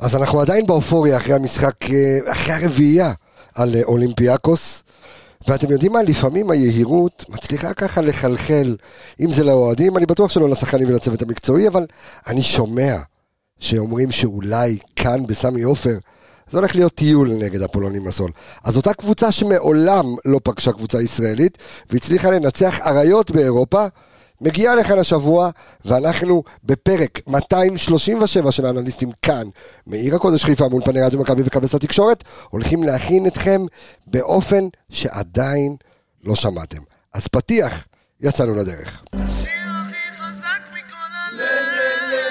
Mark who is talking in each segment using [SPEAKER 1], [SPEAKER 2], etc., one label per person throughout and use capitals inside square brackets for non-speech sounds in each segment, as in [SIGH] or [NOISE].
[SPEAKER 1] אז אנחנו עדיין באופוריה אחרי המשחק, אה, אחרי הרביעייה על אה, אולימפיאקוס. ואתם יודעים מה, לפעמים היהירות מצליחה ככה לחלחל, אם זה לאוהדים, אני בטוח שלא לשחקנים ולצוות המקצועי, אבל אני שומע שאומרים שאולי כאן בסמי עופר, זה הולך להיות טיול נגד אפולונים מסול. אז אותה קבוצה שמעולם לא פגשה קבוצה ישראלית, והצליחה לנצח אריות באירופה, מגיעה לכאן השבוע, ואנחנו בפרק 237 של האנליסטים כאן, מעיר הקודש חיפה מול פני רדיו מכבי וכבש התקשורת, הולכים להכין אתכם באופן שעדיין לא שמעתם. אז פתיח, יצאנו לדרך.
[SPEAKER 2] השיר הכי חזק מכל הלב.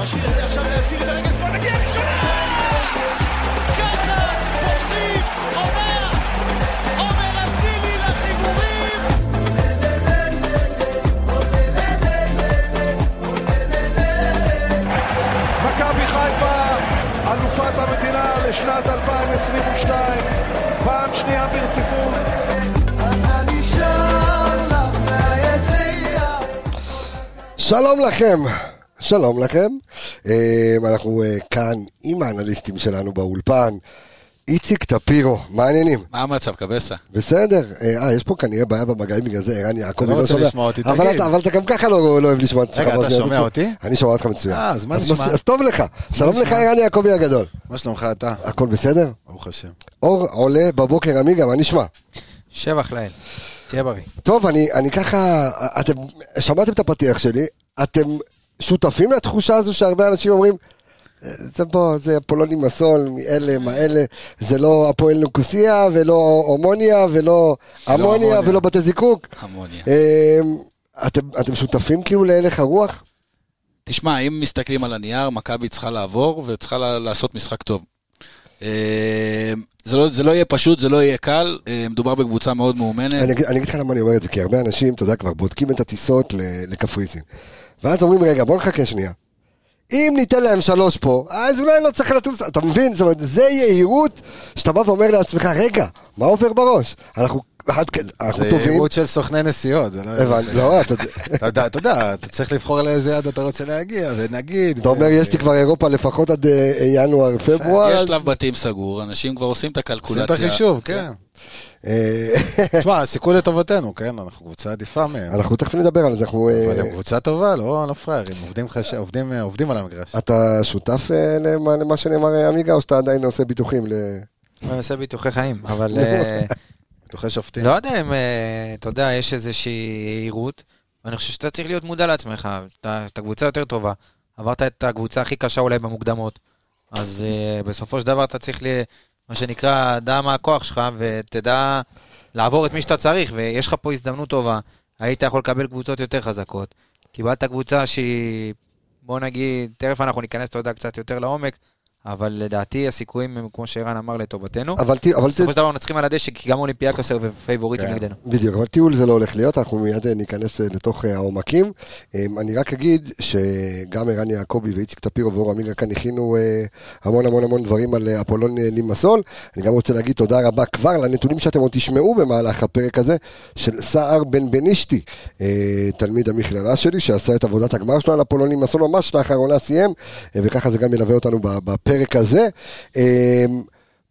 [SPEAKER 3] משאיר את זה עכשיו להציל את הרגל שמאל, מגיע ראשונה! ככה פותחים עונה! עומר אצילי לחיבורים!
[SPEAKER 4] מכבי חיפה, אלופת המדינה לשנת 2022, פעם שנייה ברציפות.
[SPEAKER 1] שלום לכם, שלום לכם. אה, אנחנו אה, כאן עם האנליסטים שלנו באולפן. איציק טפירו, מה העניינים?
[SPEAKER 5] מה המצב, קבסה?
[SPEAKER 1] בסדר, אה, אה, יש פה כנראה בעיה במגעים, בגלל זה ערן יעקבי
[SPEAKER 6] לא
[SPEAKER 1] לא
[SPEAKER 6] רוצה
[SPEAKER 1] שומע.
[SPEAKER 6] לשמוע אותי,
[SPEAKER 1] אבל
[SPEAKER 6] תגיד.
[SPEAKER 1] אתה- אבל אתה גם ככה לא לא אוהב לשמוע את עצמך.
[SPEAKER 6] רגע,
[SPEAKER 1] באוזניות.
[SPEAKER 6] אתה שומע אותי?
[SPEAKER 1] אני שומע אותך מצוין.
[SPEAKER 6] אה, אז מה
[SPEAKER 1] אז
[SPEAKER 6] נשמע?
[SPEAKER 1] מס- אז טוב לך, שלום לך
[SPEAKER 6] נשמע?
[SPEAKER 1] ערן יעקבי הגדול.
[SPEAKER 6] מה שלומך אתה?
[SPEAKER 1] הכל בסדר?
[SPEAKER 6] ברוך השם.
[SPEAKER 1] אור עולה בבוקר עמיגה, מה נשמע?
[SPEAKER 7] שבח לאל, תהיה בריא.
[SPEAKER 1] טוב, אני, אני ככה, אתם שמעתם את הפתיח שלי, אתם שותפים לתחושה הזו שהרבה אנשים אומרים, "אה, זה פה, זה פולוני מסול, מאלה, מה אלה, זה לא הפועל נוקוסיה, ולא הומוניה, ולא אמוניה,
[SPEAKER 6] אמוניה.
[SPEAKER 1] ולא בתי זיקוק.
[SPEAKER 5] המוניה.
[SPEAKER 1] אמ, אתם, אתם שותפים כאילו להלך הרוח?
[SPEAKER 5] תשמע, אם מסתכלים על הנייר, מכבי צריכה לעבור וצריכה לה- לעשות משחק טוב. אה, זה לא, זה לא יהיה פשוט, זה לא יהיה קל, אה, מדובר בקבוצה מאוד מאומנת.
[SPEAKER 1] אני, אגיד- אני אגיד לך למה אני אומר את זה, כי הרבה אנשים, אתה יודע, כבר בודקים את הטיסות ל- לקפריסין. ואז אומרים, רגע, בוא נחכה שנייה. אם ניתן להם שלוש פה, אז אולי לא צריך לטוס, אתה מבין? זאת אומרת, זה יהירות שאתה בא ואומר לעצמך, רגע, מה עובר בראש? אנחנו, עד כ- אנחנו
[SPEAKER 6] זה
[SPEAKER 1] טובים.
[SPEAKER 6] עימות של סוכני נסיעות, זה לא... עימות
[SPEAKER 1] הבנתי,
[SPEAKER 6] של-
[SPEAKER 1] לא, אתה
[SPEAKER 6] [LAUGHS] אתה יודע, אתה יודע, אתה צריך לבחור לאיזה יד אתה רוצה להגיע, ונגיד... אה,
[SPEAKER 1] אתה אומר, יש לי כבר אירופה לפחות עד אה, ינואר, פברואר.
[SPEAKER 5] יש
[SPEAKER 1] אז-
[SPEAKER 5] שלב בתים סגור, אנשים כבר עושים את
[SPEAKER 6] עושים את
[SPEAKER 5] הקלקולציה.
[SPEAKER 6] החישוב, כן.
[SPEAKER 1] אה, [LAUGHS]
[SPEAKER 6] תשמע, הסיכוי לטובתנו, כן? אנחנו קבוצה עדיפה מהם.
[SPEAKER 1] אנחנו תכף נדבר על זה, אנחנו... אה,
[SPEAKER 6] אבל הם קבוצה טובה, לא לא פראיירים, עובדים חש- עובדים, אה, עובדים על המגרש.
[SPEAKER 1] אתה שותף אה, למה למה שנאמר אה, עמיגה, או שאתה עדיין עושה ביטוחים ל...
[SPEAKER 7] אני עושה ביטוחי חיים, אבל אה,
[SPEAKER 6] דוחה שופטים.
[SPEAKER 7] לא יודע אם, אה, אתה יודע, יש איזושהי יהירות, ואני חושב שאתה צריך להיות מודע לעצמך, אתה אתה קבוצה יותר טובה, עברת את הקבוצה הכי קשה אולי במוקדמות, אז אה, בסופו של דבר אתה צריך, ל- מה שנקרא, דע מה הכוח שלך, ותדע לעבור את מי שאתה צריך, ויש לך פה הזדמנות טובה, היית יכול לקבל קבוצות יותר חזקות, קיבלת קבוצה שהיא, בוא נגיד, תכף אנחנו ניכנס, אתה יודע, קצת יותר לעומק, אבל לדעתי הסיכויים הם, כמו שערן אמר, לטובתנו.
[SPEAKER 1] אבל ת- אבל ת-
[SPEAKER 7] בסופו של דבר מנצחים על הדשא, כי גם אולימפיאקוס היו פייבוריטים
[SPEAKER 6] כן.
[SPEAKER 7] נגדנו.
[SPEAKER 1] בדיוק, אבל טיול זה לא הולך להיות, אנחנו מיד אה, ניכנס אה, לתוך אה, העומקים. אה, אני רק אגיד שגם ערן יעקבי ואיציק טפירו ואור עמיגה כאן הכינו אה, המון המון המון דברים על אה, אפולון אה, לימסול. אני גם רוצה להגיד תודה רבה כבר לנתונים שאתם עוד תשמעו במהלך הפרק הזה, של סער בן בנישתי, אה, תלמיד המכללה שלי, שעשה את עבודת הגמר שלו על אפולון לימסול, ממש לאחרונה סיים, אה, וככה זה גם ילווה אותנו ב- בפרק הזה. אה,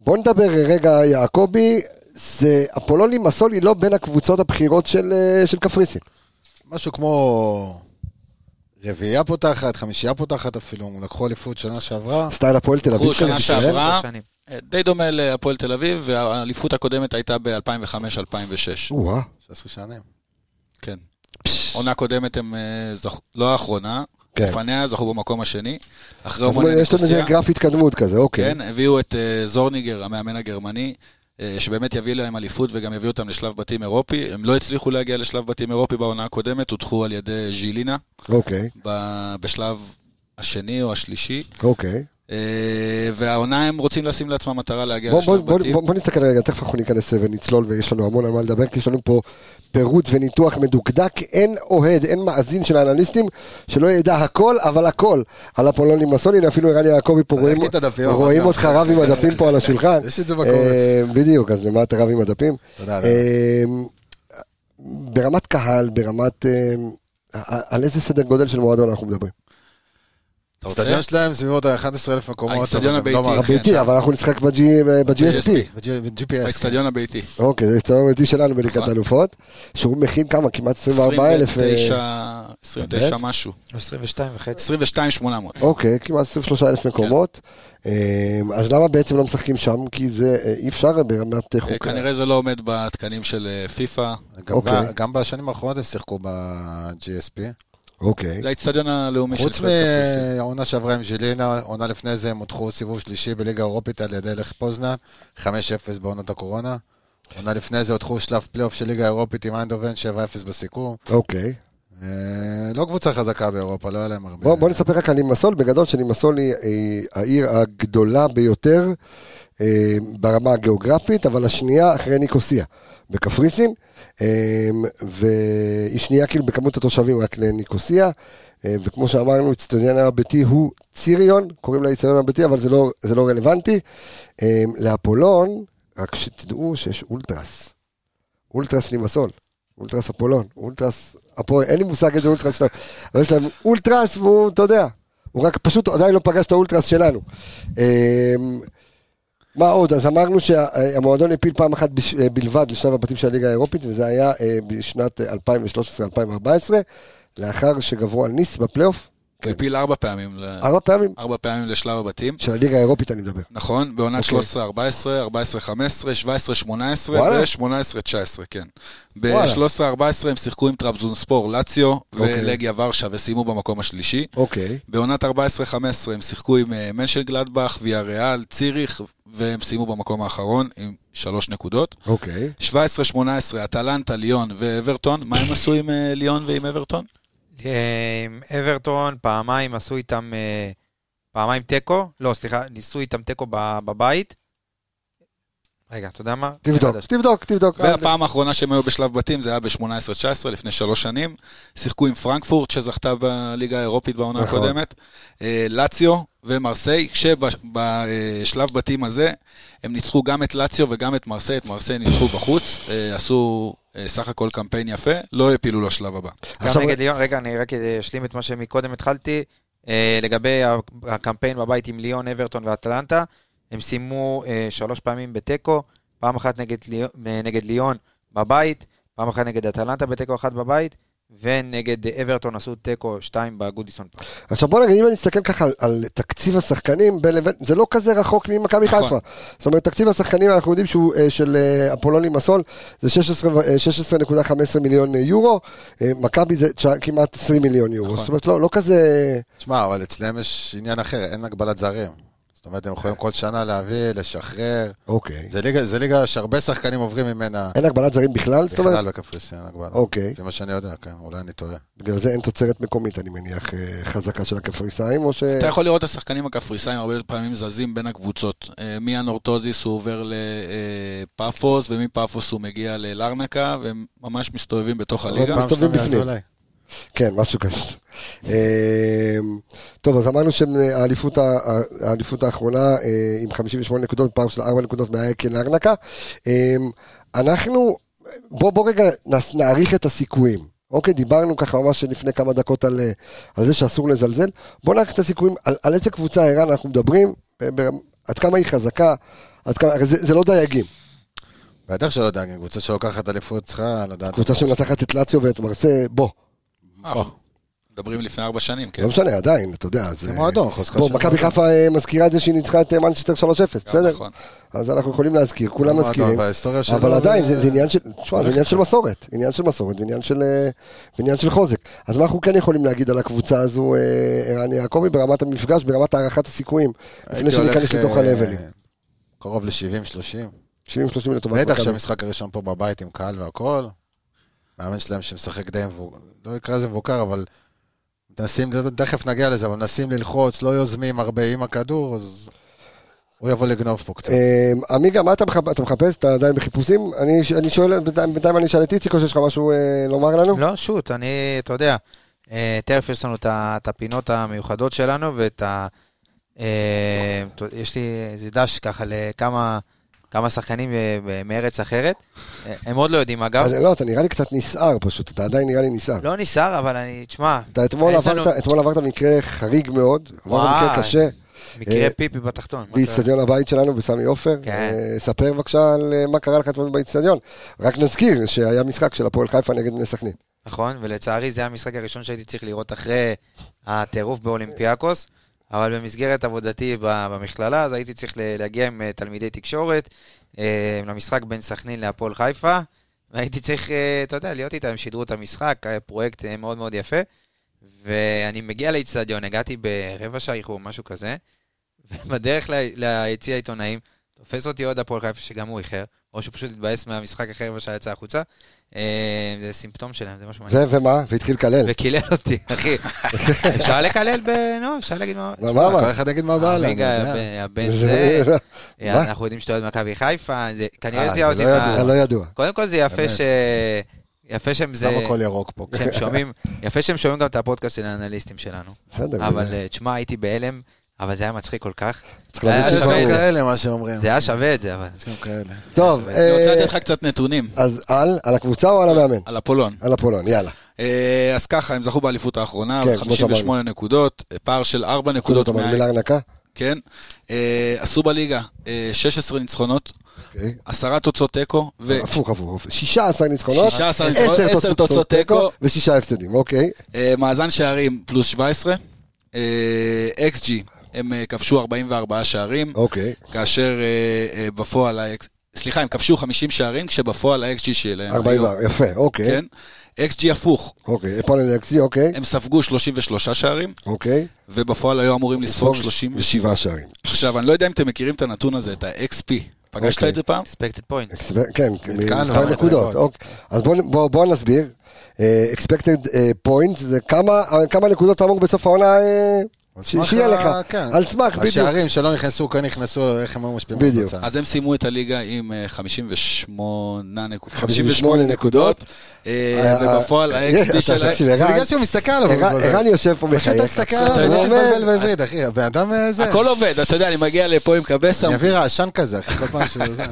[SPEAKER 1] בוא נדבר רגע, יעקבי, זה אפולוני מסול היא לא בין הקבוצות הבכירות של, אה, של קפריסין.
[SPEAKER 6] משהו כמו... רביעייה פותחת, חמישייה פותחת אפילו, הם לקחו אליפות שנה שעברה.
[SPEAKER 1] סטייל הפועל תל אביב
[SPEAKER 5] לקחו
[SPEAKER 1] של
[SPEAKER 5] שנה
[SPEAKER 1] ישראל.
[SPEAKER 5] שעברה.
[SPEAKER 7] עשר
[SPEAKER 5] אה?
[SPEAKER 7] שנים.
[SPEAKER 5] אה, די דומה להפועל תל אביב, והאליפות הקודמת הייתה ב-2005-2006.
[SPEAKER 1] או-אה,
[SPEAKER 6] 16 שנים.
[SPEAKER 5] כן. עונה קודמת הם אה, זכו, לא האחרונה,
[SPEAKER 1] כן.
[SPEAKER 5] לפניה זכו במקום השני. אחרי
[SPEAKER 1] אז
[SPEAKER 5] הומוניה
[SPEAKER 1] יש להם איזה
[SPEAKER 5] ניקוסיה.
[SPEAKER 1] גרף התקדמות כזה, אוקיי.
[SPEAKER 5] כן, הביאו את אה, זורניגר, המאמן הגרמני, אה, שבאמת יביא להם אליפות וגם יביא אותם לשלב בתים אירופי. הם לא הצליחו להגיע לשלב בתים אירופי בעונה הקודמת, הודחו על ידי ז'ילינה
[SPEAKER 1] אוקיי,
[SPEAKER 5] ב- בשלב השני או השלישי.
[SPEAKER 1] אוקיי.
[SPEAKER 5] אה, והעונה הם רוצים לשים לעצמם מטרה להגיע
[SPEAKER 1] בוא- בוא-
[SPEAKER 5] לשלב
[SPEAKER 1] בוא
[SPEAKER 5] בתים.
[SPEAKER 1] בוא- בוא נסתכל רגע, תכף אנחנו ניכנס אה, ונצלול ויש לנו המון על מה לדבר, כי יש לנו פה פירוט וניתוח מדוקדק. אין אוהד, אין מאזין של האנליסטים שלא ידע הכל, אבל הכל על אפולוני מסול. הנה אפילו ערן יעקבי פה, רואים-
[SPEAKER 6] את הדפים, אבל
[SPEAKER 1] רואים
[SPEAKER 6] לא.
[SPEAKER 1] אותך רב עם הדפים פה על
[SPEAKER 6] [LAUGHS]
[SPEAKER 1] השולחן.
[SPEAKER 6] יש את זה בקובץ.
[SPEAKER 1] אה, בדיוק, אז למה אתה רב עם הדפים?
[SPEAKER 6] תודה,
[SPEAKER 1] אה, ברמת קהל, ברמת... אה, על איזה סדר גודל של מועדון אנחנו מדברים?
[SPEAKER 5] אתה רוצה?
[SPEAKER 6] האצטדיון שלהם סביבות ה-11,000 מקומות.
[SPEAKER 5] האצטדיון
[SPEAKER 6] אבל גם לא
[SPEAKER 5] הביתי,
[SPEAKER 6] מעריכים.
[SPEAKER 1] הביתי, אבל אנחנו נשחק ב-G- ב-GSP.
[SPEAKER 5] ב-GSP.
[SPEAKER 6] ב-G- ב-GPS. כן.
[SPEAKER 5] האצטדיון הביתי.
[SPEAKER 1] אוקיי, זה הצטרף הביתי שלנו בליגת
[SPEAKER 5] נכון.
[SPEAKER 1] האלופות. שהוא מכין כמה? כמעט 24,000. אה,
[SPEAKER 5] 29, 29 משהו.
[SPEAKER 7] 22 וחצי.
[SPEAKER 5] 22,800.
[SPEAKER 1] אוקיי, כמעט
[SPEAKER 5] כן.
[SPEAKER 1] 23,000 מקומות. אה, אז למה בעצם לא משחקים שם? כי זה אה, אי אפשר ברמת אה,
[SPEAKER 5] אה,
[SPEAKER 6] אוקיי.
[SPEAKER 1] חוקה.
[SPEAKER 5] כנראה זה לא עומד בתקנים של אה, פיפ"א.
[SPEAKER 6] גם
[SPEAKER 1] אוקיי.
[SPEAKER 6] ב- גם בשנים האחרונות הם שיחקו ב-GSP.
[SPEAKER 1] אוקיי.
[SPEAKER 5] זה האצטדיון הלאומי של
[SPEAKER 6] חוץ
[SPEAKER 5] שבט קפריסין.
[SPEAKER 6] מהעונה שעברה עם ז'לינה, עונה לפני זה הם הודחו סיבוב שלישי בליגה האירופית על ידי לך פוזנן, 5-0 בעונת הקורונה. עונה לפני זה הודחו שלב פלייאוף של ליגה האירופית עם איינדובן, 7-0 בסיכום.
[SPEAKER 1] אוקיי.
[SPEAKER 6] אה, לא קבוצה חזקה באירופה, לא היה להם הרבה.
[SPEAKER 1] בוא, בוא נספר רק על לימסול, בגדול שלימסול היא, היא העיר הגדולה ביותר אה, ברמה הגיאוגרפית, אבל השנייה אחרי ניקוסיה בקפריסין, אה, והיא שנייה כאילו בכמות התושבים רק לניקוסיה, אה, וכמו שאמרנו, אצטדיון הביתי הוא ציריון, קוראים לה אצטדיון הביתי, אבל זה לא, זה לא רלוונטי. אה, לאפולון, רק שתדעו שיש אולטרס, אולטרס לימסול. אולטרס אפולון, אולטרס הפועל, אין לי מושג איזה אולטרס שלנו. אבל יש להם אולטרס והוא, אתה יודע, הוא רק פשוט עדיין לא פגש את האולטרס שלנו. אמ, מה עוד? אז אמרנו שהמועדון הפיל פעם אחת בש- אה, בלבד לשלב הבתים של הליגה האירופית, וזה היה אה, בשנת אה, 2013-2014, לאחר שגברו על ניס בפלייאוף,
[SPEAKER 5] הוא הפיל ארבע פעמים, ל-
[SPEAKER 1] ארבע פעמים,
[SPEAKER 5] ארבע פעמים לשלב הבתים.
[SPEAKER 1] של הליגה האירופית אני מדבר.
[SPEAKER 5] נכון, בעונת
[SPEAKER 1] אוקיי.
[SPEAKER 5] 13-14, 14-15, 17-18
[SPEAKER 1] וואלה.
[SPEAKER 5] ו-18-19, כן.
[SPEAKER 1] וואלה.
[SPEAKER 5] ב-13-14 הם שיחקו עם טרבזונספור, לאציו
[SPEAKER 1] אוקיי.
[SPEAKER 5] ולגיה ורשה וסיימו במקום השלישי.
[SPEAKER 1] אוקיי,
[SPEAKER 5] בעונת 14-15 הם שיחקו עם אה, מנשלגלדבך, ויה ריאל, ציריך, והם סיימו במקום האחרון עם שלוש נקודות.
[SPEAKER 1] אוקיי.
[SPEAKER 5] 17-18, אטלנטה, ליון ואברטון. מה הם עשו עם אה, ליון ועם אברטון?
[SPEAKER 7] אה, עם אברטון פעמיים עשו איתם, אה, פעמיים תיקו, לא סליחה, ניסו איתם תיקו ב- בבית. רגע, אתה יודע מה?
[SPEAKER 1] תבדוק,
[SPEAKER 7] מחדש.
[SPEAKER 1] תבדוק, תבדוק.
[SPEAKER 5] והפעם האחרונה שהם היו בשלב בתים זה היה ב-18-19, לפני שלוש שנים. שיחקו עם פרנקפורט, שזכתה בליגה האירופית בעונה
[SPEAKER 1] נכון.
[SPEAKER 5] הקודמת, אה, לאציו ומרסיי, כשבשלב בתים הזה הם ניצחו גם את לאציו וגם את מרסיי, את מרסיי ניצחו בחוץ, אה, עשו אה, סך הכל קמפיין יפה, לא העפילו לשלב הבא.
[SPEAKER 7] גם
[SPEAKER 1] עכשיו-
[SPEAKER 7] נגד ליון, רגע, אני רק אשלים את מה שמקודם התחלתי. אה, לגבי ה- הקמפיין בבית עם ליון, אברטון ואטלנטה, הם סיימו אה, שלוש פעמים בתיקו, פעם אחת נגד ליון- אה, נגד ליון בבית, פעם אחת נגד אטלנטה בתיקו אחת בבית, ונגד אה, אברטון עשו תיקו שתיים בגודיסון פארק.
[SPEAKER 1] עכשיו בוא נגיד, אם אני מסתכל ככה על, על תקציב השחקנים, בין לבין, זה לא כזה רחוק ממכבי
[SPEAKER 5] נכון.
[SPEAKER 1] חיפה. זאת אומרת, תקציב השחקנים, אנחנו יודעים שהוא אה, של אה, אפולוני מסול, זה 16 ו- אה, 16.15 מיליון אה, יורו, אה, מכבי זה תשע- כמעט 20 מיליון יורו.
[SPEAKER 5] נכון.
[SPEAKER 1] זאת אומרת, לא, לא כזה...
[SPEAKER 6] תשמע, אבל אצלם יש עניין אחר, אין הגבלת זרים. זאת אומרת, הם יכולים כל שנה להביא, לשחרר.
[SPEAKER 1] אוקיי.
[SPEAKER 6] זה ליגה, זה ליגה שהרבה שחקנים עוברים ממנה.
[SPEAKER 1] אין הגבלת זרים בכלל? זאת אומרת,
[SPEAKER 5] לא.
[SPEAKER 6] בכלל בקפריסין, אין הגבלה.
[SPEAKER 1] אוקיי.
[SPEAKER 6] זה מה שאני יודע, כן, אולי אני טועה.
[SPEAKER 1] בגלל זה אין תוצרת מקומית, אני מניח, אה, חזקה של הקפריסאים, או ש...
[SPEAKER 5] אתה יכול לראות את השחקנים הקפריסאים הרבה פעמים זזים בין הקבוצות. אה, מהנורטוזיס הוא עובר לפאפוס, ומפאפוס הוא מגיע ללרנקה, והם ממש מסתובבים בתוך
[SPEAKER 1] עוד
[SPEAKER 5] הליגה.
[SPEAKER 1] פעם. מסתובבים
[SPEAKER 6] שלומי
[SPEAKER 1] בפנים.
[SPEAKER 6] אזולאי.
[SPEAKER 1] כן, משהו כזה. אמ, טוב, אז אמרנו שהאליפות ה- ה- האליפות האחרונה אה, עם 58 נקודות, פעם של 4 נקודות מהאקל ארנקה. אמ, אנחנו, בוא, בוא רגע נס- נעריך את הסיכויים. אוקיי, דיברנו ככה ממש לפני כמה דקות על, אה, על זה שאסור לזלזל. בוא נעריך את הסיכויים, על, על איזה קבוצה ערן אנחנו מדברים, ב- ב- עד כמה היא חזקה, עד כמה, הרי זה, זה לא דייגים.
[SPEAKER 6] בטח שלא דאגים, קבוצה שלוקחת אליפות צריכה לדעת.
[SPEAKER 1] קבוצה שמנצחת את לאציו ואת מרסה, בוא.
[SPEAKER 5] אנחנו אה, מדברים לפני ארבע שנים, כן.
[SPEAKER 1] לא משנה, עדיין, אתה יודע, זה...
[SPEAKER 6] זה מועדון, חוזקה
[SPEAKER 1] בוא,
[SPEAKER 6] של
[SPEAKER 1] מכבי
[SPEAKER 6] מועדון.
[SPEAKER 1] חיפה אה, מזכירה את זה שהיא ניצחה את אה, מנצ'סטר 3-0, בסדר?
[SPEAKER 5] נכון.
[SPEAKER 1] אז אנחנו יכולים להזכיר, כולם
[SPEAKER 6] מועדון,
[SPEAKER 1] מזכירים.
[SPEAKER 6] וההיסטוריה שלו
[SPEAKER 1] אבל
[SPEAKER 6] ו-
[SPEAKER 1] עדיין, זה זה עניין של, תשמע, זה עניין של מסורת. עניין של מסורת ועניין של, אה, ועניין של חוזק. אז מה אנחנו כן יכולים להגיד על הקבוצה הזו, אה, ערן יעקבי, ברמת המפגש, ברמת הערכת הסיכויים, לפני
[SPEAKER 6] הייתי הולך,
[SPEAKER 1] שניכנס לתוך
[SPEAKER 6] אה,
[SPEAKER 1] הלבלים.
[SPEAKER 6] קרוב ל-70-30.
[SPEAKER 1] 70-30 לטובת
[SPEAKER 6] בטח שהמשחק הראשון פה בבית עם קהל והכל. מאמן שלהם שמשחק די מבוגר, לא נקרא לזה מבוקר, אבל מנסים, תכף נגיע לזה, אבל מנסים ללחוץ, לא יוזמים הרבה עם הכדור, אז הוא יבוא לגנוב פה קצת.
[SPEAKER 1] אה, עמיגה, מה אתה מחפ- אתה מחפש? אתה עדיין בחיפושים? אני אני שואל, בינתיים בינתיים אני אשאל את איציק, או שיש לך משהו אה, לומר לנו?
[SPEAKER 7] לא, שוט, אני, אתה יודע, אה, תכף יש לנו את ה- את הפינות המיוחדות שלנו ואת ה... אה, ת- יש לי איזה דש ככה לכמה כמה שחקנים אה, ב- מארץ אחרת. אה, הם עוד לא יודעים, אגב.
[SPEAKER 1] אז לא, אתה נראה לי קצת נסער פשוט, אתה עדיין נראה לי נסער.
[SPEAKER 7] לא נסער, אבל אני, תשמע,
[SPEAKER 1] אתה אתמול
[SPEAKER 7] יש לנו-
[SPEAKER 1] עברת, אתמול עברת מקרה חריג מאוד, עברת
[SPEAKER 7] וואי.
[SPEAKER 1] מקרה קשה, אה,
[SPEAKER 7] מקרה פיפי בתחתון. מה אתה-
[SPEAKER 1] באיצטדיון הבית שלנו בסמי עופר.
[SPEAKER 7] כן.
[SPEAKER 1] אה, ספר בבקשה על אה, מה קרה לך אתמול באיצטדיון. רק נזכיר שהיה משחק של הפועל חיפה נגד בני סכנין.
[SPEAKER 7] נכון, ולצערי זה המשחק הראשון שהייתי צריך לראות אחרי הטירוף באולימפיאקוס, אבל במסגרת עבודתי ב- במכללה, אז הייתי צריך ל- להגיע עם אה, תלמידי תקשורת אה, למשחק בין סכנין להפועל חיפה, והייתי צריך, אה, אתה יודע, להיות איתם, שידרו את המשחק, היה פרויקט אה, מאוד מאוד יפה, ואני מגיע לאיצטדיון, הגעתי ברבע שעה איחור, משהו כזה, [LAUGHS] ובדרך ל- ליציע העיתונאים, תופס אותי עוד הפועל חיפה, שגם הוא איחר, או שהוא פשוט התבאס מהמשחק אחרי רבע שעה יצא החוצה. אה, זה סימפטום שלהם, זה משהו מעניין.
[SPEAKER 1] ו- ומה? והתחיל לקלל. [LAUGHS]
[SPEAKER 7] וקילל אותי, אחי. אפשר לקלל ב... נו, אפשר להגיד מה...
[SPEAKER 1] מה- מה
[SPEAKER 6] כל
[SPEAKER 1] אמר?
[SPEAKER 6] אחד יגיד מה בא עליו, אני
[SPEAKER 7] הליגה,
[SPEAKER 6] יודע.
[SPEAKER 7] הב- הבן זה,
[SPEAKER 1] מה?
[SPEAKER 7] אנחנו יודעים שאתה אוהד מכבי חיפה, זה-
[SPEAKER 6] אה,
[SPEAKER 7] כנראה
[SPEAKER 6] זה
[SPEAKER 7] זיהה אותי.
[SPEAKER 6] לא
[SPEAKER 7] ב-
[SPEAKER 6] ידוע.
[SPEAKER 1] אה, לא ידוע.
[SPEAKER 7] קודם כל זה יפה
[SPEAKER 6] באמת.
[SPEAKER 7] ש... יפה שהם זה...
[SPEAKER 6] למה הכל ירוק פה?
[SPEAKER 7] שהם שומעים, יפה שהם שומעים גם את הפודקאסט של האנליסטים שלנו.
[SPEAKER 1] בסדר.
[SPEAKER 7] אבל
[SPEAKER 1] זה-
[SPEAKER 7] אה, תשמע, הייתי בהלם, אבל זה היה מצחיק כל כך.
[SPEAKER 1] צריך להביא
[SPEAKER 7] אה,
[SPEAKER 6] יש
[SPEAKER 1] טיפה
[SPEAKER 7] שומעים.
[SPEAKER 6] גם
[SPEAKER 1] רוח.
[SPEAKER 6] כאלה, מה שאומרים.
[SPEAKER 7] זה היה שווה את זה, אבל...
[SPEAKER 6] יש גם כאלה.
[SPEAKER 1] טוב,
[SPEAKER 5] אני רוצה
[SPEAKER 1] אה,
[SPEAKER 5] לתת לך קצת נתונים
[SPEAKER 1] אז על? על הקבוצה או על המאמן?
[SPEAKER 5] על אפולון.
[SPEAKER 1] על הפולון, יאללה.
[SPEAKER 5] אה, אז ככה, הם זכו באליפות האחרונה,
[SPEAKER 1] כן, כמו שאמרנו.
[SPEAKER 5] 58 נקודות, אה, פער של 4 נקודות
[SPEAKER 1] אתה מגביל
[SPEAKER 5] מה...
[SPEAKER 1] ארנקה?
[SPEAKER 5] כן. אה, עשו בליגה אה, 16 ניצחונות,
[SPEAKER 1] אוקיי.
[SPEAKER 5] 10 תוצאות תיקו, ו...
[SPEAKER 1] הפוך, הפוך. הפוך. 16 ניצחונות,
[SPEAKER 5] 16
[SPEAKER 1] עשר
[SPEAKER 5] ניצחונות, עשר תוצאות תיקו.
[SPEAKER 1] ושישה הפסדים, אוקיי.
[SPEAKER 5] אה, מאזן שערים פלוס 17, אקס ג'י, הם אה, כבשו 44 שערים,
[SPEAKER 1] אוקיי.
[SPEAKER 5] כאשר אה, אה, בפועל, האקס- סליחה, הם כבשו 50 שערים, כשבפועל האקס ג'י שלהם,
[SPEAKER 1] 44, יפה, אוקיי.
[SPEAKER 5] כן, אקס ג'י הפוך,
[SPEAKER 1] אוקיי. הפועל נגסי, אוקיי.
[SPEAKER 5] הם ספגו 33 שערים,
[SPEAKER 1] אוקיי.
[SPEAKER 5] ובפועל היו אמורים לספוג 37.
[SPEAKER 1] 37 שערים.
[SPEAKER 5] עכשיו, אני לא יודע אם אתם מכירים את הנתון הזה, את ה-XP, פגשת
[SPEAKER 1] אוקיי.
[SPEAKER 5] את זה פעם?
[SPEAKER 7] אקספקטד פוינט.
[SPEAKER 1] אקספ- כן,
[SPEAKER 6] נתקענו,
[SPEAKER 1] מספר
[SPEAKER 6] אבל
[SPEAKER 1] נקודות.
[SPEAKER 6] נתקענו.
[SPEAKER 1] אוקיי. אז בואו- בואו בואו נסביר. אה, expected אה, points זה כמה- כמה נקודות אתה אמור בסוף העונה אה,
[SPEAKER 6] על
[SPEAKER 1] ש-
[SPEAKER 6] סמך
[SPEAKER 1] שיהיה
[SPEAKER 6] ה-
[SPEAKER 1] לך.
[SPEAKER 6] כן.
[SPEAKER 1] על סמך, בדיוק.
[SPEAKER 6] השערים שלא נכנסו, כן נכנסו, איך הם היו משפיעים על
[SPEAKER 1] בדיוק.
[SPEAKER 6] התוצאה.
[SPEAKER 5] אז הם סיימו את הליגה עם אה, 58 נקוד-
[SPEAKER 1] 58
[SPEAKER 5] 58 נקודות, אה,
[SPEAKER 1] אה,
[SPEAKER 5] ובפועל
[SPEAKER 1] אה,
[SPEAKER 5] ה-XP
[SPEAKER 1] אתה-
[SPEAKER 5] שלהם...
[SPEAKER 1] תקשיב,
[SPEAKER 6] זה
[SPEAKER 1] ערן-
[SPEAKER 6] בגלל שהוא מסתכל עליו. הוא
[SPEAKER 1] ערן-
[SPEAKER 6] מתבלבל.
[SPEAKER 1] ערן יושב פה
[SPEAKER 6] פשוט
[SPEAKER 1] מחייך.
[SPEAKER 6] תסתכל עליו,
[SPEAKER 5] אתה
[SPEAKER 6] הוא
[SPEAKER 5] יודע,
[SPEAKER 6] מתבלבל בעברית, אחי, הבן אדם אה, זה.
[SPEAKER 5] הכל לא- עובד, אתה יודע, אני מגיע לפה עם קבסה,
[SPEAKER 6] אני אביא רעשן כזה, אחי, כל פעם שזה... זה.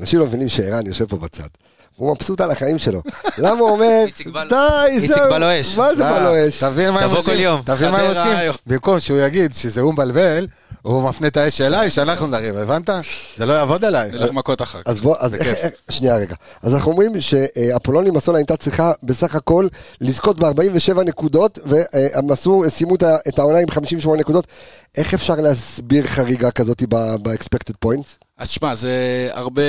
[SPEAKER 1] אנשים לא מבינים שערן יושב פה בצד. הוא מבסוט על החיים שלו. למה הוא אומר,
[SPEAKER 7] איציק בלו-
[SPEAKER 1] די,
[SPEAKER 7] איציק
[SPEAKER 1] זהו.
[SPEAKER 7] בלו
[SPEAKER 1] [LAUGHS]
[SPEAKER 7] אש.
[SPEAKER 1] מה זה
[SPEAKER 6] אה.
[SPEAKER 1] בלו אש?
[SPEAKER 6] תבין מה הם
[SPEAKER 7] תבוא כל יום.
[SPEAKER 6] עושים, תבין מה הם
[SPEAKER 5] חדרה-
[SPEAKER 6] עושים. במקום שהוא יגיד שזה הוא מבלבל, הוא מפנה את האש אליי, שאנחנו נריב, הבנת? זה לא יעבוד עליי.
[SPEAKER 5] נלך מכות אחר כך.
[SPEAKER 1] אז בוא, אז איך, איך, [LAUGHS] שנייה רגע. אז אנחנו אומרים שאפולונים אסון הייתה צריכה בסך הכל לזכות ב-47 נקודות, והם עשו, סיימו את ה- את העונה עם 58 נקודות. איך אפשר להסביר חריגה כזאת ב-expected points?
[SPEAKER 5] אז שמע, זה הרבה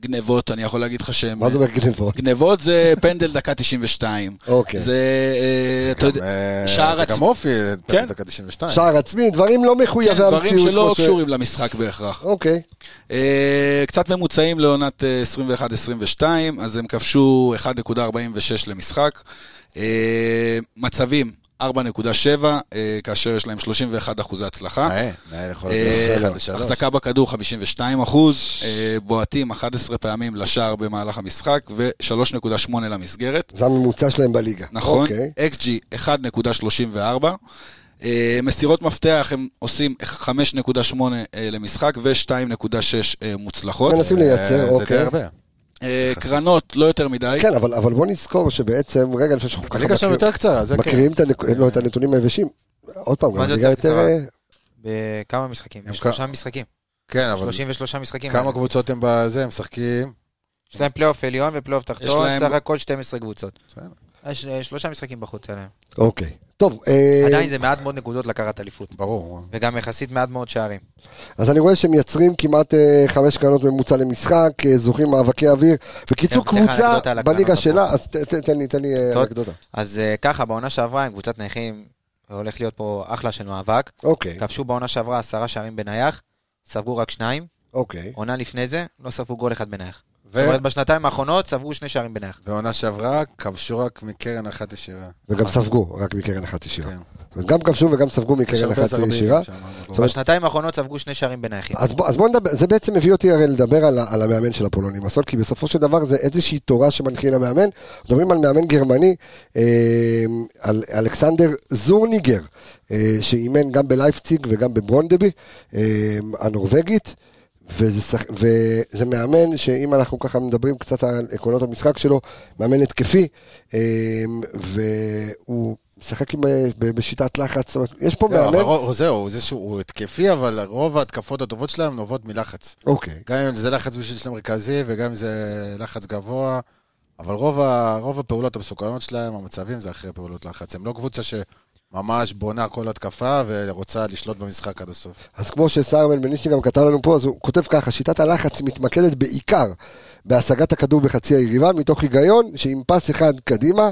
[SPEAKER 5] גנבות, אני יכול להגיד לך שהם...
[SPEAKER 1] מה זה אומר
[SPEAKER 5] [LAUGHS]
[SPEAKER 1] גנבות?
[SPEAKER 5] גנבות זה פנדל דקה 92.
[SPEAKER 1] אוקיי.
[SPEAKER 5] זה, אה, אתה יודע,
[SPEAKER 6] אה,
[SPEAKER 5] שער
[SPEAKER 6] זה
[SPEAKER 5] עצמי.
[SPEAKER 6] גם אופי,
[SPEAKER 5] כן.
[SPEAKER 6] דקה 92.
[SPEAKER 1] שער עצמי, דברים לא מחויבי
[SPEAKER 5] כן,
[SPEAKER 1] המציאות.
[SPEAKER 5] דברים שלא
[SPEAKER 1] כמו ש-
[SPEAKER 5] קשורים למשחק בהכרח.
[SPEAKER 1] אוקיי,
[SPEAKER 5] אה, קצת ממוצעים לעונת אה, 21-22, אז הם כבשו 1.46 למשחק. אה, מצבים, 4.7, אה, כאשר יש להם 31 אחוזי הצלחה.
[SPEAKER 6] נאה, נאה יכול
[SPEAKER 5] אה,
[SPEAKER 6] להיות אחד לשלוש.
[SPEAKER 5] החזקה בכדור 52 אחוז, אה, בועטים 11 פעמים לשער במהלך המשחק ו-3.8 למסגרת.
[SPEAKER 1] זה הממוצע שלהם בליגה.
[SPEAKER 5] נכון,
[SPEAKER 1] אוקיי.
[SPEAKER 5] XG 1.34. אה, מסירות מפתח הם עושים 5.8 אה, למשחק ו-2.6 אה, מוצלחות.
[SPEAKER 1] מנסים
[SPEAKER 6] אה,
[SPEAKER 1] לייצר,
[SPEAKER 6] זה די
[SPEAKER 1] אוקיי.
[SPEAKER 6] הרבה.
[SPEAKER 5] אה, קרנות לא יותר מדי.
[SPEAKER 1] כן, אבל, אבל בוא נזכור שבעצם, רגע לפני שאנחנו
[SPEAKER 6] הליגה שם יותר קצרה, זה כן.
[SPEAKER 1] מקריאים את, הנק... לא, את הנתונים היבשים, עוד פעם, גם
[SPEAKER 7] מה זה
[SPEAKER 1] הליגה
[SPEAKER 7] יותר
[SPEAKER 1] יותר...
[SPEAKER 7] קצרה?
[SPEAKER 1] אה,
[SPEAKER 7] בכמה משחקים?
[SPEAKER 6] הם
[SPEAKER 7] בשלושה משחקים.
[SPEAKER 6] כן, אבל
[SPEAKER 7] 33 משחקים.
[SPEAKER 6] כמה קבוצות הם בזה, הם משחקים.
[SPEAKER 7] יש להם פלייאוף עליון ופלייאוף
[SPEAKER 5] יש
[SPEAKER 7] תחתון,
[SPEAKER 5] להם-
[SPEAKER 7] סך הכל 12 קבוצות.
[SPEAKER 6] בסדר.
[SPEAKER 7] יש- אה, שלושה משחקים בחוץ עליהם.
[SPEAKER 1] אוקיי. טוב, אה,
[SPEAKER 7] עדיין זה מעט מאוד נקודות לקחת אליפות.
[SPEAKER 6] ברור.
[SPEAKER 7] וגם יחסית מעט מאוד שערים.
[SPEAKER 1] אז אני רואה שמייצרים כמעט אה, חמש קרנות ממוצע למשחק, אה, זוכים מאבקי אוויר. בקיצור,
[SPEAKER 7] כן, אני אתן לך
[SPEAKER 1] קבוצה
[SPEAKER 7] אנקדוטה על הקרנות
[SPEAKER 1] בליגה
[SPEAKER 7] הפעם.
[SPEAKER 1] שלה, אז ת- ת- תן לי, תן לי אה,
[SPEAKER 7] טוב.
[SPEAKER 1] אנקדוטה.
[SPEAKER 7] אז אה, ככה, בעונה שעברה עם קבוצת נכים, הולך להיות פה אחלה של מאבק.
[SPEAKER 1] אוקיי,
[SPEAKER 7] כבשו בעונה שעברה עשרה שערים בנייח, ספגו רק שניים.
[SPEAKER 1] אוקיי.
[SPEAKER 7] עונה לפני זה, לא ספגו גול אחד בנייח.
[SPEAKER 6] ו-
[SPEAKER 7] זאת אומרת, בשנתיים האחרונות ספגו שני שערים בנייח.
[SPEAKER 6] בעונה שעברה, כבשו רק מקרן אחת ישירה.
[SPEAKER 1] וגם ספגו, רק מקרן אחת ישירה.
[SPEAKER 6] כן.
[SPEAKER 1] גם כבשו וגם ספגו
[SPEAKER 6] יש
[SPEAKER 1] מקרן
[SPEAKER 6] הרבה
[SPEAKER 1] אחת
[SPEAKER 6] זרמים
[SPEAKER 1] ישירה.
[SPEAKER 6] שם,
[SPEAKER 1] זאת אומרת-
[SPEAKER 7] בשנתיים האחרונות ספגו שני שערים בנייחים.
[SPEAKER 1] אז בוא, אז בוא נדבר, זה בעצם הביא אותי הרי לדבר על, ה- על המאמן של הפולונים הסול, כי בסופו של דבר זה איזושהי תורה שמנחיל המאמן. מדברים על מאמן גרמני, אה, על אלכסנדר זורניגר, אה, שאימן גם בלייפציג וגם בברונדבי, אה, אמ, הנורבגית, וזה, שח- וזה מאמן שאם אנחנו ככה מדברים קצת על עקרונות המשחק שלו, מאמן התקפי, אמ, והוא משחק עם, אה, ב- בשיטת לחץ, זאת אומרת, יש פה
[SPEAKER 6] זהו, לא, אבל
[SPEAKER 1] מאמן...
[SPEAKER 6] רוב- זהו, זה שהוא הוא התקפי, אבל רוב ההתקפות הטובות שלהם נובעות מלחץ.
[SPEAKER 1] אוקיי,
[SPEAKER 6] גם אם זה לחץ בשביל שלהם מרכזי, וגם אם זה לחץ גבוה, אבל רוב, ה, רוב הפעולות המסוכנות שלהם, המצבים, זה אחרי פעולות לחץ. הם לא קבוצה שממש בונה כל התקפה ורוצה לשלוט במשחק עד הסוף.
[SPEAKER 1] אז כמו שסהרמן בניסטי גם כתב לנו פה, אז הוא כותב ככה, שיטת הלחץ מתמקדת בעיקר בהשגת הכדור בחצי היריבה, מתוך היגיון שעם פס אחד קדימה,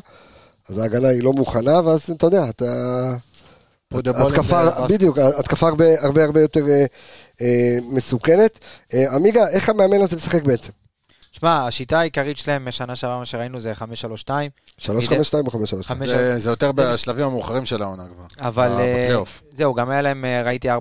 [SPEAKER 1] אז ההגנה היא לא מוכנה, ואז אתה יודע, אתה...
[SPEAKER 6] Put the ball in
[SPEAKER 1] התקפה,
[SPEAKER 6] the basket.
[SPEAKER 1] בדיוק, התקפה הרבה הרבה, הרבה יותר אה, אה, מסוכנת. אה, עמיגה, איך המאמן הזה משחק בעצם?
[SPEAKER 7] שמע, השיטה העיקרית שלהם משנה שעברה, מה שראינו, זה 5-3-2.
[SPEAKER 1] 3-5-2 או 5-3?
[SPEAKER 7] חמש-
[SPEAKER 6] זה, זה יותר בשלבים המאוחרים של העונה כבר.
[SPEAKER 7] אבל
[SPEAKER 6] ב-
[SPEAKER 7] אה,
[SPEAKER 6] בפלייאוף.
[SPEAKER 7] זהו, גם היה להם, אה, ראיתי 4-4-2,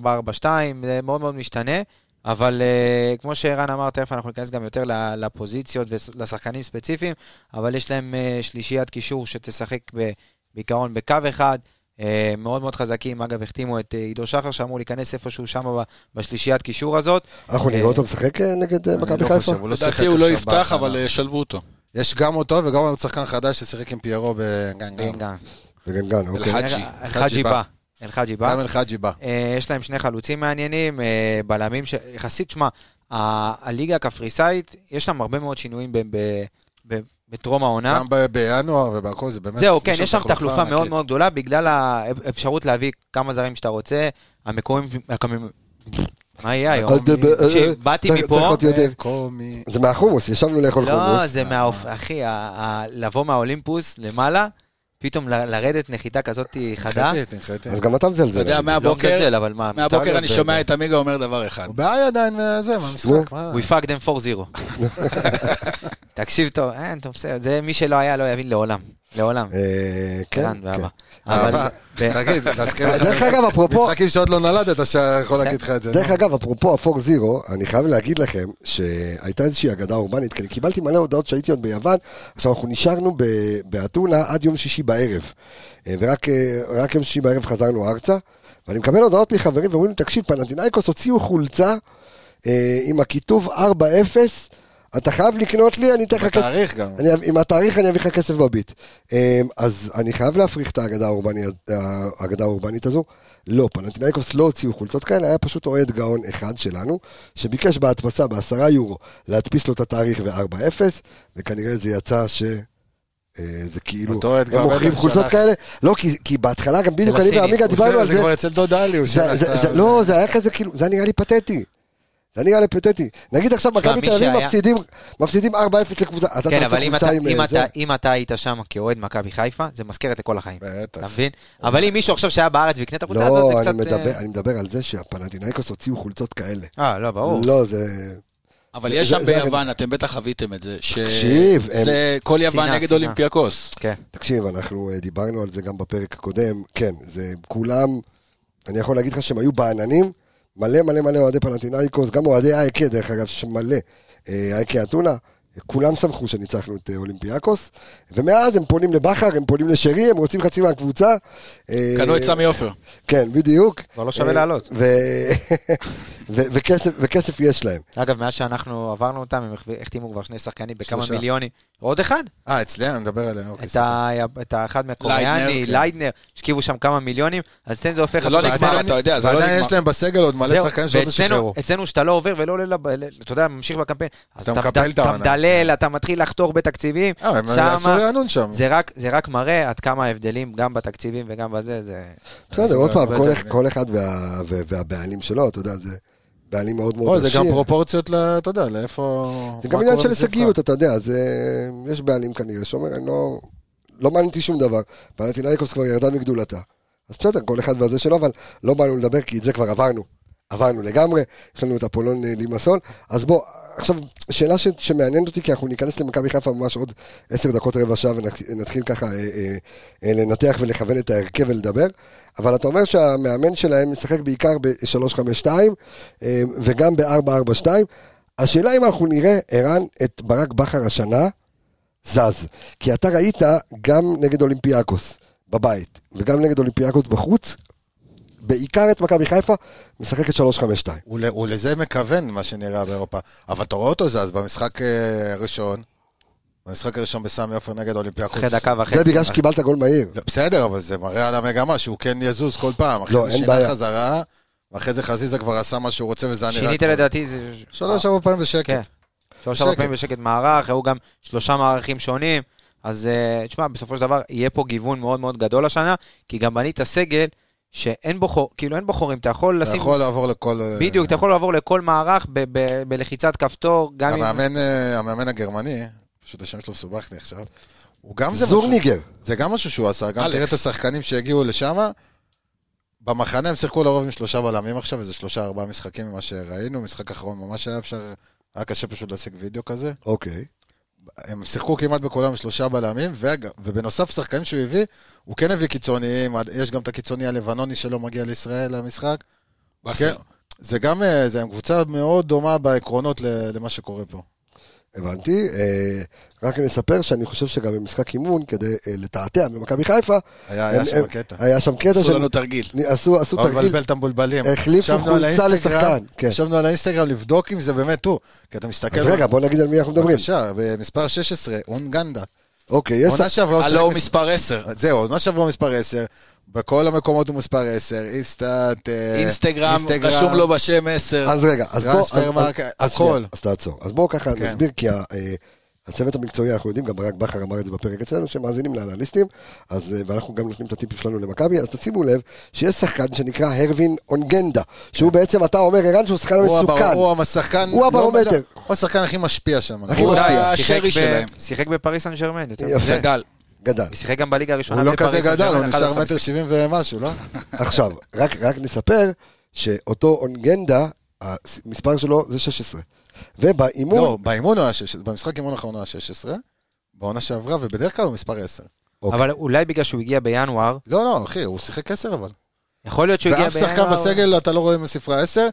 [SPEAKER 7] זה מאוד מאוד משתנה, אבל אה, כמו שערן אמר, תכף אנחנו ניכנס גם יותר ל- לפוזיציות ולשחקנים ספציפיים, אבל יש להם אה, שלישיית קישור שתשחק ב- בעיקרון בקו אחד, אה, מאוד מאוד חזקים, אגב, החתימו את אה, עידו שחר, שאמור להיכנס איפשהו שם ב- בשלישיית קישור הזאת.
[SPEAKER 1] אנחנו נראה
[SPEAKER 7] אה,
[SPEAKER 1] אותו משחק אה, נגד אה,
[SPEAKER 6] אני
[SPEAKER 1] מכבי
[SPEAKER 6] לא
[SPEAKER 1] חיפה?
[SPEAKER 6] חושב, הוא לא שיחק
[SPEAKER 5] לדעתי הוא לא
[SPEAKER 6] עכשיו
[SPEAKER 5] יפתח,
[SPEAKER 6] בהכנה.
[SPEAKER 5] אבל אה, שלבו אותו.
[SPEAKER 1] אוקיי.
[SPEAKER 6] יש גם אותו וגם עוד שחקן חדש ששיחק עם פיירו בגנגן.
[SPEAKER 7] רגע,
[SPEAKER 1] בגנגן, אוקיי.
[SPEAKER 5] אלחג'י.
[SPEAKER 7] אלחג'י אה, בא. אלחג'י בא.
[SPEAKER 6] גם אלחג'י בא.
[SPEAKER 7] אה, יש להם שני חלוצים מעניינים, אה, בלמים ש... יחסית, שמע, ה- הליגה הקפריסאית, יש שם הרבה מאוד שינויים ב- ב- ב- בטרום העונה.
[SPEAKER 6] גם ב- בינואר ובהכל, זה באמת...
[SPEAKER 7] אה? זהו, כן, יש שם תחלופה מאוד
[SPEAKER 6] ענקית.
[SPEAKER 7] מאוד גדולה, בגלל האפשרות להביא כמה זרים שאתה רוצה, המקומים... הקמים- מה יהיה היום?
[SPEAKER 1] אל תדבר-
[SPEAKER 7] כשבאתי
[SPEAKER 1] צריך-
[SPEAKER 7] מפה-
[SPEAKER 1] צריך להיות יודעים.
[SPEAKER 6] אה, קומי.
[SPEAKER 1] זה מהחומוס, ישבנו לאכול
[SPEAKER 7] לא,
[SPEAKER 1] חומוס.
[SPEAKER 7] זה מהאופ... אחי, ה- ה- לבוא מהאולימפוס למעלה, פתאום ל- לרדת נחיתה כזאת חדה.
[SPEAKER 6] נחתי, נחתי.
[SPEAKER 1] אז גם אתה
[SPEAKER 5] אתה
[SPEAKER 1] מזלזל.
[SPEAKER 5] יודע,
[SPEAKER 7] לא
[SPEAKER 5] מהבוקר
[SPEAKER 7] מזלזל, אבל מה, מותר
[SPEAKER 5] מהבוקר
[SPEAKER 7] להיות
[SPEAKER 5] אני
[SPEAKER 7] ב-
[SPEAKER 5] שומע את עמיגה אומר דבר
[SPEAKER 1] אוקיי.
[SPEAKER 5] אחד.
[SPEAKER 6] הוא בעיה עדיין מזה, מהמשחק,
[SPEAKER 1] אה.
[SPEAKER 6] מה?
[SPEAKER 7] We fucked them for
[SPEAKER 1] [LAUGHS]
[SPEAKER 7] zero. תקשיב טוב, אין, טוב, בסדר, זה מי שלא היה לא יבין לעולם. לעולם.
[SPEAKER 1] אה, כן,
[SPEAKER 7] ערן
[SPEAKER 1] כן.
[SPEAKER 7] ואבא. אבל...
[SPEAKER 6] אבל...
[SPEAKER 7] ב-
[SPEAKER 6] תגיד, להזכיר לך...
[SPEAKER 1] דרך אגב, אפרופו-
[SPEAKER 6] משחקים שעוד לא נולדת, שיכול להגיד לך את זה. לא?
[SPEAKER 1] דרך אגב, אפרופו הפור זירו, אני חייב להגיד לכם שהייתה איזושהי אגדה אורבנית, כי אני קיבלתי מלא הודעות שהייתי עוד ביוון, עכשיו אנחנו נשארנו ב- באתונה עד יום שישי בערב, אה, ורק אה, רק יום שישי בערב חזרנו ארצה, ואני מקבל הודעות מחברים ואומרים לי, תקשיב, פנטינאיקוס הוציאו חולצה אה, עם הכיתוב 4-0, אתה חייב לקנות לי, אני אתן לך כסף.
[SPEAKER 6] בתאריך גם.
[SPEAKER 1] אני, אב- עם התאריך אני אביא לך כסף בביט. אמ, אז אני חייב להפריך את האגדה האורבנית, האגדה האורבנית הזו. לא, פנטינאיקוס לא הוציאו חולצות כאלה, היה פשוט אוהד גאון אחד שלנו, שביקש בהדפסה בעשרה יורו להדפיס לו את התאריך ו-4-0, וכנראה זה יצא ש... אה, זה כאילו,
[SPEAKER 6] אותו אוהד
[SPEAKER 1] הם
[SPEAKER 6] גאון
[SPEAKER 1] מוכרים
[SPEAKER 6] בטח
[SPEAKER 1] חולצות
[SPEAKER 6] שלח.
[SPEAKER 1] כאלה, לא, כי- כי בהתחלה גם בדיוק אני
[SPEAKER 7] לסיני.
[SPEAKER 1] ועמיגה
[SPEAKER 7] הוא
[SPEAKER 1] דיברנו על
[SPEAKER 6] זה
[SPEAKER 1] זה,
[SPEAKER 6] כבר אצל דוד עלי, הוא
[SPEAKER 1] זה- זה- זה- לא, זה היה כזה כאילו, זה היה נראה לי פתטי. זה היה נראה לי פתטי. נגיד עכשיו
[SPEAKER 7] תשמע,
[SPEAKER 1] מכבי
[SPEAKER 7] מי
[SPEAKER 1] תל אביב
[SPEAKER 7] שהיה-
[SPEAKER 1] מפסידים- מפסידים 4-0 לקבוצה, אתה
[SPEAKER 7] כן,
[SPEAKER 1] תעשה
[SPEAKER 7] אבל אם אתה-
[SPEAKER 1] קבוצה עם
[SPEAKER 7] אם
[SPEAKER 1] אה, זה.
[SPEAKER 7] אתה- אם אתה היית שם כאוהד מכבי חיפה, זה מזכרת לכל החיים.
[SPEAKER 6] בטח.
[SPEAKER 7] אתה מבין? אבל אם מישהו עכשיו שהיה בארץ ויקנה את החולצה הזאת,
[SPEAKER 1] לא,
[SPEAKER 7] זה
[SPEAKER 1] אני
[SPEAKER 7] קצת...
[SPEAKER 1] מדבר-
[SPEAKER 7] אה,
[SPEAKER 1] אני מדבר על זה שהפנטינאיקוס הוציאו חולצות כאלה.
[SPEAKER 7] אה, לא, ברור.
[SPEAKER 1] לא, זה...
[SPEAKER 5] אבל
[SPEAKER 1] זה-
[SPEAKER 5] יש
[SPEAKER 1] זה-
[SPEAKER 5] שם
[SPEAKER 1] זה
[SPEAKER 5] ביוון, אתם בטח חוויתם את זה. ש-
[SPEAKER 1] תקשיב, הם- אה,
[SPEAKER 5] זה כל יוון
[SPEAKER 7] שנאה,
[SPEAKER 5] נגד
[SPEAKER 7] שנאה.
[SPEAKER 5] אולימפיאקוס.
[SPEAKER 7] כן.
[SPEAKER 1] תקשיב, אנחנו אה, דיברנו על זה גם בפרק הקודם. כן, זה כולם... אני יכול להגיד לך שהם היו בעננים. מלא מלא מלא אוהדי פנטינאיקוס, גם אוהדי אייקה, דרך אגב, יש מלא. אה, אייקה אתונה. כולם שמחו שניצחנו את אה, אולימפיאקוס, ומאז הם פונים לבכר, הם פונים לשרי, הם רוצים חצי מהקבוצה. אה,
[SPEAKER 5] קנו את סמי עופר.
[SPEAKER 1] כן, בדיוק.
[SPEAKER 7] כבר לא שווה
[SPEAKER 1] אה,
[SPEAKER 7] לעלות.
[SPEAKER 1] ו- ו- [LAUGHS] וכסף- וכסף יש להם.
[SPEAKER 7] אגב, מאז שאנחנו עברנו אותם, הם החב- החתימו כבר שני שחקנים בכמה
[SPEAKER 6] שלושה.
[SPEAKER 7] מיליונים. עוד אחד?
[SPEAKER 6] אה, אצלי? אני מדבר עליהם. אוקיי,
[SPEAKER 7] את ה- את האחד מהקוריאני,
[SPEAKER 5] ליידנר, כן.
[SPEAKER 7] ליידנר, השכיבו שם כמה מיליונים, אז אצלנו זה הופך...
[SPEAKER 5] זה לא
[SPEAKER 7] הפוך.
[SPEAKER 5] נגמר,
[SPEAKER 6] ועדיין-
[SPEAKER 5] אתה יודע, זה לא
[SPEAKER 6] ועדיין
[SPEAKER 5] נגמר.
[SPEAKER 6] יש להם בסגל עוד מלא
[SPEAKER 7] זהו,
[SPEAKER 6] שחקנים שעוד לא
[SPEAKER 7] ואצלנו-
[SPEAKER 6] שחררו.
[SPEAKER 7] אצלנו שאתה לא עובר ולא עולה, לב- ל- אתה יודע, ממשיך בקמפיין. אז
[SPEAKER 6] אתה
[SPEAKER 7] אתה
[SPEAKER 6] מקפל
[SPEAKER 7] מד-
[SPEAKER 6] את
[SPEAKER 7] אתה
[SPEAKER 6] העונה.
[SPEAKER 7] מדלל, אתה מתחיל לחתוך בתקציבים,
[SPEAKER 6] אה, הם
[SPEAKER 7] שמה-
[SPEAKER 6] עשו רענון שם.
[SPEAKER 7] זה רק- זה רק מראה עד כמה ההבדלים, גם בתקציבים וגם בזה, זה... לא
[SPEAKER 1] בסדר,
[SPEAKER 6] אז
[SPEAKER 1] עוד פעם,
[SPEAKER 6] הרבה
[SPEAKER 1] כל
[SPEAKER 6] יותר
[SPEAKER 1] אח-
[SPEAKER 6] מזה.
[SPEAKER 1] כל אחד וה- וה- והבעלים שלו, אתה יודע, זה בעלים מאוד מאוד
[SPEAKER 6] פה זה
[SPEAKER 1] עשיר.
[SPEAKER 6] גם פרופורציות, ל- אתה יודע, לאיפה...
[SPEAKER 1] זה
[SPEAKER 6] מה
[SPEAKER 1] גם עניין
[SPEAKER 6] קורה
[SPEAKER 1] של
[SPEAKER 6] מסביבך.
[SPEAKER 1] הישגיות, אתה יודע, זה... יש בעלים כנראה שאומר, אני לא... לא מעניין אותי שום דבר. פנטינאיקוס כבר ירדה מגדולתה. אז בסדר, כל אחד והזה שלו, אבל לא באנו לדבר, כי את זה כבר עברנו. עברנו לגמרי, יש לנו את אפולון אה, לימסול. אז בוא, עכשיו, שאלה ש... שמעניינת אותי, כי אנחנו ניכנס למכבי חיפה ממש עוד עשר דקות, רבע שעה, ונתחיל ככה אה, אה, אה, לנתח ולכוון את ההרכב ולדבר. אבל אתה אומר שהמאמן שלהם משחק בעיקר ב-352, אה, וגם ב-442. השאלה אם אנחנו נראה, ערן, את ברק בכר השנה זז. כי אתה ראית גם נגד אולימפיאקוס בבית, וגם נגד אולימפיאקוס בחוץ, בעיקר את מכבי חיפה, משחקת 3-5-2.
[SPEAKER 6] הוא ל- הוא לזה מכוון, מה שנראה באירופה. אבל אתה רואה אותו זז במשחק אה, הראשון, במשחק הראשון בסמי עופר נגד אולימפיאקוס.
[SPEAKER 7] אחרי דקה וחצי.
[SPEAKER 1] זה בגלל שקיבלת גול מהיר.
[SPEAKER 6] לא, בסדר, אבל זה מראה על המגמה שהוא כן יזוז כל פעם. אחרי
[SPEAKER 1] לא,
[SPEAKER 6] זה
[SPEAKER 1] אין
[SPEAKER 6] שינה
[SPEAKER 1] בעיה.
[SPEAKER 6] חזרה, ואחרי זה חזיזה כבר עשה מה שהוא רוצה וזה היה נראה...
[SPEAKER 7] שינית
[SPEAKER 6] כמו-
[SPEAKER 7] לדעתי זה...
[SPEAKER 6] שלוש ארבע פעמים בשקט.
[SPEAKER 7] כן. שלוש ארבע
[SPEAKER 6] בשקט.
[SPEAKER 7] פעמים בשקט מערך, היו גם שלושה מערכים שונים, אז אה, תשמע, בסופו של דבר יהיה פה גיוון מאוד מאוד גדול השנה, כי גם בנית סגל שאין בו חור, כאילו אין בו חורים, אתה יכול
[SPEAKER 6] אתה
[SPEAKER 7] לשים...
[SPEAKER 6] יכול לעבור לכל... אה,
[SPEAKER 7] בדיוק, אתה יכול לעבור לכל מערך ב- ב- בלחיצת כפתור, גם אם...
[SPEAKER 6] המאמן, אה, המאמן הגרמני, פשוט השם שלו מסובך לי עכשיו, הוא גם זה משהו-
[SPEAKER 1] זורניגר.
[SPEAKER 6] זה גם משהו שהוא עשה, גם
[SPEAKER 5] אלכס.
[SPEAKER 6] תראה את השחקנים שהגיעו לשם, במחנה הם שיחקו לרוב עם שלושה בלמים עכשיו, איזה שלושה ארבעה משחקים ממה שראינו, משחק אחרון ממש היה אפשר, היה קשה פשוט להשיג וידאו כזה.
[SPEAKER 1] אוקיי.
[SPEAKER 6] הם שיחקו כמעט בכולם שלושה בלמים, וג- ובנוסף שחקנים שהוא הביא, הוא כן הביא קיצוניים, עד- יש גם את הקיצוני הלבנוני שלא מגיע לישראל למשחק. כן,
[SPEAKER 5] באסל.
[SPEAKER 6] זה גם, אה, זה הם קבוצה מאוד דומה בעקרונות ל- למה שקורה פה.
[SPEAKER 1] הבנתי. אה, רק נספר שאני חושב שגם במשחק אימון, כדי אה, לתעתע ממכבי חיפה,
[SPEAKER 6] היה היה
[SPEAKER 1] הם-
[SPEAKER 6] שם
[SPEAKER 1] הם-
[SPEAKER 6] קטע.
[SPEAKER 1] היה שם קטע
[SPEAKER 5] עשו
[SPEAKER 1] של...
[SPEAKER 5] לנו תרגיל.
[SPEAKER 1] עשו עשו
[SPEAKER 6] לא
[SPEAKER 1] תרגיל.
[SPEAKER 6] לבלבל את המבולבלים.
[SPEAKER 1] החליפו
[SPEAKER 6] ישבנו על
[SPEAKER 1] חולצה
[SPEAKER 6] האינסטגרם,
[SPEAKER 1] לשחקן, כן.
[SPEAKER 6] ישבנו על האינסטגרם לבדוק אם זה באמת הוא. כי אתה מסתכל...
[SPEAKER 1] אז רגע, בוא נגיד על מי אנחנו מדברים.
[SPEAKER 6] בבקשה, במספר 16, אונגנדה.
[SPEAKER 1] אוקיי, יש...
[SPEAKER 6] עונה שעברה הוא
[SPEAKER 5] הלו הוא
[SPEAKER 6] שיחק מס-
[SPEAKER 5] מספר 10.
[SPEAKER 6] זהו, עונה שעברה הוא מספר 10. בכל המקומות הוא מספר 10. אינסטאט... אה,
[SPEAKER 5] אינסטגרם, רשום לו בשם 10.
[SPEAKER 1] אז רגע, אז בוא...
[SPEAKER 6] טרנספר
[SPEAKER 1] אז-
[SPEAKER 6] מרק,
[SPEAKER 1] אז-
[SPEAKER 6] הכל.
[SPEAKER 1] אז שנייה, אז תעצור. אז בואו ככה
[SPEAKER 6] כן.
[SPEAKER 1] נסביר, כי ה- אה, הצוות המקצועי, אנחנו יודעים, גם ברק בכר אמר את זה בפרק אצלנו, שמאזינים לאנליסטים, אז, אה, ואנחנו גם נותנים את הטיפים שלנו למכבי, אז תשימו לב שיש שחקן שנקרא הרווין אונגנדה, שהוא בעצם, אתה אומר, ערן, שהוא שחקן
[SPEAKER 6] כן. הוא הבר-
[SPEAKER 1] לא מסוכן.
[SPEAKER 6] הוא השחקן...
[SPEAKER 1] הוא הברומטר.
[SPEAKER 6] לא- הוא השחקן הכי משפיע שם. נכון?
[SPEAKER 1] הכי
[SPEAKER 5] הוא
[SPEAKER 1] משפיע.
[SPEAKER 5] היה
[SPEAKER 7] שיחק
[SPEAKER 5] השרי
[SPEAKER 7] ב- כן.
[SPEAKER 5] שלהם.
[SPEAKER 7] שיחק בפריס סן ג'רמן, יותר
[SPEAKER 1] יפה.
[SPEAKER 7] מזה.
[SPEAKER 5] גדל.
[SPEAKER 1] גדל.
[SPEAKER 7] הוא שיחק גם בליגה הראשונה
[SPEAKER 6] הוא לא
[SPEAKER 7] בפריס
[SPEAKER 6] כזה
[SPEAKER 7] סן
[SPEAKER 6] גדל,
[SPEAKER 7] ג'רמן,
[SPEAKER 6] הוא
[SPEAKER 7] 11
[SPEAKER 6] נשאר מטר שבעים ומשהו, לא?
[SPEAKER 1] עכשיו, רק, רק נספר שאותו אונגנדה, המספר שלו זה 16. ובאימון...
[SPEAKER 6] לא, באימון הוא היה 16, במשחק אימון האחרון הוא היה 16, בעונה שעברה, ובדרך כלל הוא מספר 10.
[SPEAKER 7] אבל אולי בגלל שהוא הגיע בינואר,
[SPEAKER 6] לא, לא, אחי, הוא שיחק 10 אבל.
[SPEAKER 7] יכול להיות שהוא הגיע
[SPEAKER 6] ואף
[SPEAKER 7] בינואר...
[SPEAKER 6] שחקן בסגל אתה לא רואה מספרה 10,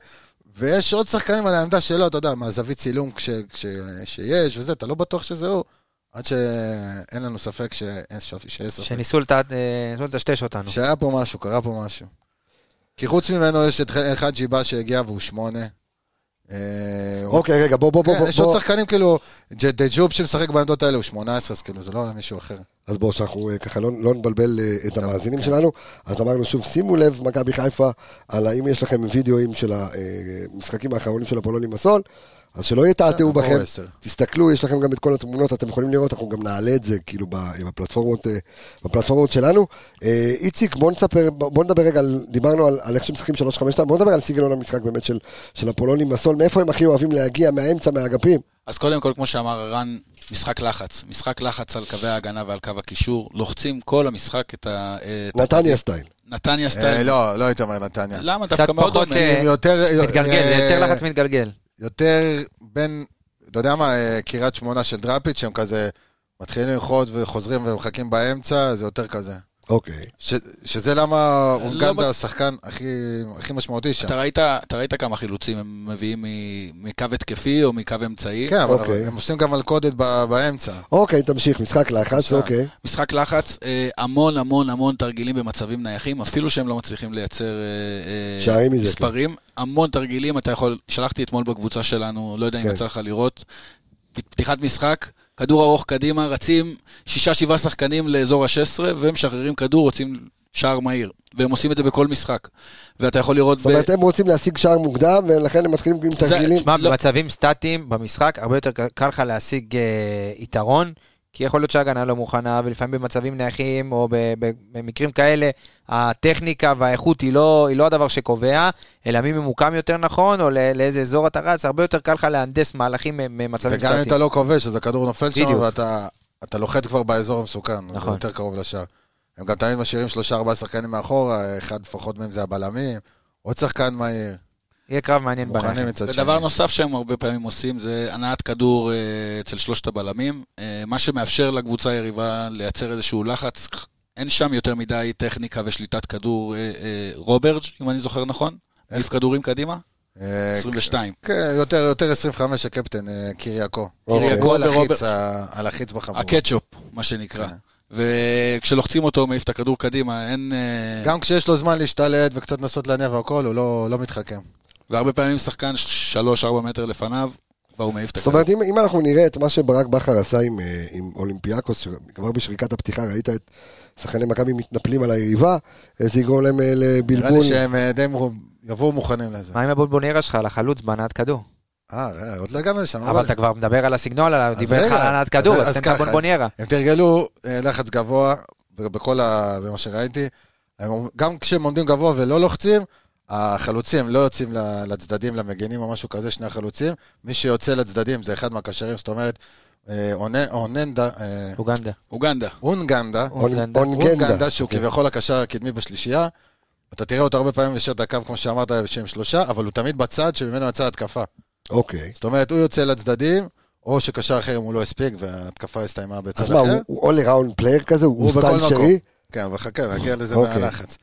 [SPEAKER 6] ויש עוד שחקנים על העמדה שלו, אתה יודע, מהזווית צילום כש, כש, שיש וזה, אתה לא בטוח שזה הוא, עד שאין לנו ספק שאין ספק, שיש ספק.
[SPEAKER 7] שניסו לטעת- אה, ניסו לטשטש אותנו.
[SPEAKER 6] שהיה פה משהו, קרה פה משהו. כי חוץ ממנו יש את ח- אחד ג'יבה שהגיע והוא שמונה. אה, הוא-
[SPEAKER 1] אוקיי, רגע, בוא, בוא, בוא,
[SPEAKER 6] כן,
[SPEAKER 1] בוא,
[SPEAKER 6] יש עוד
[SPEAKER 1] בוא,
[SPEAKER 6] שחקנים כאילו, ג'- דה ג'וב שמשחק בעמדות האלה הוא 18, אז כאילו זה לא מישהו אחר.
[SPEAKER 1] אז בואו, שאנחנו אה, ככה לא, לא נבלבל אה, את המאזינים שלנו, אז אמרנו שוב, שימו לב, מכבי חיפה, על האם יש לכם וידאוים של המשחקים האחרונים של הפולונים בסול, אז שלא יתעתעו
[SPEAKER 6] בסדר,
[SPEAKER 1] בכם,
[SPEAKER 6] בואו, עשר.
[SPEAKER 1] תסתכלו, יש לכם גם את כל התמונות, אתם יכולים לראות, אנחנו גם נעלה את זה, כאילו, ב- בפלטפורמות, אה, בפלטפורמות שלנו. אה, איציק, בוא נספר, בוא נדבר רגע, על, דיברנו על, על איך שמשחקים 3-5-2, בוא נדבר על סגנון המשחק באמת של, של הפולונים בסול, מאיפה הם הכי אוהבים להגיע, מהאמצע, מהאגפים.
[SPEAKER 5] אז קודם כל, כמו שאמר ערן, משחק לחץ. משחק לחץ על קווי ההגנה ועל קו הקישור. לוחצים כל המשחק את ה... אה, את
[SPEAKER 1] נתניה סטייל.
[SPEAKER 5] נתניה
[SPEAKER 6] אה,
[SPEAKER 5] סטייל.
[SPEAKER 6] לא, לא הייתי אומר נתניה.
[SPEAKER 5] למה?
[SPEAKER 7] קצת
[SPEAKER 5] דווקא מאוד
[SPEAKER 7] פחות,
[SPEAKER 5] דומה.
[SPEAKER 7] אה,
[SPEAKER 6] הם יותר...
[SPEAKER 7] מתגלגל, זה
[SPEAKER 6] אה,
[SPEAKER 7] יותר לחץ מתגלגל.
[SPEAKER 6] יותר בין, אתה יודע מה, אה, קריית שמונה של דראפיץ', שהם כזה מתחילים ללחוץ וחוזרים ומחכים באמצע, זה יותר כזה.
[SPEAKER 1] אוקיי.
[SPEAKER 6] ש, שזה למה
[SPEAKER 5] לא
[SPEAKER 6] אונגנדה
[SPEAKER 5] בט-
[SPEAKER 6] השחקן הכי, הכי משמעותי שם.
[SPEAKER 5] אתה ראית, אתה ראית כמה חילוצים הם מביאים מ- מקו התקפי או מקו אמצעי.
[SPEAKER 6] כן, אבל,
[SPEAKER 1] אוקיי.
[SPEAKER 6] אבל הם עושים גם מלכודת ב- באמצע.
[SPEAKER 1] אוקיי, תמשיך, משחק לחץ, אוקיי.
[SPEAKER 5] משחק לחץ, אה, המון המון המון תרגילים במצבים נייחים, אפילו שהם לא מצליחים לייצר אה, אה,
[SPEAKER 1] שערים מזה, כן.
[SPEAKER 5] מספרים. המון תרגילים, אתה יכול, שלחתי אתמול בקבוצה שלנו, לא יודע אם
[SPEAKER 1] כן.
[SPEAKER 5] יצא לך לראות, פתיחת משחק, כדור ארוך קדימה, רצים שישה, שבעה שחקנים לאזור ה-16, ומשחררים כדור, רוצים שער מהיר. והם עושים את זה בכל משחק. ואתה יכול לראות...
[SPEAKER 1] זאת אומרת, הם רוצים להשיג שער מוקדם, ולכן הם מתחילים עם תרגילים.
[SPEAKER 7] תשמע,
[SPEAKER 5] לא.
[SPEAKER 7] במצבים סטטיים במשחק, הרבה יותר ק- קל לך להשיג אה, יתרון, כי יכול להיות שההגנה לא מוכנה, ולפעמים במצבים נייחים, או ב- ב- במקרים כאלה, הטכניקה והאיכות היא לא, היא לא הדבר שקובע, אלא מי ממוקם יותר נכון, או לא- לאיזה אזור אתה רץ, הרבה יותר קל לך להנדס מהלכים מ- ממצבים
[SPEAKER 6] וגם אם
[SPEAKER 7] סטטיים.
[SPEAKER 6] אתה לא כובש, אז הכדור נופל שם,
[SPEAKER 7] בדיוק.
[SPEAKER 6] ואתה אתה לוחץ כבר באזור המסוכן. נכון.
[SPEAKER 7] נכון.
[SPEAKER 6] יותר קרוב לשער. הם גם תמיד משאירים שלושה ארבעה שחקנים מאחורה, אחד לפחות מהם זה הבלמים, עוד שחקן מהיר,
[SPEAKER 7] יהיה קרב מעניין
[SPEAKER 6] מוכנים
[SPEAKER 7] בנחל.
[SPEAKER 6] מצד שני.
[SPEAKER 5] ודבר נוסף שהם הרבה פעמים עושים זה הנעת כדור אה, אצל שלושת הבלמים, אה, מה שמאפשר לקבוצה היריבה לייצר איזשהו לחץ. אין שם יותר מדי טכניקה ושליטת כדור אה, אה, רוברג', אם אני זוכר נכון. עיף כדורים קדימה,
[SPEAKER 6] אה,
[SPEAKER 5] 22.
[SPEAKER 6] כן, יותר, יותר 25 הקפטן, אה, קיריאקו.
[SPEAKER 1] קיריאקו
[SPEAKER 7] אוקיי.
[SPEAKER 6] קיריאקו על
[SPEAKER 5] ורוברט-
[SPEAKER 6] החיץ, ה- על החיץ בחמור.
[SPEAKER 5] הקטשופ, מה שנקרא.
[SPEAKER 6] כן.
[SPEAKER 5] וכשלוחצים אותו הוא מעיף את הכדור קדימה, אין... אה,
[SPEAKER 6] גם כשיש לו זמן להשתלט וקצת לנסות להניע והכל, הוא לא, לא מתחכם.
[SPEAKER 5] והרבה פעמים שחקן 3-4 מטר לפניו, כבר הוא מעיף את
[SPEAKER 1] זאת
[SPEAKER 5] הכדור.
[SPEAKER 1] אומרת, אם, אם אנחנו נראה את מה שברק בכר עשה עם, אה, עם אולימפיאקוס, שכבר בשריקת הפתיחה ראית את שחקני מכבי מתנפלים על היריבה, אה, זה יגרום להם אה,
[SPEAKER 6] נראה לי
[SPEAKER 1] לבלבול.
[SPEAKER 6] שהם אה, די מוכ- יבואו מוכנים לזה.
[SPEAKER 7] מה עם הבולבוניירה שלך? על החלוץ בהנעת כדור.
[SPEAKER 6] אה, ראה, עוד לא הגענו לשם.
[SPEAKER 7] אבל אתה כבר מדבר על הסיגנול, על
[SPEAKER 6] אז
[SPEAKER 7] דיבר לך על
[SPEAKER 6] רגע,
[SPEAKER 7] הנעת כדור,
[SPEAKER 6] אז-
[SPEAKER 7] אז
[SPEAKER 6] אז
[SPEAKER 7] תן את
[SPEAKER 6] ככה.
[SPEAKER 7] הבולבוניירה.
[SPEAKER 6] הם תרגלו אה, לחץ גבוה ב- בכל ה... במה שראיתי. הם, גם כשהם עומדים גבוה ולא לוחצים, החלוצים לא יוצאים ל- לצדדים, למגינים או משהו כזה, שני החלוצים. מי שיוצא לצדדים זה אחד מהקשרים, זאת אומרת, אה, אונ- אוננדה, אה,
[SPEAKER 7] אוגנדה.
[SPEAKER 5] אוגנדה.
[SPEAKER 6] אונגנדה,
[SPEAKER 1] אונגנדה.
[SPEAKER 7] אונגנדה.
[SPEAKER 6] אונגנדה שהוא
[SPEAKER 1] כן.
[SPEAKER 6] כביכול הקשר הקדמי בשלישייה. אתה תראה אותו הרבה פעמים ישר את הקו, כמו שאמרת, שהם שלושה, אבל הוא תמיד בצד שממנו יצאה התקפה.
[SPEAKER 1] אוקיי.
[SPEAKER 6] זאת אומרת, הוא יוצא לצדדים, או שקשר אחר אם הוא לא הספיק, וההתקפה הסתיימה בצד
[SPEAKER 1] אז
[SPEAKER 6] אחר.
[SPEAKER 1] מה, הוא- הוא all around player כזה? הוא
[SPEAKER 6] הוא
[SPEAKER 1] סטייל
[SPEAKER 6] בכל
[SPEAKER 1] שרי?
[SPEAKER 6] מקום. כן, אבל חכה, נגיע לזה
[SPEAKER 1] אוקיי.
[SPEAKER 6] מהלחץ.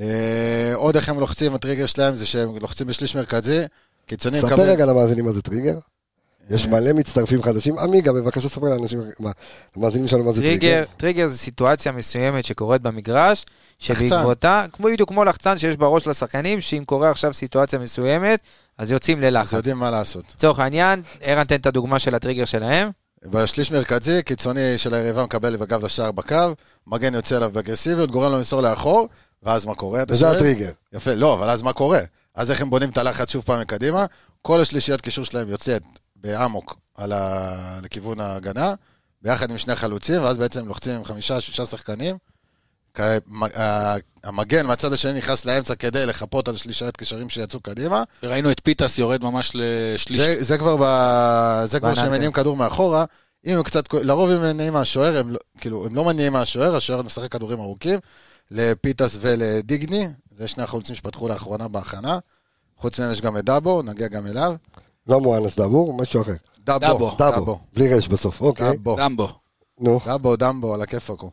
[SPEAKER 6] אה, עוד איך הם לוחצים, הטריגר שלהם זה שהם לוחצים בשליש מרכזי, קיצוניים
[SPEAKER 1] ספר רגע למאזינים מה זה טריגר.
[SPEAKER 6] אה.
[SPEAKER 1] יש מלא מצטרפים חדשים. עמיגה, בבקשה ספר לאנשים, מה- למאזינים שלנו מה זה
[SPEAKER 7] טריגר,
[SPEAKER 1] טריגר.
[SPEAKER 7] טריגר זה סיטואציה מסוימת שקורית במגרש,
[SPEAKER 6] לחצן.
[SPEAKER 7] שבעקבותה, כמו בדיוק כמו לחצן שיש בראש לשחקנים, שאם קורה עכשיו סיטואציה מסוימת, אז יוצאים
[SPEAKER 6] אז
[SPEAKER 7] ללחץ.
[SPEAKER 6] יודעים מה לעשות.
[SPEAKER 7] לצורך העניין, ערן תן את הדוגמה של הטריגר שלהם,
[SPEAKER 6] בשליש מרכזי, קיצוני של היריבה מקבל בגב לשער בקו, מגן יוצא אליו באגרסיביות, גורם לו למסור לאחור, ואז מה קורה? אתה
[SPEAKER 1] וזה
[SPEAKER 6] שואל?
[SPEAKER 1] הטריגר.
[SPEAKER 6] יפה, לא, אבל אז מה קורה? אז איך הם בונים את הלחץ שוב פעם מקדימה? כל השלישיית קישור שלהם יוצאת באמוק על ה... לכיוון ההגנה, ביחד עם שני חלוצים, ואז בעצם לוחצים עם חמישה, שישה שחקנים. כ- מ- ה- המגן מהצד השני נכנס לאמצע כדי לחפות על שלישיית קשרים שיצאו קדימה.
[SPEAKER 5] ראינו את פיטס יורד ממש לשליש.
[SPEAKER 6] זה, זה כבר, ב... זה כבר
[SPEAKER 7] בהנעת
[SPEAKER 6] שהם מניעים כדור מאחורה. אם הם קצת, לרוב הם מניעים מהשוער, הם, לא- כאילו, הם לא מניעים מהשוער, השוער משחק כדורים ארוכים, לפיטס ולדיגני, זה שני החלוצים שפתחו לאחרונה בהכנה. חוץ מהם יש גם את דאבו, נגיע גם אליו.
[SPEAKER 1] לא מואנס דאבור, משהו אחר.
[SPEAKER 6] דאבו,
[SPEAKER 5] דאבו,
[SPEAKER 1] דאבו, בלי רש בסוף, אוקיי.
[SPEAKER 6] דאבו.
[SPEAKER 5] דמבו.
[SPEAKER 1] נו,
[SPEAKER 6] דאבו, דמבו, על הכיפאק הוא.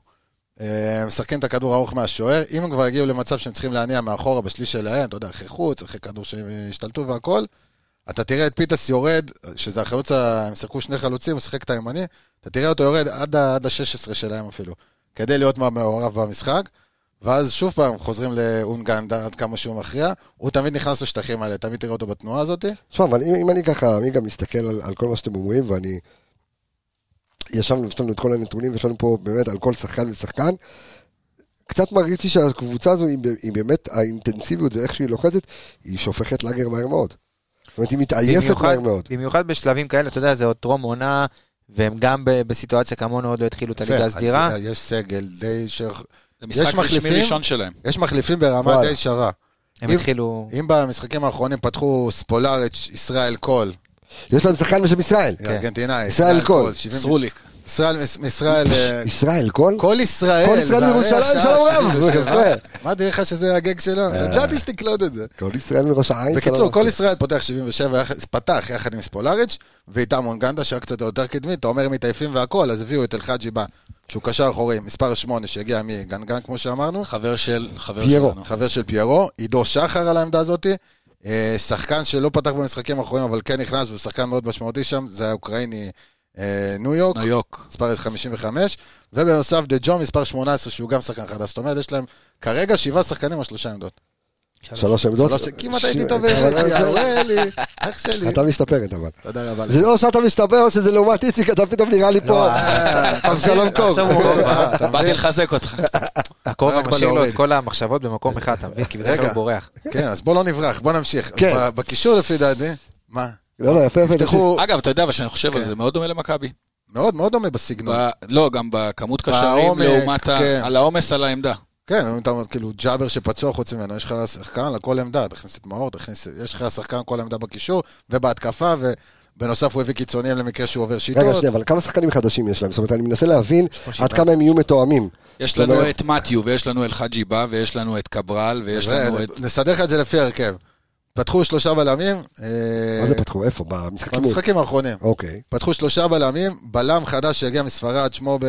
[SPEAKER 6] אה, משחקים את הכדור הארוך מהשוער, אם הם כבר הגיעו למצב שהם צריכים להניע מאחורה בשליש שלהם, אתה יודע, אחרי חוץ, אחרי כדור שהם השתלטו והכל, אתה תראה את פיטס יורד, שזה החלוץ, ה- הם שיחקו שני חלוצים, הוא שיחק את הימני, אתה תראה אותו יורד עד ה-16 שלהם אפילו, כדי להיות מה- מעורב במשחק, ואז שוב פעם חוזרים לאונגנדה עד כמה שהוא מכריע, הוא תמיד נכנס לשטחים האלה, תמיד תראה אותו בתנועה הזאת.
[SPEAKER 1] תשמע, אבל אם, אם אני ככה, אני גם מסתכל על, על כל מה שאתם אומרים, ואני... ישבנו ויש לנו את כל הנתונים, ויש לנו פה באמת על כל שחקן ושחקן. קצת מרגיש לי שהקבוצה הזו, היא, ב- היא באמת, האינטנסיביות ואיך שהיא לוחצת, היא שופכת לאגר מהר מאוד. זאת אומרת, היא מתעייפת
[SPEAKER 7] במיוחד,
[SPEAKER 1] מהר מאוד.
[SPEAKER 7] במיוחד בשלבים כאלה, אתה יודע, זה עוד טרום עונה, והם גם ב- בסיטואציה כמונו עוד לא התחילו את הליגה
[SPEAKER 6] יפה, אז
[SPEAKER 7] הסדירה.
[SPEAKER 6] יש סגל די ש...
[SPEAKER 5] זה
[SPEAKER 6] יש
[SPEAKER 5] משחק רשמי
[SPEAKER 6] מחליפים?
[SPEAKER 5] ראשון שלהם.
[SPEAKER 6] יש מחליפים ברמה
[SPEAKER 1] וואלה.
[SPEAKER 6] די שווה.
[SPEAKER 7] הם
[SPEAKER 6] אם-
[SPEAKER 7] התחילו...
[SPEAKER 6] אם במשחקים האחרונים פתחו ספולאריץ', ישראל קול,
[SPEAKER 1] יש להם שחקן בשם ישראל.
[SPEAKER 6] ארגנטינאי,
[SPEAKER 1] כן. ישראל קול.
[SPEAKER 6] 70
[SPEAKER 5] סרוליק.
[SPEAKER 6] ישראל, ישראל, אה,
[SPEAKER 1] ישראל, כל?
[SPEAKER 6] כל ישראל.
[SPEAKER 1] כל ישראל
[SPEAKER 6] זה הרי
[SPEAKER 1] מירושלים,
[SPEAKER 6] השעה
[SPEAKER 1] שלום רב.
[SPEAKER 6] 77.
[SPEAKER 1] יפה. אה.
[SPEAKER 6] אמרתי לך שזה הגג שלו, ידעתי שתקלוט את זה.
[SPEAKER 1] כל ישראל מראש העין.
[SPEAKER 6] בקיצור,
[SPEAKER 1] שלום.
[SPEAKER 6] כל ישראל פותח 77, יחד- פתח יחד עם ספולאריץ', ואיתם אונגנדה שהיה קצת יותר קדמי, אתה אומר הם מתעייפים והכל, אז הביאו את אלחאג'י בא, שהוא קשר אחורי, מספר 8 שהגיע מגנגן, כמו שאמרנו.
[SPEAKER 5] חבר של... חבר
[SPEAKER 1] פיירו.
[SPEAKER 5] שלנו.
[SPEAKER 6] חבר של פיירו, עידו שחר על העמדה הזאתי. אה, שחקן שלא פתח במשחקים האחרונים, אבל כן נכנס, והוא שחקן מאוד משמעותי שם, זה האוקראיני אה, ניו יורק,
[SPEAKER 5] ניו יורק.
[SPEAKER 6] מספר 55, ובנוסף דה ג'ו מספר 18, שהוא גם שחקן חדש. זאת אומרת, יש להם כרגע שבעה שחקנים על שלושה עמדות.
[SPEAKER 1] שלוש עמדות.
[SPEAKER 6] שלוש- כמעט הייתי
[SPEAKER 1] ש-
[SPEAKER 6] טוב בעברית, יאללה לי, אח שלי.
[SPEAKER 1] אתה משתפרת אבל.
[SPEAKER 6] תודה רבה. לך.
[SPEAKER 1] זה או שאתה משתפר או שזה לעומת איציק, אתה פתאום נראה
[SPEAKER 6] לא,
[SPEAKER 1] לי פה.
[SPEAKER 6] אה,
[SPEAKER 1] אבשלום קוק.
[SPEAKER 6] עכשיו הוא קורא לך, אתה
[SPEAKER 5] באתי לחזק אותך.
[SPEAKER 7] הכובע
[SPEAKER 6] רק בא
[SPEAKER 7] משאיר לו
[SPEAKER 6] להוריד.
[SPEAKER 7] את כל המחשבות במקום אחד, אתה מבין? כי בדרך כלל
[SPEAKER 6] רגע.
[SPEAKER 7] הוא בורח.
[SPEAKER 6] כן, אז בוא לא נברח, בוא נמשיך.
[SPEAKER 1] כן.
[SPEAKER 6] ב- בקישור לפי דעתי, מה?
[SPEAKER 1] לא, לא, יפה, יפה.
[SPEAKER 6] תפתחו,
[SPEAKER 5] אגב, אתה יודע, אבל שאני חושב על
[SPEAKER 6] כן.
[SPEAKER 5] זה, מאוד דומה למכבי.
[SPEAKER 6] מאוד מאוד דומה בסגנון.
[SPEAKER 5] ב- לא, גם בכמות קשרים
[SPEAKER 6] בעומק,
[SPEAKER 5] לעומת ה-
[SPEAKER 6] כן.
[SPEAKER 5] על העומס על העמדה.
[SPEAKER 6] כן, אם אתה כאילו ג'אבר שפצוע חוץ ממנו, יש לך שחקן על כל עמדה, תכניס את מאור, תכניס, יש לך שחקן על כל עמדה בקישור ובהתקפה, ובנוסף הוא הביא קיצוניים למקרה שהוא עובר שיטות.
[SPEAKER 1] רגע, שנייה, אבל כמה שחקנים חדשים יש להם? זאת אומרת, אני מנסה להבין עד כמה הם יהיו מתואמים.
[SPEAKER 5] יש
[SPEAKER 1] זאת אומרת-
[SPEAKER 5] לנו את מתיו, ויש לנו את חג'יבה, ויש לנו את קברל, ויש
[SPEAKER 6] רגע,
[SPEAKER 5] לנו את...
[SPEAKER 6] נסדר לך את זה לפי ההרכב. פתחו שלושה בלמים, אה,
[SPEAKER 1] מה זה פתחו? איפה? במשחקים?
[SPEAKER 6] במשחקים האחרונים.
[SPEAKER 1] אוקיי.
[SPEAKER 6] פתחו שלושה בלמים, בלם חדש שהגיע מספרד, שמו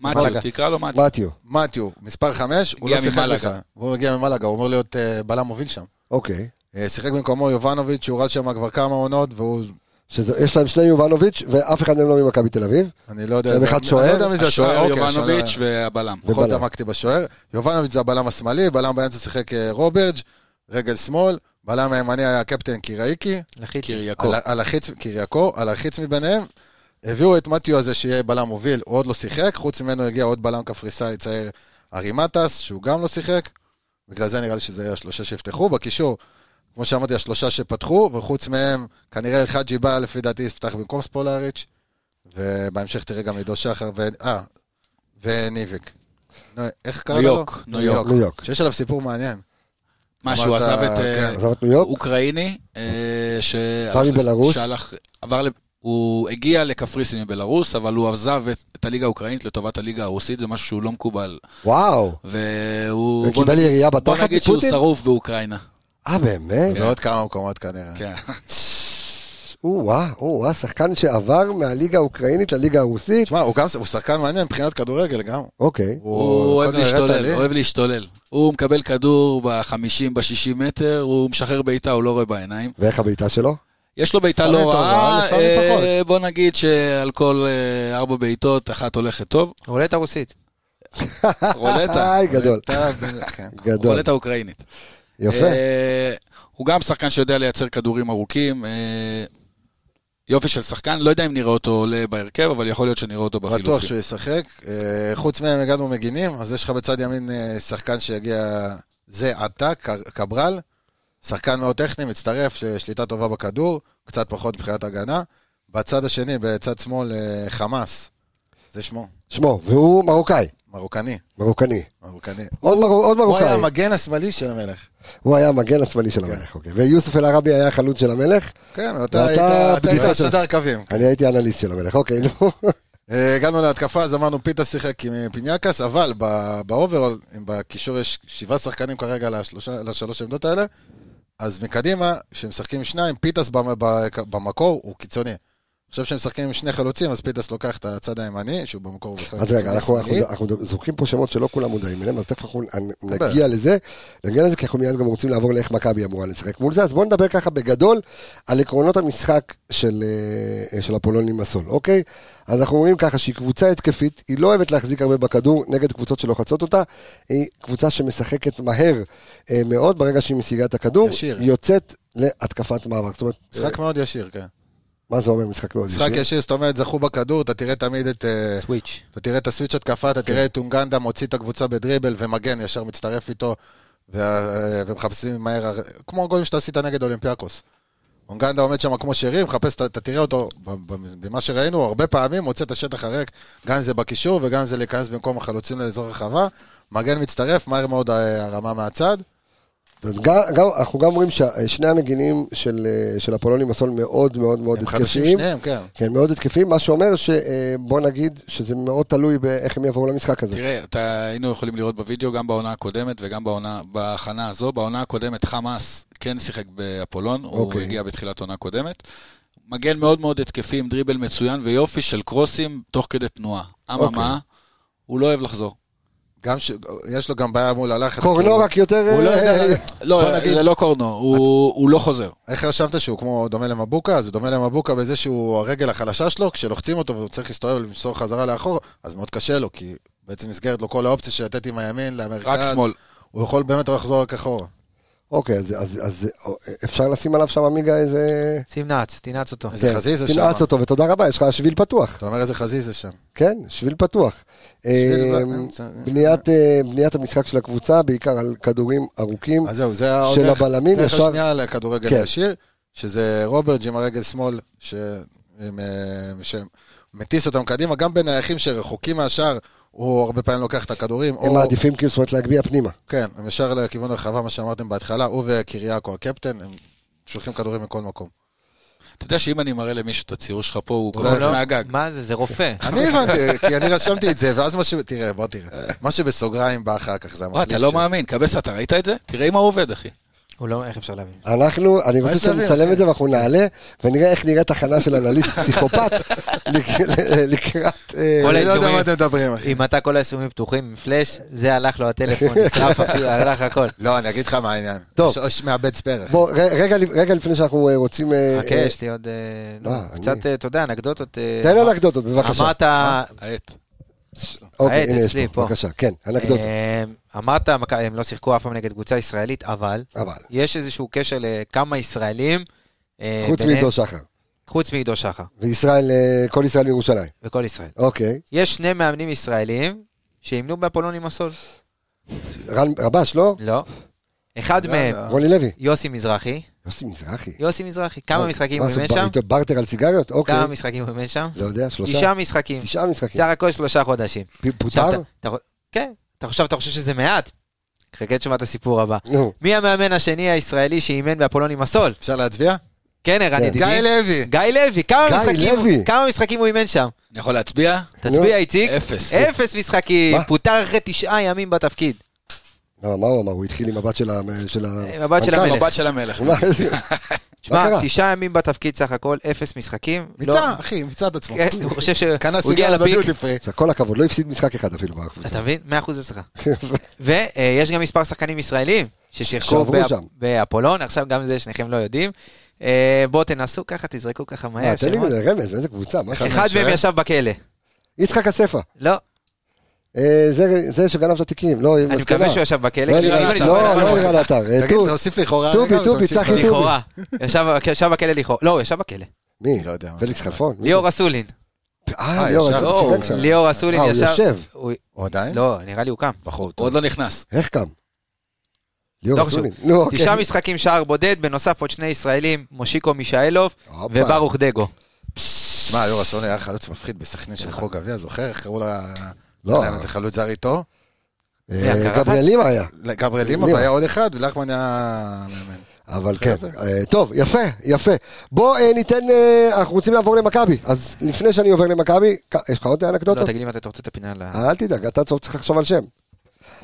[SPEAKER 5] מתיו,
[SPEAKER 7] רגע.
[SPEAKER 5] תקרא לו מתיו.
[SPEAKER 1] מתיו.
[SPEAKER 6] במתיו, מספר חמש, הוא
[SPEAKER 5] הגיע
[SPEAKER 6] לא שיחק
[SPEAKER 5] ממלגה.
[SPEAKER 6] בכלל. הוא הגיע ממלאגה, הוא אמור להיות אה, בלם מוביל שם.
[SPEAKER 1] אוקיי.
[SPEAKER 6] אה, שיחק במקומו יובנוביץ', שהוא רץ שם כבר כמה עונות, והוא
[SPEAKER 1] שיש להם שני יובנוביץ' ואף אחד מהם לא ממכבי תל אביב.
[SPEAKER 6] אני לא יודע,
[SPEAKER 1] הם
[SPEAKER 6] זה-
[SPEAKER 1] אחד
[SPEAKER 6] אני לא
[SPEAKER 1] שוער,
[SPEAKER 6] יודע מי זה
[SPEAKER 5] השוער
[SPEAKER 6] אוקיי, השוער-
[SPEAKER 5] יובנוביץ' והבלם.
[SPEAKER 6] פחות
[SPEAKER 1] ובלם.
[SPEAKER 6] עמקתי כן, נכון, בשוער. יובנוביץ' זה הבלם השמאלי, בלם באמצע שיחק אה, רוברג', רגל שמאל, בלם הימני היה הקפטן קיראיקי,
[SPEAKER 7] לחיצי.
[SPEAKER 5] קיריאקו.
[SPEAKER 6] על- על החיץ, קיריאקו, על החיץ מביניהם. הביאו את מתיו הזה שיהיה בלם מוביל, הוא עוד לא שיחק, חוץ ממנו הגיע עוד בלם קפריסאי צעיר ארימטס, שהוא גם לא שיחק. בגלל זה נראה לי שזה יהיה השלושה שיפתחו. בקישור, כמו שאמרתי, השלושה שפתחו, וחוץ מהם, כנראה אלחאג'י בא, לפי דעתי, יפתח במקום ספולריץ', ובהמשך תראה גם עידו שחר ו... אה, וניביק. נו, איך קראת לו?
[SPEAKER 5] ניו יורק, ניו יורק.
[SPEAKER 1] ניו יורק.
[SPEAKER 6] שיש עליו סיפור מעניין.
[SPEAKER 5] מה, שהוא
[SPEAKER 6] אמרת,
[SPEAKER 5] עזב את...
[SPEAKER 6] כן,
[SPEAKER 5] אה,
[SPEAKER 1] עזב את ניו יורק?
[SPEAKER 5] אוקראיני, אה, שהלך...
[SPEAKER 1] בא
[SPEAKER 5] לפ-
[SPEAKER 1] מבלרוס?
[SPEAKER 5] שהלך- עבר ל... הוא הגיע לקפריסין מבלארוס, אבל הוא עזב את, את הליגה האוקראינית לטובת הליגה הרוסית, זה משהו שהוא לא מקובל.
[SPEAKER 1] וואו.
[SPEAKER 5] והוא...
[SPEAKER 1] הוא
[SPEAKER 5] בוא
[SPEAKER 1] קיבל
[SPEAKER 5] נגיד-
[SPEAKER 1] ירייה
[SPEAKER 5] בוא
[SPEAKER 1] בתחת
[SPEAKER 5] נגיד שהוא
[SPEAKER 1] מפוטין?
[SPEAKER 5] שרוף באוקראינה.
[SPEAKER 1] אה, באמת?
[SPEAKER 6] בעוד כמה מקומות כנראה.
[SPEAKER 5] כן.
[SPEAKER 1] או-אה, או-אה, שחקן שעבר מהליגה האוקראינית לליגה הרוסית?
[SPEAKER 6] תשמע, הוא גם הוא שחקן מעניין מבחינת כדורגל גם.
[SPEAKER 1] אוקיי.
[SPEAKER 5] הוא אוהב
[SPEAKER 6] קודם הראית
[SPEAKER 5] להשתולל,
[SPEAKER 1] אה?
[SPEAKER 6] לי.
[SPEAKER 5] אוהב להשתולל. הוא מקבל כדור ב-50, ב-60 מטר, הוא משחרר בעיטה, הוא לא רואה בעיניים.
[SPEAKER 1] ואיך הבעיטה שלו?
[SPEAKER 5] יש לו בעיטה
[SPEAKER 6] לפעמים
[SPEAKER 5] לא
[SPEAKER 6] טוב,
[SPEAKER 5] רעה,
[SPEAKER 6] אבל לפעמים
[SPEAKER 5] אה,
[SPEAKER 6] פחות.
[SPEAKER 5] בוא נגיד שעל כל אה, ארבע בעיטות, אחת הולכת טוב.
[SPEAKER 7] רולטה רוסית.
[SPEAKER 5] רולטה,
[SPEAKER 1] אה, היי, גדול.
[SPEAKER 6] אתה- כן.
[SPEAKER 1] גדול.
[SPEAKER 5] רולטה אוקראינית.
[SPEAKER 1] יפה.
[SPEAKER 5] אה, הוא גם שחקן שיודע לייצר כדורים ארוכים. אה, יופי של שחקן, לא יודע אם נראה אותו עולה בהרכב, אבל יכול להיות שנראה אותו
[SPEAKER 6] בטוח
[SPEAKER 5] בחילופים.
[SPEAKER 6] שהוא ישחק. אה, חוץ מהם הגענו מגינים, אז יש לך בצד ימין אה, שחקן שיגיע זה עתה, קר- קברל. שחקן מאוד טכני, מצטרף, ששליטה טובה בכדור, קצת פחות מבחינת הגנה. בצד השני, בצד שמאל, אה, חמאס. זה שמו,
[SPEAKER 1] שמו, והוא מרוקאי.
[SPEAKER 6] מרוקני.
[SPEAKER 1] מרוקני.
[SPEAKER 6] מרוקני.
[SPEAKER 1] עוד מרו- עוד
[SPEAKER 6] הוא היה
[SPEAKER 1] מרוקאי.
[SPEAKER 6] המגן השמאלי של המלך.
[SPEAKER 1] הוא היה המגן השמאלי של המלך, אוקיי. ויוסוף אל-ערבי היה החלוץ של המלך,
[SPEAKER 6] כן,
[SPEAKER 1] ואתה
[SPEAKER 6] אתה היית- אתה היית
[SPEAKER 1] בדיחה של-
[SPEAKER 6] שדר קווים.
[SPEAKER 1] אני הייתי אנליסט של המלך, אוקיי, נו.
[SPEAKER 6] אה, הגענו להתקפה, אז אמרנו פיתה שיחק עם אה, פיניאקס, אבל ב- באוברול, אם בקישור יש שבעה שחקנים כרגע לשלושה- לשלוש עמדות האלה, אז מקדימה, כשמשחקים שניים, פיטס במ- ב- במקור הוא קיצוני. עכשיו שהם משחקים עם שני חלוצים, אז פיטס לוקח את הצד הימני, שהוא במקור הוא שחקן
[SPEAKER 1] אז רגע,
[SPEAKER 6] קיצוני
[SPEAKER 1] אנחנו-
[SPEAKER 6] שמאלי.
[SPEAKER 1] אנחנו- אנחנו זוכרים פה שמות שלא כולם מודעים אליהם, אז תכף אנחנו נ- נגיע לזה, נגיע לזה, כי אנחנו מיד גם רוצים לעבור לאיך מכבי אמורה לשחק מול זה, אז בואו נדבר ככה בגדול על עקרונות המשחק של, אה, של הפולונים מסול, אוקיי? אז אנחנו אומרים ככה שהיא קבוצה התקפית, היא לא אוהבת להחזיק הרבה בכדור נגד קבוצות שלוחצות אותה, היא קבוצה שמשחקת מהר אה, מאוד, ברגע שהיא משיגה את הכדור,
[SPEAKER 6] ישיר.
[SPEAKER 1] היא יוצאת להתקפת מעבר. זאת אומרת,
[SPEAKER 6] משחק מאוד ישיר, כן.
[SPEAKER 1] מה זה אומר משחק מאוד
[SPEAKER 6] משחק
[SPEAKER 1] ישיר?
[SPEAKER 6] ישיר, זאת אומרת, זכו בכדור, אתה תראה תמיד את... אה,
[SPEAKER 7] סוויץ'.
[SPEAKER 6] אתה תראה את הסוויץ' התקפה, אתה תראה את אונגנדה מוציא את הקבוצה בדריבל, ומגן ישר מצטרף איתו, וה- ומחפשים מהר, כמו הגולים שאתה עשית נגד אולימפיאקוס. אונגנדה עומד שם כמו שרי, מחפש, אתה- אתה תראה אותו, ב- ב- במה שראינו, הרבה פעמים מוצא את השטח הריק, גם אם זה בקישור וגם אם זה להיכנס במקום החלוצים לאזור הרחבה. מגן מצטרף, מהר מאוד אה, הרמה מהצד.
[SPEAKER 1] אז גם- גם- אנחנו גם אומרים ששני המגינים של, אה, של הפולונים הסול מאוד מאוד מאוד
[SPEAKER 6] הם חדשים
[SPEAKER 1] התקפיים.
[SPEAKER 6] שניהם, כן.
[SPEAKER 1] כן, מאוד התקפיים, מה שאומר שבוא נגיד שזה מאוד תלוי באיך הם יבואו למשחק הזה.
[SPEAKER 5] תראה, אתה, היינו יכולים לראות בווידאו גם בעונה הקודמת וגם בעונה, בהכנה הזו. בעונה הקודמת חמאס כן שיחק באפולון, הוא
[SPEAKER 1] אוקיי.
[SPEAKER 5] הגיע בתחילת עונה קודמת. מגן מאוד מאוד התקפי עם דריבל מצוין ויופי של קרוסים תוך כדי תנועה. אממה, הוא לא אוהב לחזור.
[SPEAKER 6] גם ש... יש לו גם בעיה מול הלחץ. כי
[SPEAKER 1] קורנובק יותר...
[SPEAKER 6] הוא- הוא לא
[SPEAKER 1] אה,
[SPEAKER 6] יודע... בוא
[SPEAKER 5] לא,
[SPEAKER 6] נגיד-
[SPEAKER 5] זה לא קורנו, הוא הוא לא חוזר.
[SPEAKER 6] איך רשמת שהוא כמו דומה למבוקה? אז הוא דומה למבוקה בזה שהוא הרגל החלשה שלו, כשלוחצים אותו והוא צריך להסתובב ולמסור חזרה לאחור, אז מאוד קשה לו, כי בעצם נסגרת לו כל האופציה לתת עם הימין למרכז.
[SPEAKER 5] רק שמאל.
[SPEAKER 6] הוא יכול באמת לחזור רק אחורה.
[SPEAKER 1] אוקיי, אז- אז אז אה, אפשר לשים עליו שם עמיגה איזה...
[SPEAKER 7] שים נעץ, תנעץ אותו.
[SPEAKER 6] איזה
[SPEAKER 1] כן,
[SPEAKER 6] חזיזה שם.
[SPEAKER 1] תנעץ אותו, ותודה רבה, יש לך שביל פתוח.
[SPEAKER 6] אתה אומר איזה חזיזה שם.
[SPEAKER 1] כן, שביל פתוח.
[SPEAKER 6] שביל-
[SPEAKER 1] אה, בניית, אה, בניית המשחק של הקבוצה, בעיקר על כדורים ארוכים.
[SPEAKER 6] אז זהו, זה העוד
[SPEAKER 1] של
[SPEAKER 6] דרך-
[SPEAKER 1] הבלמים
[SPEAKER 6] דרך
[SPEAKER 1] ישר-
[SPEAKER 6] השנייה לכדורגל
[SPEAKER 1] כן.
[SPEAKER 6] ישיר, שזה רוברט עם הרגל שמאל, ש- עם, אה, שמטיס אותם קדימה, גם בנייחים שרחוקים מהשאר, הוא הרבה פעמים לוקח את הכדורים.
[SPEAKER 1] הם
[SPEAKER 6] או-
[SPEAKER 1] מעדיפים כאילו, זאת אומרת, להגביה פנימה.
[SPEAKER 6] כן, הם ישר לכיוון הרחבה, מה שאמרתם בהתחלה, הוא וקיריאקו הקפטן, הם שולחים כדורים מכל מקום.
[SPEAKER 5] אתה יודע שאם אני מראה למישהו את הציור שלך פה, הוא
[SPEAKER 7] לא,
[SPEAKER 5] קופץ
[SPEAKER 7] לא.
[SPEAKER 5] מהגג.
[SPEAKER 7] מה זה? זה רופא.
[SPEAKER 6] אני הבנתי, כי אני רשמתי את זה, ואז מה ש... תראה, בוא תראה. מה שבסוגריים בא אחר כך, זה
[SPEAKER 5] וואי,
[SPEAKER 6] המחליף
[SPEAKER 5] אתה לא
[SPEAKER 6] שלי.
[SPEAKER 5] מאמין, קבסה, אתה ראית את זה? תראה עם מה הוא עובד, אחי.
[SPEAKER 7] הוא לא, איך אפשר להבין?
[SPEAKER 1] אנחנו, אני רוצה
[SPEAKER 6] יש להבין,
[SPEAKER 1] שנצלם
[SPEAKER 6] אחי?
[SPEAKER 1] את זה ואנחנו נעלה, ונראה איך נראית הכנה של אנליסט [LAUGHS] פסיכופת לק- לקראת... אה,
[SPEAKER 7] כל
[SPEAKER 6] אני לא יודע
[SPEAKER 7] האיזורים.
[SPEAKER 6] מה אתם מדברים, אחי.
[SPEAKER 7] אם אתה כל היישומים פתוחים עם פלאש, זה הלך
[SPEAKER 1] [LAUGHS]
[SPEAKER 7] לו הטלפון, נשרף אפילו, הלך הכל.
[SPEAKER 6] לא, אני אגיד לך מה העניין.
[SPEAKER 1] טוב.
[SPEAKER 6] טוב. מאבד ספרך.
[SPEAKER 1] בוא, ר- רגע לפ- רגע לפני שאנחנו אה, רוצים... אה,
[SPEAKER 7] חכה,
[SPEAKER 1] אה,
[SPEAKER 7] יש לי עוד... אה, לא,
[SPEAKER 1] מה,
[SPEAKER 7] קצת,
[SPEAKER 1] אני-
[SPEAKER 7] אה, אתה יודע, אנקדוטות. אה,
[SPEAKER 1] תן
[SPEAKER 7] אמר-
[SPEAKER 1] אנקדוטות, בבקשה. אה,
[SPEAKER 7] אמרת,
[SPEAKER 5] העט.
[SPEAKER 1] אוקיי,
[SPEAKER 7] העט
[SPEAKER 1] הנה יש
[SPEAKER 7] אצלי,
[SPEAKER 1] פה,
[SPEAKER 7] פה.
[SPEAKER 1] בבקשה, כן, אנקדוטות.
[SPEAKER 7] אה, אמרת, מכ- הם לא שיחקו אף פעם נגד קבוצה ישראלית, אבל
[SPEAKER 1] אבל,
[SPEAKER 7] יש איזשהו קשר לכמה ישראלים. אה,
[SPEAKER 1] חוץ
[SPEAKER 7] ביניהם-
[SPEAKER 1] מעידו שחר,
[SPEAKER 7] חוץ מעידו שחר,
[SPEAKER 1] וישראל, אה, כל ישראל מירושלים.
[SPEAKER 7] וכל ישראל.
[SPEAKER 1] אוקיי,
[SPEAKER 7] יש שני מאמנים ישראלים שאימנו באפולון עם הסול.
[SPEAKER 1] רן רבש, לא?
[SPEAKER 7] לא. אחד
[SPEAKER 6] לא,
[SPEAKER 7] מהם,
[SPEAKER 6] לא.
[SPEAKER 1] רוני לוי.
[SPEAKER 7] יוסי מזרחי.
[SPEAKER 1] יוסי מזרחי.
[SPEAKER 7] יוסי מזרחי, לא, כמה
[SPEAKER 1] אוקיי.
[SPEAKER 7] משחקים
[SPEAKER 1] מה,
[SPEAKER 7] הוא אימן
[SPEAKER 1] עשו,
[SPEAKER 7] שם?
[SPEAKER 1] בר- ברטר על סיגריות? אוקיי.
[SPEAKER 7] כמה משחקים הוא אימן שם?
[SPEAKER 1] לא יודע, שלושה?
[SPEAKER 7] תשעה משחקים.
[SPEAKER 1] תשעה משחקים.
[SPEAKER 7] סך הכל שלושה חודשים.
[SPEAKER 1] פ-
[SPEAKER 7] עכשיו,
[SPEAKER 1] פוטר?
[SPEAKER 7] אתה- אתה- כן. אתה חושב, אתה חושב שזה מעט? חכה תשמע את הסיפור הבא.
[SPEAKER 1] נו,
[SPEAKER 7] מי המאמן השני הישראלי שאימן באפולון עם הסול?
[SPEAKER 6] אפשר להצביע?
[SPEAKER 7] כן, ערן
[SPEAKER 1] כן.
[SPEAKER 7] ידידי.
[SPEAKER 6] גיא לוי.
[SPEAKER 7] גיא לוי, כמה
[SPEAKER 1] גיא
[SPEAKER 7] משחקים-
[SPEAKER 1] לוי.
[SPEAKER 7] כמה משחקים הוא אימן שם?
[SPEAKER 5] אני יכול להצביע?
[SPEAKER 7] תצביע, איציק.
[SPEAKER 5] אפס.
[SPEAKER 7] אפס משחקים,
[SPEAKER 1] מה?
[SPEAKER 7] פוטר אחרי תשעה ימים בתפקיד.
[SPEAKER 1] למה, מה הוא אמר? הוא התחיל עם הבת של ה... של ה-
[SPEAKER 7] הבת של
[SPEAKER 1] מנכ"ל.
[SPEAKER 7] המלך.
[SPEAKER 5] מבט של
[SPEAKER 1] [LAUGHS]
[SPEAKER 5] המלך.
[SPEAKER 1] מה זה?
[SPEAKER 7] תשמע,
[SPEAKER 1] קרה?
[SPEAKER 7] תשעה ימים בתפקיד סך הכל, אפס משחקים.
[SPEAKER 6] מיצה, אחי, מיצה את עצמו.
[SPEAKER 7] לא- כן, הוא חושב
[SPEAKER 6] קנה
[SPEAKER 7] שהוא הגיע
[SPEAKER 6] סיגר
[SPEAKER 7] לפיק.
[SPEAKER 6] בדיוטי פרי.
[SPEAKER 1] עכשיו, כל הכבוד, לא הפסיד משחק אחד אפילו בקבוצה. אה,
[SPEAKER 7] אתה מבין? 100% הצלחה. ויש גם מספר שחקנים ישראלים ששיחקו
[SPEAKER 1] שעברו
[SPEAKER 7] באפ-
[SPEAKER 1] שם.
[SPEAKER 7] באפולון, עכשיו גם זה שניכם לא יודעים. אה, בואו תנסו ככה, תזרקו ככה מהר.
[SPEAKER 1] מה, תן לי
[SPEAKER 7] שמות.
[SPEAKER 1] רמז, מאיזה קבוצה? מה זה?
[SPEAKER 7] אחד
[SPEAKER 6] מהשוער?
[SPEAKER 7] מהם ישב בכלא.
[SPEAKER 1] יצחק אספה.
[SPEAKER 7] לא,
[SPEAKER 1] אה, זה- זה שגנב את התיקים, לא, היא
[SPEAKER 7] אני
[SPEAKER 1] מסכנה.
[SPEAKER 7] מקווה שהוא ישב בכלא.
[SPEAKER 1] לא
[SPEAKER 7] כי
[SPEAKER 1] נראה
[SPEAKER 7] אם
[SPEAKER 1] לי-
[SPEAKER 7] אני
[SPEAKER 1] לא,
[SPEAKER 7] זוכר נכון.
[SPEAKER 1] לא נראה לאתר. אה,
[SPEAKER 6] תגיד,
[SPEAKER 1] טו-
[SPEAKER 6] תוסיף לכאורה.
[SPEAKER 1] טובי,
[SPEAKER 6] רגע,
[SPEAKER 1] טובי,
[SPEAKER 6] ותמשיך.
[SPEAKER 1] צחי. טובי.
[SPEAKER 7] לכאורה. ישב- ישב בכלא לכאורה. לא, הוא ישב בכלא.
[SPEAKER 1] מי?
[SPEAKER 6] לא יודע מה.
[SPEAKER 1] פליקס חלפון? מי?
[SPEAKER 7] ליאור אסולין.
[SPEAKER 1] אה,
[SPEAKER 6] אה,
[SPEAKER 1] ליאור,
[SPEAKER 6] ישב.
[SPEAKER 1] אז הוא
[SPEAKER 6] לא,
[SPEAKER 1] שיחק שם.
[SPEAKER 7] ליאור אסולין
[SPEAKER 1] אה, הוא
[SPEAKER 7] ישב...
[SPEAKER 1] יושב.
[SPEAKER 7] הוא-
[SPEAKER 6] הוא עדיין?
[SPEAKER 7] לא, נראה לי הוא קם.
[SPEAKER 6] בחור
[SPEAKER 5] הוא
[SPEAKER 6] טוב.
[SPEAKER 5] עוד לא נכנס.
[SPEAKER 1] איך קם? ליאור
[SPEAKER 7] לא חשוב.
[SPEAKER 1] אסולין. נו, אוקיי.
[SPEAKER 7] תשעה משחקים שער בודד, בנוסף עוד שני ישראלים, מושיקו מישאלוב
[SPEAKER 1] הופה.
[SPEAKER 7] וברוך דגו.
[SPEAKER 6] מה, יורא סוני היה חלוץ מפחיד בסכנין של חוק גביע, זוכר? איך קראו לה...
[SPEAKER 1] לא.
[SPEAKER 6] לא יודע אם זה חלוץ זר איתו.
[SPEAKER 1] אה,
[SPEAKER 7] הקרחת?
[SPEAKER 1] גבריאלימה היה.
[SPEAKER 6] גבריאל לימה,
[SPEAKER 1] לימה.
[SPEAKER 6] והיה עוד אחד, ולחמן היה מאמן.
[SPEAKER 1] אבל
[SPEAKER 6] אחרי
[SPEAKER 1] כן,
[SPEAKER 6] זה.
[SPEAKER 1] אה, טוב, יפה, יפה. בוא אה, ניתן, אה, אנחנו רוצים לעבור למכבי. אז לפני שאני עובר למכבי, כ- יש לך עוד
[SPEAKER 7] לא,
[SPEAKER 1] אנקדוטות?
[SPEAKER 7] תגיד לי מתי אתה רוצה את הפינה ל...
[SPEAKER 1] אל תדאג, אתה צריך לחשוב על שם.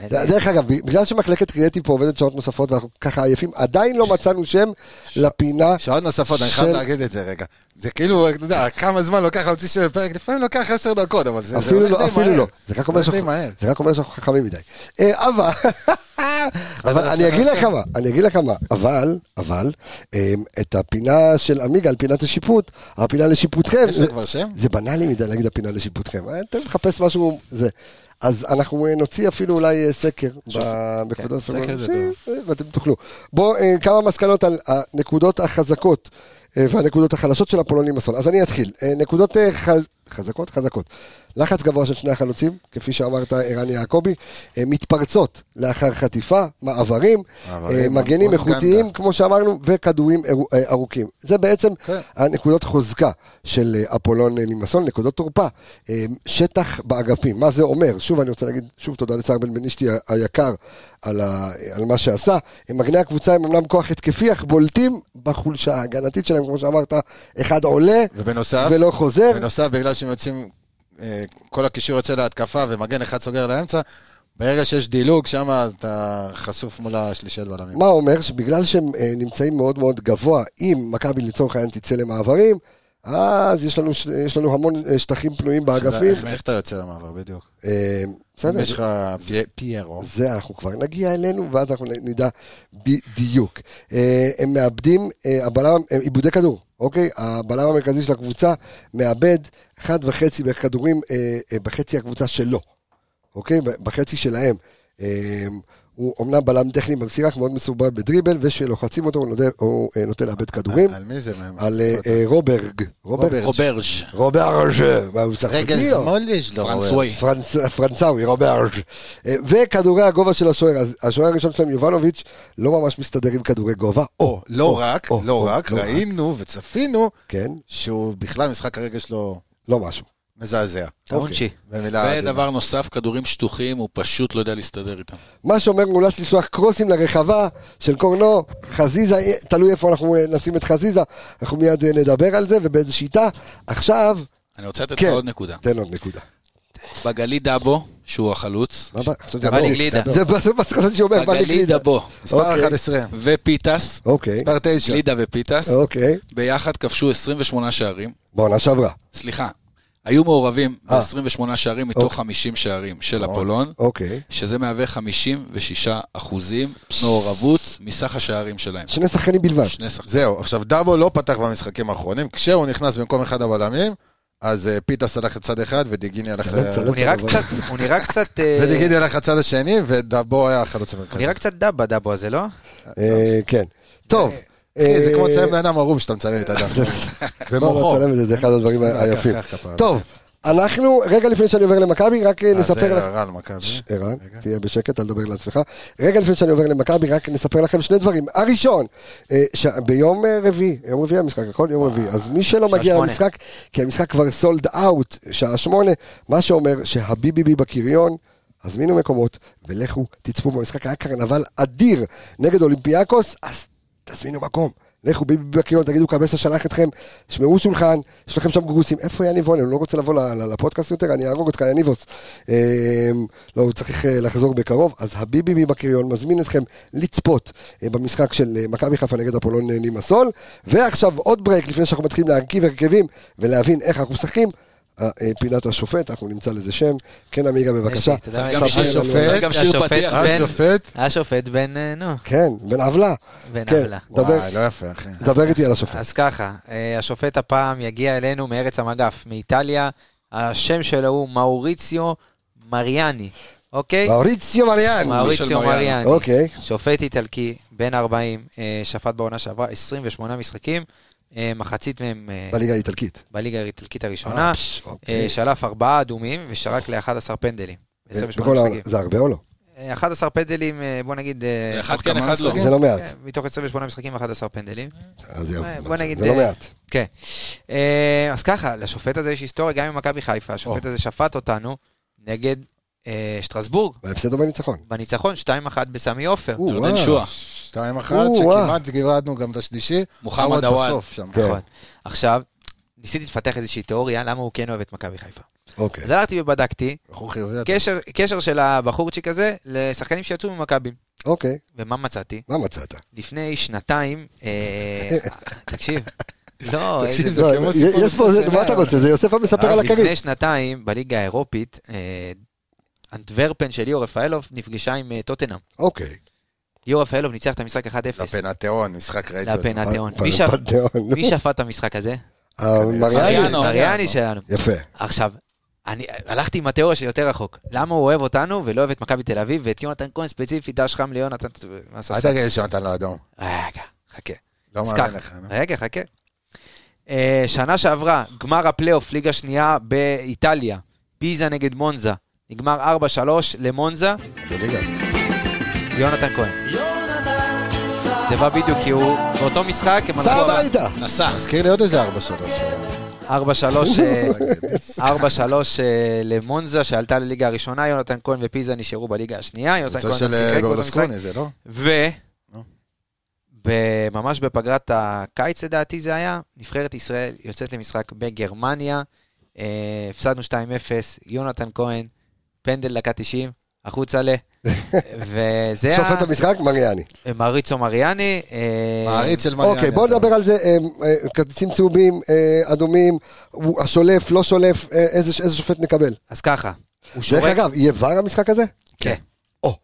[SPEAKER 7] אין לי.
[SPEAKER 1] דרך אגב, בגלל שמחלקת קריאטיב פה עובדת שעות נוספות ואנחנו ככה עייפים, עדיין לא מצאנו שם לפינה.
[SPEAKER 6] שעות נוספות, אני
[SPEAKER 1] של-
[SPEAKER 6] חייב להגיד את זה רגע. זה כאילו, אתה יודע, כמה זמן לוקח להוציא של פרק, לפעמים לוקח עשר דקות, אבל זה זה
[SPEAKER 1] אפילו
[SPEAKER 6] הולך
[SPEAKER 1] לא,
[SPEAKER 6] די
[SPEAKER 1] אפילו
[SPEAKER 6] מהר.
[SPEAKER 1] לא. זה רק אומר
[SPEAKER 6] הולך די
[SPEAKER 1] שאנחנו-
[SPEAKER 6] מהר.
[SPEAKER 1] זה רק אומר שאנחנו חכמים מדי. אה, אבל,
[SPEAKER 6] [LAUGHS]
[SPEAKER 1] אבל אני
[SPEAKER 6] לעצמך
[SPEAKER 1] אגיד לך
[SPEAKER 6] עכשיו.
[SPEAKER 1] מה, אני אגיד לך מה, אבל, אבל, אה, את הפינה של עמיגה על פינת השיפוט, הפינה לשיפוטכם,
[SPEAKER 6] יש לה
[SPEAKER 1] זה-
[SPEAKER 6] כבר שם?
[SPEAKER 1] זה בנאלי מדי להגיד הפינה לשיפוטכם. אה, תן לחפש משהו, זה. אז אנחנו אה, נוציא אפילו אולי אה, סקר ב-
[SPEAKER 6] כן.
[SPEAKER 1] בקבוצת
[SPEAKER 6] סקר
[SPEAKER 1] הפרק.
[SPEAKER 6] זה
[SPEAKER 1] אה, ואתם תוכלו. בואו, אה, כמה מסקנות על הנקודות החזקות אה, והנקודות החלשות של הפולונים אסון. אז אני אתחיל. אה, נקודות אה, ח- חזקות, חזקות. לחץ גבוה של שני החלוצים, כפי שאמרת, ערן יעקבי, אה, מתפרצות לאחר חטיפה, מעברים,
[SPEAKER 6] מעברים,
[SPEAKER 1] אה, מגנים
[SPEAKER 6] אונגנדה.
[SPEAKER 1] איכותיים, כמו שאמרנו, וכדורים ארו- אה, ארוכים. זה בעצם
[SPEAKER 6] כן.
[SPEAKER 1] הנקודות חוזקה של אה, אפולון אה, לימסון, נקודות תורפה. אה, שטח באגפים, מה זה אומר? שוב, אני רוצה להגיד שוב תודה לצער בן בנישתי ה- היקר על, ה, על מה שעשה. הם מגני הקבוצה הם אמנם כוח התקפי, אך בולטים בחולשה ההגנתית שלהם, כמו שאמרת, אחד עולה
[SPEAKER 6] ובנוסף,
[SPEAKER 1] ולא חוזר.
[SPEAKER 6] בנוסף, בגלל שהם יוצאים, אה, כל הקישור יוצא להתקפה ומגן אחד סוגר לאמצע, ברגע שיש דילוג, שם אתה חשוף מול השלישיית בלמים.
[SPEAKER 1] מה אומר? שבגלל שהם אה, נמצאים מאוד מאוד גבוה, אם מכבי לצורך העניין תצא למעברים, אז יש לנו, ש- יש לנו המון אה, שטחים פנויים באגפים.
[SPEAKER 6] איך- איך אתה יוצא למעבר, בדיוק?
[SPEAKER 1] אה,
[SPEAKER 6] אם
[SPEAKER 1] בסדר,
[SPEAKER 6] יש לך פי- פיירו.
[SPEAKER 1] זה אנחנו כבר נגיע אלינו, ואז אנחנו נ- נדע בדיוק. אה, הם מאבדים, אה, הבלם, הם איבודי כדור, אוקיי? הבלם המרכזי של הקבוצה מאבד אחד וחצי בערך כדורים אה, אה, בחצי הקבוצה שלו, אוקיי? ב- בחצי שלהם. אה, הוא אומנם בלם טכני במסירה, אך מאוד מסורבל בדריבל, וכשלוחצים אותו הוא נוטה- הוא אה, נוטה לאבד כדורים.
[SPEAKER 6] על מי זה?
[SPEAKER 1] על אה, אה, רוברג. רוברג?
[SPEAKER 5] רוברז'.
[SPEAKER 1] רוברג. מה, הוא צרפתי?
[SPEAKER 6] רגע, לא
[SPEAKER 1] או?
[SPEAKER 6] שמאל יש לו.
[SPEAKER 5] פרנסוואי.
[SPEAKER 1] פרנס- פרנסאווי, רוברג. אה, וכדורי הגובה של השוער, אז השוער הראשון שלהם, יובנוביץ', לא ממש מסתדר עם כדורי גובה. או,
[SPEAKER 6] לא רק,
[SPEAKER 1] או, או,
[SPEAKER 6] לא רק,
[SPEAKER 1] לא
[SPEAKER 6] ראינו וצפינו
[SPEAKER 1] כן,
[SPEAKER 6] שהוא בכלל משחק הרגע שלו
[SPEAKER 1] לא משהו.
[SPEAKER 6] מזעזע.
[SPEAKER 7] טעונצ'י.
[SPEAKER 6] במילה
[SPEAKER 1] אוקיי.
[SPEAKER 6] עדינה.
[SPEAKER 5] ודבר נוסף, כדורים שטוחים, הוא פשוט לא יודע להסתדר איתם.
[SPEAKER 1] מה שאומר מומלץ לשלוח קרוסים לרחבה של קורנו, חזיזה, אה, תלוי איפה אנחנו אה, נשים את חזיזה, אנחנו מיד אה, נדבר על זה ובאיזה שיטה. עכשיו,
[SPEAKER 5] אני רוצה לתת לך
[SPEAKER 1] כן.
[SPEAKER 5] עוד נקודה.
[SPEAKER 1] תן עוד נקודה.
[SPEAKER 5] בגלי דאבו, שהוא החלוץ,
[SPEAKER 1] מה הבא? עכשיו
[SPEAKER 7] בלי
[SPEAKER 1] דבר.
[SPEAKER 7] גלידה.
[SPEAKER 1] זה מה- זה מה שחשבתי שאומר, בא לי
[SPEAKER 5] בגלי
[SPEAKER 1] גלידה.
[SPEAKER 5] דאבו,
[SPEAKER 6] מספר
[SPEAKER 1] אוקיי.
[SPEAKER 6] 11,
[SPEAKER 5] ופיטס,
[SPEAKER 1] אוקיי,
[SPEAKER 6] מספר 9.
[SPEAKER 5] גלידה ופיטס,
[SPEAKER 1] אוקיי.
[SPEAKER 5] ביחד כבשו 28 שערים,
[SPEAKER 1] בעונה שעברה.
[SPEAKER 5] סליחה, היו מעורבים
[SPEAKER 1] אה.
[SPEAKER 5] ב-28 שערים מתוך 50 שערים של אפולון,
[SPEAKER 1] אוקיי.
[SPEAKER 5] שזה מהווה 56 אחוזים מעורבות מסך השערים שלהם.
[SPEAKER 1] שני שחקנים בלבד.
[SPEAKER 5] שני שחקנים.
[SPEAKER 6] זהו, עכשיו דאבו לא פתח במשחקים האחרונים, כשהוא נכנס במקום אחד הבלמים, אז אה, פיטס הלך לצד אחד ודיגיני הלך
[SPEAKER 1] צלם,
[SPEAKER 6] ל-
[SPEAKER 1] צלם.
[SPEAKER 7] הוא נראה
[SPEAKER 1] אבל- לא כן.
[SPEAKER 7] קצת, הוא נראה קצת, אה,
[SPEAKER 6] ודיגיני הלך לצד השני, ודאבו היה החלוץ
[SPEAKER 7] הוא
[SPEAKER 6] המרכזי.
[SPEAKER 7] נראה קצת דאב בדאבו הזה, לא?
[SPEAKER 1] אה, כן. טוב.
[SPEAKER 6] אחי, זה
[SPEAKER 1] אה,
[SPEAKER 6] כמו לציין לאדם ערום שאתה מצלם את הדף.
[SPEAKER 1] [LAUGHS] לא, לא,
[SPEAKER 6] במוחו.
[SPEAKER 1] צלם את זה, זה אחד הדברים ה-
[SPEAKER 6] לקח,
[SPEAKER 1] היפים.
[SPEAKER 6] לקח כפרה.
[SPEAKER 1] טוב, אנחנו, רגע לפני שאני עובר למכבי, רק אה,
[SPEAKER 6] אה,
[SPEAKER 1] נספר...
[SPEAKER 6] זה
[SPEAKER 1] לך- אה,
[SPEAKER 6] רן מכבי.
[SPEAKER 1] ערן, תהיה בשקט, אל תדבר לעצמך. רגע לפני שאני עובר למכבי, רק נספר לכם שני דברים. הראשון, אה, ש- ביום אה, רביעי, יום רביעי המשחק, נכון? יום רביעי. אז מי שלא
[SPEAKER 7] אה, שעה
[SPEAKER 1] מגיע
[SPEAKER 7] שמונה.
[SPEAKER 1] למשחק, כי המשחק כבר סולד אאוט, שעה שמונה, מה שאומר שהביביבי בקריון, הזמינו מקומות ולכו תצפו במשחק. היה קרנבל אדיר נגד אולימפיאקוס, אז תזמינו מקום. לכו ביבי בקריון, תגידו קבסה שלח אתכם, שמרו שולחן, יש לכם שם גרוסים. איפה יניב רונן? הוא לא רוצה לבוא ל- ל- לפודקאסט יותר, אני אהרוג אותך, יניבוס. אה, לא, הוא צריך אה, לחזור בקרוב, אז הביבי בקריון מזמין אתכם לצפות אה, במשחק של אה, מכבי חיפה נגד אפולון אה, לימסול. ועכשיו עוד ברייק לפני שאנחנו מתחילים להרכיב הרכבים ולהבין איך אנחנו משחקים. אה, אה, פינת השופט, אנחנו נמצא לזה שם. כן, עמיגה, בבקשה. כן,
[SPEAKER 7] יש לי, תודה.
[SPEAKER 1] ספר
[SPEAKER 5] גם שיר-
[SPEAKER 1] לנו.
[SPEAKER 5] צריך גם שיר
[SPEAKER 7] השופט
[SPEAKER 5] פתיח.
[SPEAKER 7] בן-
[SPEAKER 6] אה, השופט?
[SPEAKER 7] השופט בן, אה, נו,
[SPEAKER 1] כן, בן עוולה.
[SPEAKER 7] בן
[SPEAKER 1] כן,
[SPEAKER 7] עוולה.
[SPEAKER 1] דבר-
[SPEAKER 6] וואי, לא יפה, אחי.
[SPEAKER 1] דבר איתי על השופט.
[SPEAKER 7] אז ככה, אה, השופט הפעם יגיע אלינו מארץ המגף, מאיטליה. השם שלו הוא מאוריציו מריאני, אוקיי?
[SPEAKER 1] מאוריציו מריאן.
[SPEAKER 7] מאוריציו
[SPEAKER 5] מישל מריאני.
[SPEAKER 7] מריאני.
[SPEAKER 1] אוקיי.
[SPEAKER 7] שופט איטלקי, בן 40, אה, שפט בעונה שעברה 28 משחקים, אה, מחצית מהם אה,
[SPEAKER 1] בליגה האיטלקית.
[SPEAKER 7] בליגה האיטלקית הראשונה,
[SPEAKER 1] אה, פש, אוקיי.
[SPEAKER 7] אה, שלף ארבעה אדומים ושרק ל-11 פנדלים. 28
[SPEAKER 1] בכל העונה.
[SPEAKER 7] משחקים.
[SPEAKER 1] זה הרבה או לא?
[SPEAKER 7] אה, 11 פנדלים, אה, בוא נגיד... אה,
[SPEAKER 5] אחד כן,
[SPEAKER 6] כמה
[SPEAKER 5] אחד לא.
[SPEAKER 6] משחקים?
[SPEAKER 1] זה לא
[SPEAKER 7] אה,
[SPEAKER 1] מעט.
[SPEAKER 6] אוקיי.
[SPEAKER 7] מתוך 28 משחקים, 11 פנדלים.
[SPEAKER 1] אז זהו.
[SPEAKER 7] בוא נגיד,
[SPEAKER 1] זה לא
[SPEAKER 7] אה,
[SPEAKER 1] מעט.
[SPEAKER 7] כן. אה, אז ככה, לשופט הזה יש היסטוריה גם עם מכבי חיפה. השופט
[SPEAKER 6] או.
[SPEAKER 7] הזה שפט אותנו נגד אה, שטרסבורג,
[SPEAKER 1] בהפסד או בניצחון?
[SPEAKER 7] בניצחון 2-1 בסמי עופר.
[SPEAKER 1] או,
[SPEAKER 5] ירדן
[SPEAKER 1] וואו.
[SPEAKER 5] שואה,
[SPEAKER 6] 2-1,
[SPEAKER 1] או-אה.
[SPEAKER 6] שכמעט גירדנו גם את השלישי.
[SPEAKER 5] מוחמד
[SPEAKER 6] עוד
[SPEAKER 5] עוואד.
[SPEAKER 6] בסוף שם.
[SPEAKER 1] כן.
[SPEAKER 7] נכון. עכשיו, ניסיתי לפתח איזושהי תיאוריה למה הוא כן אוהב את מכבי חיפה.
[SPEAKER 1] אוקיי.
[SPEAKER 7] אז הלכתי ובדקתי,
[SPEAKER 6] בחור חיובי. אתה.
[SPEAKER 7] קשר- קשר של הבחורצ'יק הזה לשחקנים שיצאו ממכבי.
[SPEAKER 1] אוקיי.
[SPEAKER 7] ומה מצאתי?
[SPEAKER 1] מה מצאת?
[SPEAKER 7] לפני
[SPEAKER 6] [LAUGHS]
[SPEAKER 7] שנתיים, אה, תקשיב, לא,
[SPEAKER 6] תקשיב,
[SPEAKER 7] איזה...
[SPEAKER 6] זה
[SPEAKER 1] לא,
[SPEAKER 6] כמו
[SPEAKER 1] י-
[SPEAKER 6] סיפור
[SPEAKER 1] יש פה, זה-
[SPEAKER 6] לפני
[SPEAKER 1] מה אתה
[SPEAKER 6] שינה.
[SPEAKER 1] רוצה? זה יוסף המספר על
[SPEAKER 7] אז
[SPEAKER 1] הכרית.
[SPEAKER 7] אה, לפני שנתיים, בליגה האירופית, אה, אנטוורפן של ליאור רפאלוב נפגשה עם אה, טוטנאם.
[SPEAKER 1] אוקיי.
[SPEAKER 7] ליאור רפאלוב ניצח את המשחק 1-0
[SPEAKER 6] לפנתיאון, משחק ראיתי אותו.
[SPEAKER 7] לפנתיאון.
[SPEAKER 1] פ-
[SPEAKER 7] מי
[SPEAKER 1] פ-
[SPEAKER 7] שפ-
[SPEAKER 1] פנתיאון, נו.
[SPEAKER 7] מי שפט את המשחק הזה?
[SPEAKER 1] המריאני.
[SPEAKER 5] מריאנו.
[SPEAKER 7] מריאני שלנו.
[SPEAKER 1] אה, יפה.
[SPEAKER 7] עכשיו, אני הלכתי עם התיאוריה שיותר רחוק. למה הוא אוהב אותנו ולא אוהב את מכבי תל אביב ואת יונתן כהן ספציפית, דש חם ליונתן... מה
[SPEAKER 6] אל
[SPEAKER 7] ספסל?
[SPEAKER 6] תגיד לי שנתן לו אדום.
[SPEAKER 7] רגע, חכה.
[SPEAKER 6] לא
[SPEAKER 7] אז
[SPEAKER 6] מאמין
[SPEAKER 7] ככה.
[SPEAKER 6] לך. נו.
[SPEAKER 7] רגע, חכה. אה, שנה שעברה, גמר הפלייאוף, ליגה שנייה באיטליה, פיזה נגד מונזה. נגמר 4-3 למונזה,
[SPEAKER 6] בליגה.
[SPEAKER 7] יונתן כהן. זה בא בדיוק, כי הוא באותו משחק, הם
[SPEAKER 1] סע
[SPEAKER 7] הלכו
[SPEAKER 1] הביתה. כן.
[SPEAKER 5] נסע.
[SPEAKER 6] תזכיר לי עוד איזה ארבע שלוש. [LAUGHS]
[SPEAKER 7] 4-3, אה, 4-3 אה, למונזה, שעלתה לליגה הראשונה, יונתן כהן ופיזה נשארו בליגה השנייה, יונתן
[SPEAKER 6] קבוצה של
[SPEAKER 7] כהן גם שיחק
[SPEAKER 6] אה,
[SPEAKER 7] באותו משחק,
[SPEAKER 6] ברלוסקוני זה, לא?
[SPEAKER 7] ו...
[SPEAKER 6] נו.
[SPEAKER 7] ב- ממש בפגרת הקיץ לדעתי זה היה, נבחרת ישראל יוצאת למשחק בגרמניה, אה, הפסדנו 2-0, יונתן כהן, פנדל דקה 90, החוצה ל... וזה
[SPEAKER 1] שופט המשחק, מריאני.
[SPEAKER 7] ה... מריצו מריאני. אה,
[SPEAKER 6] מעריץ של מריאני.
[SPEAKER 1] אוקיי, בואו נדבר על זה. אה, אה, כרטיסים צהובים, אה, אדומים, הוא- השולף, לא שולף, אה, איזה איזה שופט נקבל.
[SPEAKER 7] אז ככה, הוא
[SPEAKER 1] דרך
[SPEAKER 7] שורק,
[SPEAKER 1] אגב, יהיה ור המשחק הזה?
[SPEAKER 7] כן.
[SPEAKER 1] או.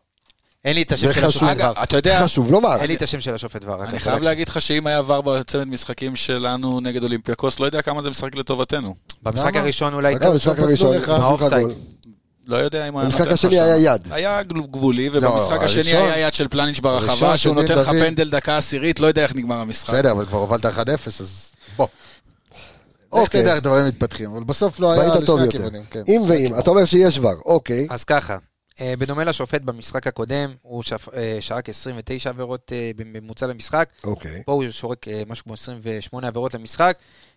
[SPEAKER 7] אין לי את השם
[SPEAKER 1] זה
[SPEAKER 7] של השופט
[SPEAKER 5] אגב,
[SPEAKER 7] כבר.
[SPEAKER 5] אתה יודע,
[SPEAKER 1] חשוב לומר.
[SPEAKER 7] אין לי את השם של השופט כבר. רק
[SPEAKER 5] אני
[SPEAKER 7] אני
[SPEAKER 5] חייב
[SPEAKER 7] צודק.
[SPEAKER 5] להגיד לך שאם היה עבר בצמד משחקים שלנו נגד אולימפיאקוס, לא יודע כמה זה משחק לטובתנו.
[SPEAKER 7] במשחק
[SPEAKER 6] למה?
[SPEAKER 7] הראשון אולי...
[SPEAKER 1] גם המשחק
[SPEAKER 6] פסלו
[SPEAKER 1] הראשון,
[SPEAKER 6] לך.
[SPEAKER 1] חשוב לך
[SPEAKER 7] באופסייד.
[SPEAKER 1] גול.
[SPEAKER 5] לא יודע אם היה
[SPEAKER 1] במשחק
[SPEAKER 5] נותן לך
[SPEAKER 1] השני
[SPEAKER 5] שם.
[SPEAKER 1] היה יד.
[SPEAKER 5] היה גל- גבולי, ובמשחק
[SPEAKER 6] לא,
[SPEAKER 5] השני
[SPEAKER 6] הראשון-
[SPEAKER 5] היה יד של פלניץ' ברחבה,
[SPEAKER 6] הראשון
[SPEAKER 5] שהוא
[SPEAKER 6] של
[SPEAKER 5] נותן
[SPEAKER 6] דין
[SPEAKER 5] לך
[SPEAKER 6] דוד.
[SPEAKER 5] פנדל דקה עשירית, לא יודע איך נגמר המשחק.
[SPEAKER 6] בסדר, אבל כבר הובלת 1-0, אז בוא. איך
[SPEAKER 1] אוקיי.
[SPEAKER 6] תדע איך דברים מתפתחים, אבל בסוף לא היה
[SPEAKER 1] והיית טוב
[SPEAKER 6] לשני
[SPEAKER 1] יותר.
[SPEAKER 6] הכיוונים. כן.
[SPEAKER 1] אם ואם, אתה אומר שיש ור, אוקיי.
[SPEAKER 7] אז ככה, אה, בדומה לשופט במשחק הקודם, הוא שפ- אה, שרק 29 עבירות אה, בממוצע למשחק,
[SPEAKER 1] אוקיי.
[SPEAKER 7] פה הוא שורק אה, משהו כמו 28 עבירות למשחק,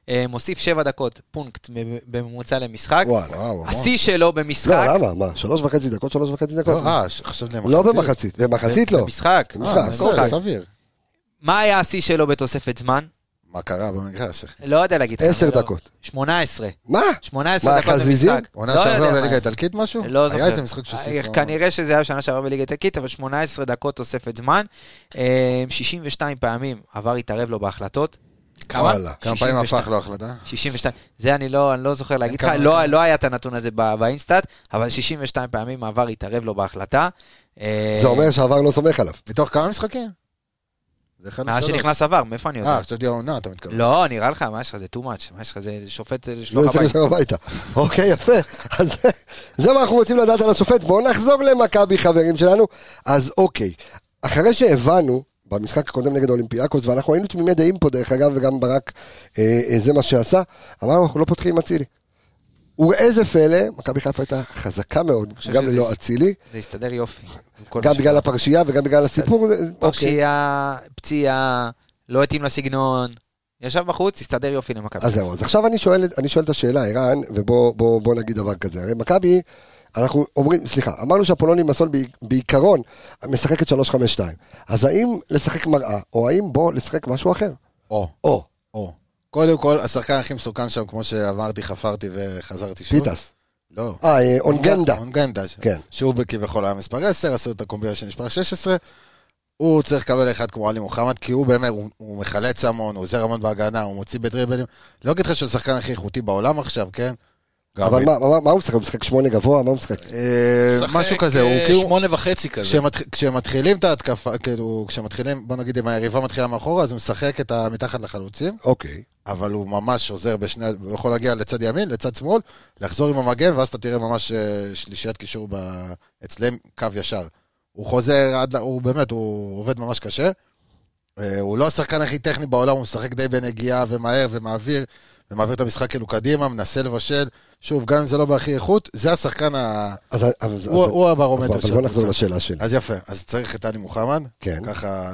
[SPEAKER 7] אה, מוסיף 7 דקות פונקט מ- בממוצע למשחק.
[SPEAKER 1] וואלה.
[SPEAKER 6] וואו, וואו.
[SPEAKER 7] השיא שלו
[SPEAKER 1] לא,
[SPEAKER 7] במשחק,
[SPEAKER 1] למה? מה? שלוש וחצי דקות, שלוש וחצי דקות?
[SPEAKER 6] לא, אה, ש- חשבתי
[SPEAKER 1] לא במחצית, במחצית לא.
[SPEAKER 7] במשחק,
[SPEAKER 1] במשחק,
[SPEAKER 6] אה,
[SPEAKER 7] במשחק.
[SPEAKER 6] בסדר, סביר.
[SPEAKER 7] מה היה השיא שלו בתוספת זמן?
[SPEAKER 6] מה קרה במגרש, אחי?
[SPEAKER 7] לא יודע להגיד לך.
[SPEAKER 1] עשר
[SPEAKER 7] אבל לא.
[SPEAKER 1] דקות.
[SPEAKER 7] 18.
[SPEAKER 1] מה?
[SPEAKER 7] 18
[SPEAKER 1] מה,
[SPEAKER 7] דקות
[SPEAKER 1] חזיזים?
[SPEAKER 7] במשחק.
[SPEAKER 6] עונה
[SPEAKER 7] לא
[SPEAKER 6] שעברה
[SPEAKER 7] יודע מה.
[SPEAKER 6] בליגה האיטלקית משהו?
[SPEAKER 1] אה,
[SPEAKER 7] לא זוכר.
[SPEAKER 6] היה איזה משחק שהוסיף. לו-
[SPEAKER 7] כנראה שזה היה בשנה שעברה בליגה איטלקית, אבל 18 דקות תוספת זמן. אה, 62 פעמים עבר התערב לו בהחלטות.
[SPEAKER 1] וואלה.
[SPEAKER 6] כמה פעמים
[SPEAKER 7] 62.
[SPEAKER 6] הפך לו החלטה?
[SPEAKER 7] 62, זה אני לא, אני לא זוכר להגיד לך,
[SPEAKER 6] כמה-
[SPEAKER 7] לא, לא היה את הנתון הזה בא- באינסטאט, אבל 62 פעמים מעבר התערב לו בהחלטה. אה,
[SPEAKER 1] זה אומר שעבר לא סומך עליו.
[SPEAKER 6] מתוך כמה משחקים? זה אחד
[SPEAKER 7] מאז
[SPEAKER 6] לשלוש.
[SPEAKER 7] אה, שנכנס עבר, מאיפה אני יודע?
[SPEAKER 6] אה, חשבתי העונה, אתה מתכוון.
[SPEAKER 7] לא, נראה לך, מה יש לך, זה too much, מה יש לך, זה שופט זה
[SPEAKER 1] לא
[SPEAKER 7] לשלוח
[SPEAKER 1] יוצא
[SPEAKER 7] הביתה.
[SPEAKER 1] לשם הביתה. אוקיי, יפה. אז זה- זה מה אנחנו רוצים לדעת על השופט. בואו נחזור למכבי, חברים שלנו. אז אוקיי, אחרי שהבנו במשחק הקודם נגד אולימפיאקוס, ואנחנו היינו תמימי דעים פה, דרך אגב, וגם ברק, אה, אה, זה מה שעשה, אמרנו, אנחנו לא פותחים עם אצילי. וראה זה פלא, מכבי חיפה הייתה חזקה מאוד,
[SPEAKER 7] חושב
[SPEAKER 1] גם
[SPEAKER 7] שזה-
[SPEAKER 1] ללא אצילי,
[SPEAKER 7] זה הסתדר יופי. עם כל מה
[SPEAKER 1] גם
[SPEAKER 7] ש-
[SPEAKER 1] בגלל הפרשייה וגם בגלל הסיפור. זה- אוקיי.
[SPEAKER 7] פרשייה, פציעה, לא התאים לסגנון, ישב בחוץ, הסתדר יופי למכבי.
[SPEAKER 1] אז זהו, אז עכשיו אני שואל, אני שואל את השאלה, ערן, ובוא בוא, בוא נגיד דבר כזה. הרי מכבי, אנחנו אומרים, סליחה, אמרנו שהפולוני מסול בעיק- בעיקרון משחקת 3-5-2. אז האם לשחק מראה, או האם בוא לשחק משהו אחר?
[SPEAKER 6] או,
[SPEAKER 1] או,
[SPEAKER 6] או. קודם כל, השחקן הכי מסוכן שם, כמו שאמרתי, חפרתי וחזרתי שוב.
[SPEAKER 1] פיטס.
[SPEAKER 6] לא.
[SPEAKER 1] אה, אה, אונגנדה.
[SPEAKER 6] אונגנדה.
[SPEAKER 1] כן.
[SPEAKER 6] שהוא כביכול היה מספר 10, עשו את הקומבינה של משפר 16. הוא צריך לקבל אחד כמו עלי מוחמד, כי הוא באמת, הוא, הוא מחלץ המון, הוא עוזר המון בהגנה, הוא מוציא בדריבלים. לא אגיד לך שהוא השחקן הכי איכותי בעולם עכשיו, כן? גם
[SPEAKER 1] אבל
[SPEAKER 6] ב-
[SPEAKER 1] מה, מה, מה הוא משחק? הוא משחק שמונה גבוה? מה הוא משחק?
[SPEAKER 6] אה, משהו כזה, הוא
[SPEAKER 5] שחק, אה,
[SPEAKER 6] כאילו...
[SPEAKER 5] שמונה וחצי כזה.
[SPEAKER 6] כשמתח- כשמתחילים את ההתקפה, כאילו, כשמתחילים, בוא נגיד, אם היריבה מתחילה מאחורה, אז הוא משחק את ה... מתחת לחלוצים,
[SPEAKER 1] אוקיי.
[SPEAKER 6] אבל הוא ממש עוזר בשני... הוא יכול להגיע לצד ימין, לצד שמאל, לחזור עם המגן, ואז אתה תראה ממש אה, שלישיית קישור ב... אצלם קו ישר. הוא חוזר עד... ל- הוא באמת, הוא עובד ממש קשה. אה, הוא לא השחקן הכי טכני בעולם, הוא משחק די בנגיעה ומהר ומעביר, ומעביר את המשחק כאילו קדימה, מנסה לבשל. שוב, גם אם זה לא בהכי איכות, זה השחקן ה...
[SPEAKER 1] אז, אז, אז,
[SPEAKER 6] הוא-
[SPEAKER 1] אז-
[SPEAKER 6] הוא הברומטר
[SPEAKER 1] אבל- אבל
[SPEAKER 6] של
[SPEAKER 1] בוא נחזור
[SPEAKER 6] הקבוצה.
[SPEAKER 1] לשאלה שלי.
[SPEAKER 6] אז יפה, אז צריך את טלי מוחמד,
[SPEAKER 1] כן.
[SPEAKER 6] ככה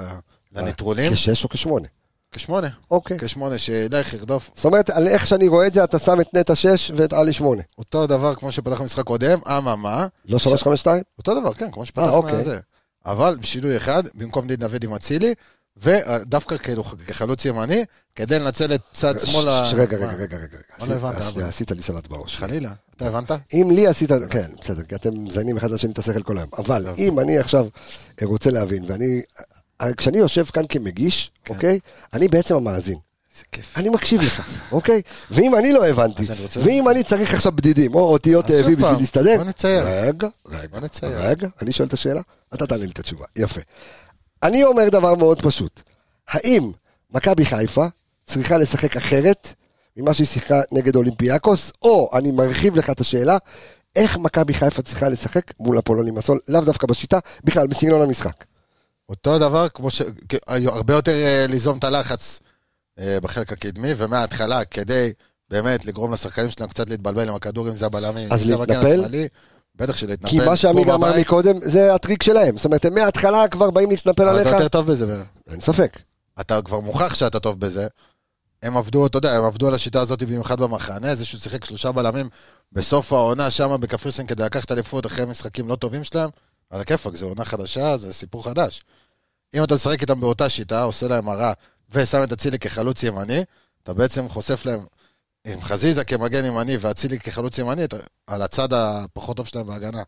[SPEAKER 6] כן. לנטרולים,
[SPEAKER 1] כשש או כשמונה?
[SPEAKER 6] כשמונה,
[SPEAKER 1] אוקיי.
[SPEAKER 6] כשמונה, שילך ירדוף.
[SPEAKER 1] זאת אומרת, על איך שאני רואה את זה, אתה שם את נטע שש ואת עלי שמונה.
[SPEAKER 6] אותו דבר כמו שפתחנו משחק קודם, אממה,
[SPEAKER 1] לא שלוש, חמש, שתיים?
[SPEAKER 6] אותו דבר, כן, כמו
[SPEAKER 1] אה,
[SPEAKER 6] שפתחנו
[SPEAKER 1] אוקיי.
[SPEAKER 6] את זה. אבל בשינוי אחד, במקום דין דוד עם אצילי, ודווקא כאילו כחלוץ ימני, כדי לנצל את צד אה, שמאל ה...
[SPEAKER 1] אה, ש- רגע, רגע,
[SPEAKER 6] מה?
[SPEAKER 1] רגע, רגע.
[SPEAKER 6] לא הבנת,
[SPEAKER 1] עשית-
[SPEAKER 6] אבל.
[SPEAKER 1] עשית לי סלט בראש.
[SPEAKER 6] חלילה, אתה הבנת?
[SPEAKER 1] אם לי עשית, כן, בסדר, כי אתם מזיינים אחד לשני את השכל כל היום. אבל אם אני עכשיו אה, רוצה להבין, ואני, אה, כשאני יושב כאן כמגיש,
[SPEAKER 6] כן.
[SPEAKER 1] אוקיי? אני בעצם המאזין.
[SPEAKER 6] איזה כיף.
[SPEAKER 1] אני מקשיב לך, אוקיי? ואם אני לא הבנתי,
[SPEAKER 6] אז אני רוצה-
[SPEAKER 1] ואם אני צריך עכשיו בדידים, או אותיות
[SPEAKER 6] אז שוב
[SPEAKER 1] האבי בשביל
[SPEAKER 6] פעם,
[SPEAKER 1] להסתדר,
[SPEAKER 6] בוא נצייר.
[SPEAKER 1] רגע, רגע,
[SPEAKER 6] בוא נצייר.
[SPEAKER 1] רגע, אני שואל את השאלה, אתה תענה לי את התשובה, יפה. אני אומר דבר מאוד פשוט, האם מכבי חיפה צריכה לשחק אחרת ממה שהיא שיחקה נגד אולימפיאקוס, או, אני מרחיב לך את השאלה, איך מכבי חיפה צריכה לשחק מול הפולונים הסול, לאו דווקא בשיטה, בכלל בסגנון המשחק.
[SPEAKER 6] אותו דבר, כמו ש... כ- הרבה יותר אה, ליזום את הלחץ אה, בחלק הקדמי, ומההתחלה, כדי באמת לגרום לשחקנים שלהם קצת להתבלבל עם הכדור, אם זה הבלמים, אם
[SPEAKER 1] אז
[SPEAKER 6] זה המגן
[SPEAKER 1] להתנפל?
[SPEAKER 6] השמאלי, בטח שלהתנפל.
[SPEAKER 1] כי מה שעמיגה
[SPEAKER 6] פה
[SPEAKER 1] אמר
[SPEAKER 6] בבית,
[SPEAKER 1] מקודם, זה הטריק שלהם. זאת אומרת, הם מההתחלה כבר באים להתנפל
[SPEAKER 6] אבל אתה
[SPEAKER 1] עליך,
[SPEAKER 6] יותר טוב בזה, באמת.
[SPEAKER 1] אין ספק.
[SPEAKER 6] אתה כבר מוכח שאתה טוב בזה. הם עבדו, אתה יודע, הם עבדו על השיטה הזאת במיוחד במחנה, זה שהוא שיחק שלושה בלמים בסוף העונה שם בקפריסין כדי לקחת אליפות אחרי משחקים לא טובים שלהם, על הכיפאק, זו עונה חדשה, זה סיפור חדש. אם אתה משחק איתם באותה שיטה, עושה להם הרע, ושם את אצילי כחלוץ ימני, אתה בעצם חושף להם, עם חזיזה כמגן ימני ואצילי כחלוץ ימני, אתה, על הצד הפחות טוב שלהם בהגנה.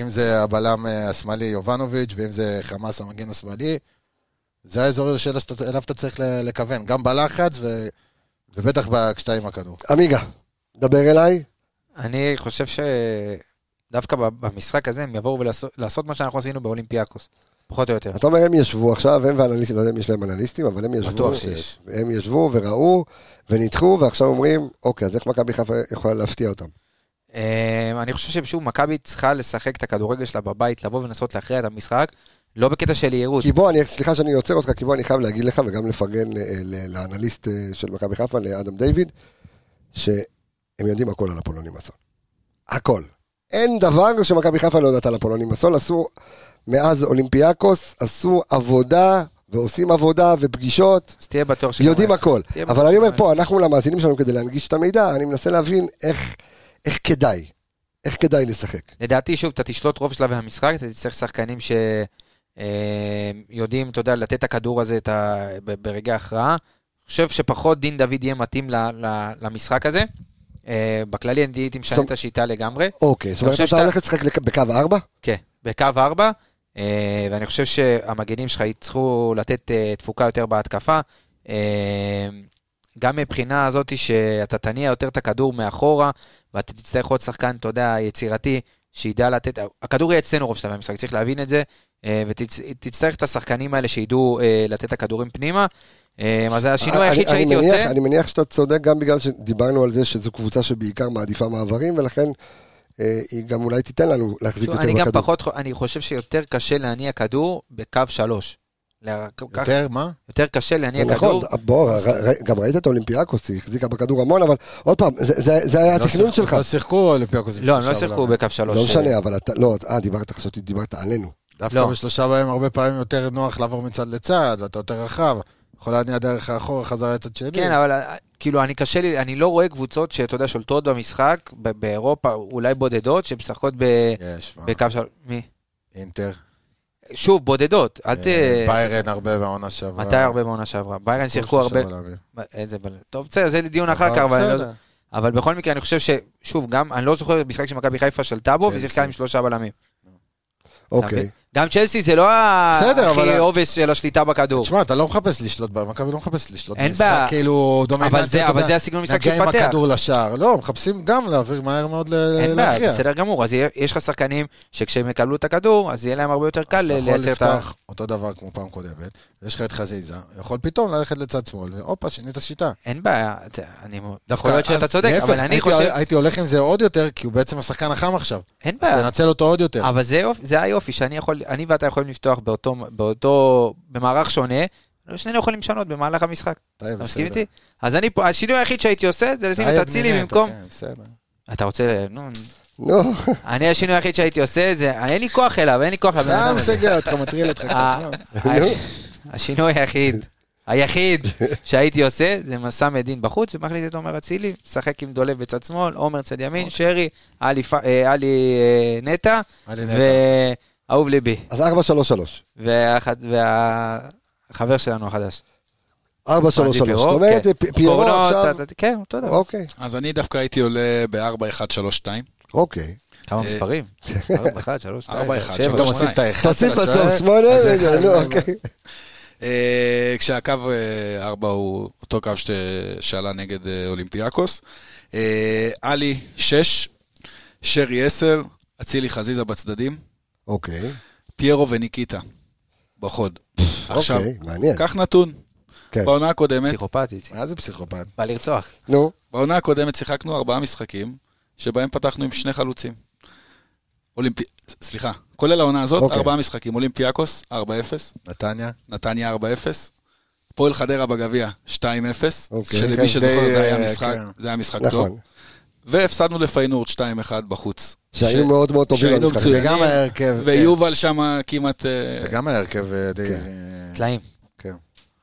[SPEAKER 6] אם זה הבלם אה, השמאלי יובנוביץ', ואם זה חמאס המגן השמאלי, זה האזור של- שאליו אתה צריך ל- לכוון, גם בלחץ ו... ובטח ב- כשאתה עם הכדור.
[SPEAKER 1] עמיגה, דבר אליי.
[SPEAKER 7] אני חושב שדווקא ב- במשחק הזה הם יבואו ולעשות לעשות מה שאנחנו עשינו באולימפיאקוס, פחות או יותר.
[SPEAKER 1] אתה אומר, הם ישבו עכשיו, הם ואנליסטים, לא יודע אם יש להם אנליסטים, אבל הם ישבו.
[SPEAKER 7] בטוח שיש.
[SPEAKER 1] הם ישבו וראו וניתחו, ועכשיו אומרים, אוקיי, אז איך מכבי חיפה יכולה להפתיע אותם?
[SPEAKER 7] אמ, אני חושב ששוב, מכבי צריכה לשחק את הכדורגל שלה בבית, לבוא ולנסות להכריע את המשחק, לא בקטע של יהירות.
[SPEAKER 1] כי בוא, אני, סליחה שאני עוצר אותך, כי בוא, אני חייב להגיד לך, וגם לפרגן אה, ל- לאנליסט אה, של מכבי חיפה, לאדם דיוויד, שהם יודעים הכל על הפולונים הסול. הכל. אין דבר שמכבי חיפה לא יודעת על הפולונים הסול. עשו, מאז אולימפיאקוס, עשו עבודה, ועושים עבודה, ופגישות,
[SPEAKER 7] אז תהיה בטוח שגם-
[SPEAKER 1] יודעים הכל.
[SPEAKER 7] תהיה
[SPEAKER 1] אבל
[SPEAKER 7] בטוח
[SPEAKER 1] אני אומר
[SPEAKER 7] שגם-
[SPEAKER 1] פה, אנחנו למאזינים שלנו, כדי להנגיש את המידע, אני מנסה להבין איך, איך כדאי, איך כדאי לשחק.
[SPEAKER 7] לדעתי, שוב, אתה תשלוט רוב שלבי המשחק, אתה תצטרך שחקנים אמ, שיודעים, אתה יודע, לתת את הכדור הזה את ה... ב- ברגע ההכרעה. חושב שפחות דין דוד יהיה מתאים ל- ל- למשחק הזה. אה, בכללי אני הייתי משנה
[SPEAKER 1] זאת-
[SPEAKER 7] את השיטה לגמרי.
[SPEAKER 1] אוקיי, זאת אומרת,
[SPEAKER 7] חושב
[SPEAKER 1] אתה
[SPEAKER 7] שאתה-
[SPEAKER 1] הולך לשחק לק- בקו 4?
[SPEAKER 7] כן, בקו 4, ואני חושב שהמגנים שלך יצטרכו לתת אה, תפוקה יותר בהתקפה. אה, גם מבחינה הזאת שאתה תניע יותר את הכדור מאחורה, ואתה תצטרך עוד שחקן, אתה יודע, יצירתי, שידע לתת... הכדור יהיה אצלנו רוב שלב המשחק, צריך להבין את זה, אה, ותצטרך את השחקנים האלה שידעו אה, לתת את הכדורים פנימה. אה, אז זה השינוי
[SPEAKER 1] אני-
[SPEAKER 7] היחיד
[SPEAKER 1] אני
[SPEAKER 7] שהייתי
[SPEAKER 1] מניח-
[SPEAKER 7] עושה.
[SPEAKER 1] אני מניח שאתה צודק גם בגלל שדיברנו על זה שזו קבוצה שבעיקר מעדיפה מעברים, ולכן אה, היא גם אולי תיתן לנו להחזיק
[SPEAKER 7] שוב,
[SPEAKER 1] יותר
[SPEAKER 7] אני גם
[SPEAKER 1] בכדור.
[SPEAKER 7] פחות, חו- אני חושב שיותר קשה להניע כדור בקו שלוש. לה- כך-
[SPEAKER 6] יותר, מה?
[SPEAKER 7] יותר קשה להניע
[SPEAKER 1] זה נכון,
[SPEAKER 7] כדור.
[SPEAKER 1] בוא, ר- ר- גם ראית את אולימפיאקוס, היא החזיקה בכדור המון, אבל עוד פעם, זה- זה זה היה
[SPEAKER 6] לא
[SPEAKER 1] התכנון
[SPEAKER 6] שיחקו-
[SPEAKER 1] שלך.
[SPEAKER 6] לא שיחקו אולימפיאקוס.
[SPEAKER 7] לא, הם לא שיחקו בקו שלוש.
[SPEAKER 1] לא משנה, אבל אתה, לא, אה, דיברת, חשבתי, דיברת עלינו.
[SPEAKER 6] דווקא
[SPEAKER 7] לא.
[SPEAKER 6] בשלושה בהם הרבה פעמים יותר נוח לעבור מצד לצד, ואתה יותר רחב. יכול להניע דרך האחורה, חזרה לצד שני.
[SPEAKER 7] כן, אבל אה, כאילו, אני קשה לי, אני לא רואה קבוצות שאתה יודע, שולטות במשחק, ב- באירופה, אולי בודדות, שמשחקות ב-
[SPEAKER 6] יש, מה?
[SPEAKER 7] בקו שלוש. מי?
[SPEAKER 6] אינטר.
[SPEAKER 7] שוב, בודדות, אל ת...
[SPEAKER 6] אה, ביירן הרבה בעונה שעברה.
[SPEAKER 7] מתי הרבה בעונה שעברה? ביירן שיחקו
[SPEAKER 6] שלושה
[SPEAKER 7] הרבה...
[SPEAKER 6] בלמים.
[SPEAKER 7] איזה בל... טוב, בסדר, זה לדיון אחר כך, אבל אני לא...
[SPEAKER 6] בסדר.
[SPEAKER 7] אבל בכל מקרה, אני חושב ש... שוב, גם, אני לא זוכר משחק שמכבי חיפה שלטה בו,
[SPEAKER 6] צ'לסי.
[SPEAKER 7] ושיחקה עם שלושה בלמים. אתה
[SPEAKER 1] אוקיי.
[SPEAKER 7] מבין? גם צ'לסי זה לא ה-
[SPEAKER 6] בסדר,
[SPEAKER 7] הכי
[SPEAKER 6] אבל-
[SPEAKER 7] עובש של השליטה בכדור.
[SPEAKER 6] תשמע, אתה לא מחפש לשלוט, ב- מכבי לא מחפש לשלוט.
[SPEAKER 7] אין
[SPEAKER 6] משחק
[SPEAKER 7] בעיה.
[SPEAKER 6] כאילו דומיננטי,
[SPEAKER 7] אבל זה-
[SPEAKER 6] אתה
[SPEAKER 7] אבל
[SPEAKER 6] יודע,
[SPEAKER 7] זה הסגנון משחק
[SPEAKER 6] נגע עם
[SPEAKER 7] שהתפתח.
[SPEAKER 6] הכדור לשער. לא, מחפשים גם להעביר מהר מאוד ל-
[SPEAKER 7] אין בעיה,
[SPEAKER 6] להכריע.
[SPEAKER 7] בסדר גמור. אז יהיה- יש לך שחקנים שכשהם יקבלו את הכדור, אז יהיה להם הרבה יותר קל
[SPEAKER 6] אז אתה יכול
[SPEAKER 7] לייצר את ה...
[SPEAKER 6] לפתוח אותו דבר כמו פעם קודמת, יש לך את חזיזה, יכול פתאום ללכת לצד שמאל, והופה, שינית שיטה.
[SPEAKER 7] אין בעיה, זה- אני...
[SPEAKER 6] דווקא
[SPEAKER 7] יכול להיות שאתה
[SPEAKER 6] אז-
[SPEAKER 7] צודק,
[SPEAKER 6] להפך,
[SPEAKER 7] אבל אני
[SPEAKER 6] הייתי-
[SPEAKER 7] חושב...
[SPEAKER 6] הייתי הולך עם זה עוד יותר, כי הוא בעצם השחקן החם עכשיו.
[SPEAKER 7] אין
[SPEAKER 6] אז
[SPEAKER 7] בעיה.
[SPEAKER 6] תנצל אותו עוד יותר.
[SPEAKER 7] אבל זה יופי- זה היופי, שאני יכול... אני ואתה יכולים לפתוח באותו... באותו... במערך שונה, ושנינו יכולים לשנות במהלך המשחק.
[SPEAKER 6] טוב,
[SPEAKER 7] אתה
[SPEAKER 6] בסדר.
[SPEAKER 7] מסכים איתי? אז אני פה... השינוי היחיד שהייתי עושה זה לשים את
[SPEAKER 6] טייב
[SPEAKER 7] אצילי
[SPEAKER 6] מינט,
[SPEAKER 7] במקום...
[SPEAKER 6] אחי, כן,
[SPEAKER 7] [LAUGHS]
[SPEAKER 6] בסדר.
[SPEAKER 7] אתה רוצה... נו...
[SPEAKER 1] נו,
[SPEAKER 7] אני השינוי היחיד שהייתי עושה זה... אין לי כוח אליו, אין לי כוח לבן
[SPEAKER 6] סתם
[SPEAKER 7] אדם הזה.
[SPEAKER 6] אה, משגע אותך, מטריל אותך
[SPEAKER 7] אה,
[SPEAKER 6] קצת.
[SPEAKER 7] השינוי היחיד, היחיד שהייתי עושה, זה שם את דין בחוץ ומחליט את עומר אצילי, משחק עם דולב בצד שמאל, עומר צד ימין,
[SPEAKER 1] אוקיי.
[SPEAKER 7] שרי, עלי פ- אה, עלי, אה, נטע,
[SPEAKER 6] עלי נטע.
[SPEAKER 7] ואהוב ליבי,
[SPEAKER 1] אז 4-3-3.
[SPEAKER 7] והח- והחבר שלנו החדש.
[SPEAKER 1] 4-3-3. זאת
[SPEAKER 5] אוקיי.
[SPEAKER 7] פיירו,
[SPEAKER 1] אומרת,
[SPEAKER 7] כן.
[SPEAKER 1] פ- פיירו
[SPEAKER 5] לא,
[SPEAKER 7] קורנו,
[SPEAKER 1] עכשיו...
[SPEAKER 7] ת- ת- כן, אותו דבר.
[SPEAKER 1] אוקיי,
[SPEAKER 5] אז אני דווקא הייתי עולה ב-4-1-3-2.
[SPEAKER 1] אוקיי.
[SPEAKER 7] כמה
[SPEAKER 5] אה,
[SPEAKER 7] מספרים? 4, 1, 3, 2,
[SPEAKER 5] ארבע, אחד,
[SPEAKER 7] 7,
[SPEAKER 5] שבע.
[SPEAKER 6] גם מוסיף את האחד.
[SPEAKER 1] תוסיף
[SPEAKER 6] של
[SPEAKER 1] בסוף
[SPEAKER 6] השוער,
[SPEAKER 1] שמונה,
[SPEAKER 6] אז זה
[SPEAKER 1] רגע,
[SPEAKER 6] אחד.
[SPEAKER 1] נו, אוקיי.
[SPEAKER 5] אה, כשהקו 4 הוא אותו קו ש- שעלה נגד אה, אולימפיאקוס. אה, עלי 6, שרי 10, אצילי חזיזה בצדדים,
[SPEAKER 1] אוקיי,
[SPEAKER 5] פיירו וניקיטה בחוד. עכשיו,
[SPEAKER 1] אוקיי, מעניין.
[SPEAKER 5] קח נתון.
[SPEAKER 1] כן.
[SPEAKER 5] בעונה הקודמת,
[SPEAKER 7] פסיכופטית,
[SPEAKER 6] מה זה פסיכופת?
[SPEAKER 7] בא לרצוח.
[SPEAKER 1] נו,
[SPEAKER 5] בעונה הקודמת שיחקנו ארבעה משחקים, שבהם פתחנו עם שני חלוצים. אולימפי... סליחה, כולל העונה הזאת,
[SPEAKER 1] אוקיי.
[SPEAKER 5] ארבעה משחקים. אולימפיאקוס, 4-0,
[SPEAKER 6] נתניה?
[SPEAKER 5] נתניה 4-0, פועל חדרה בגביע, 2-0,
[SPEAKER 1] אוקיי.
[SPEAKER 5] שלמי
[SPEAKER 1] כן,
[SPEAKER 5] שזוכר
[SPEAKER 6] די,
[SPEAKER 5] זה היה
[SPEAKER 6] אה,
[SPEAKER 5] משחק,
[SPEAKER 6] כן.
[SPEAKER 5] זה היה משחק טוב.
[SPEAKER 1] נכון.
[SPEAKER 5] והפסדנו לפיינורד 2-1 בחוץ.
[SPEAKER 1] שהיו מאוד מאוד טובים
[SPEAKER 5] שהיינו
[SPEAKER 1] במשחק.
[SPEAKER 5] מצוינים,
[SPEAKER 6] זה גם ההרכב.
[SPEAKER 5] ויובל שם כמעט... אה,
[SPEAKER 1] כן.
[SPEAKER 6] זה גם ההרכב אה, די... אה,
[SPEAKER 7] טלאים.
[SPEAKER 6] כן.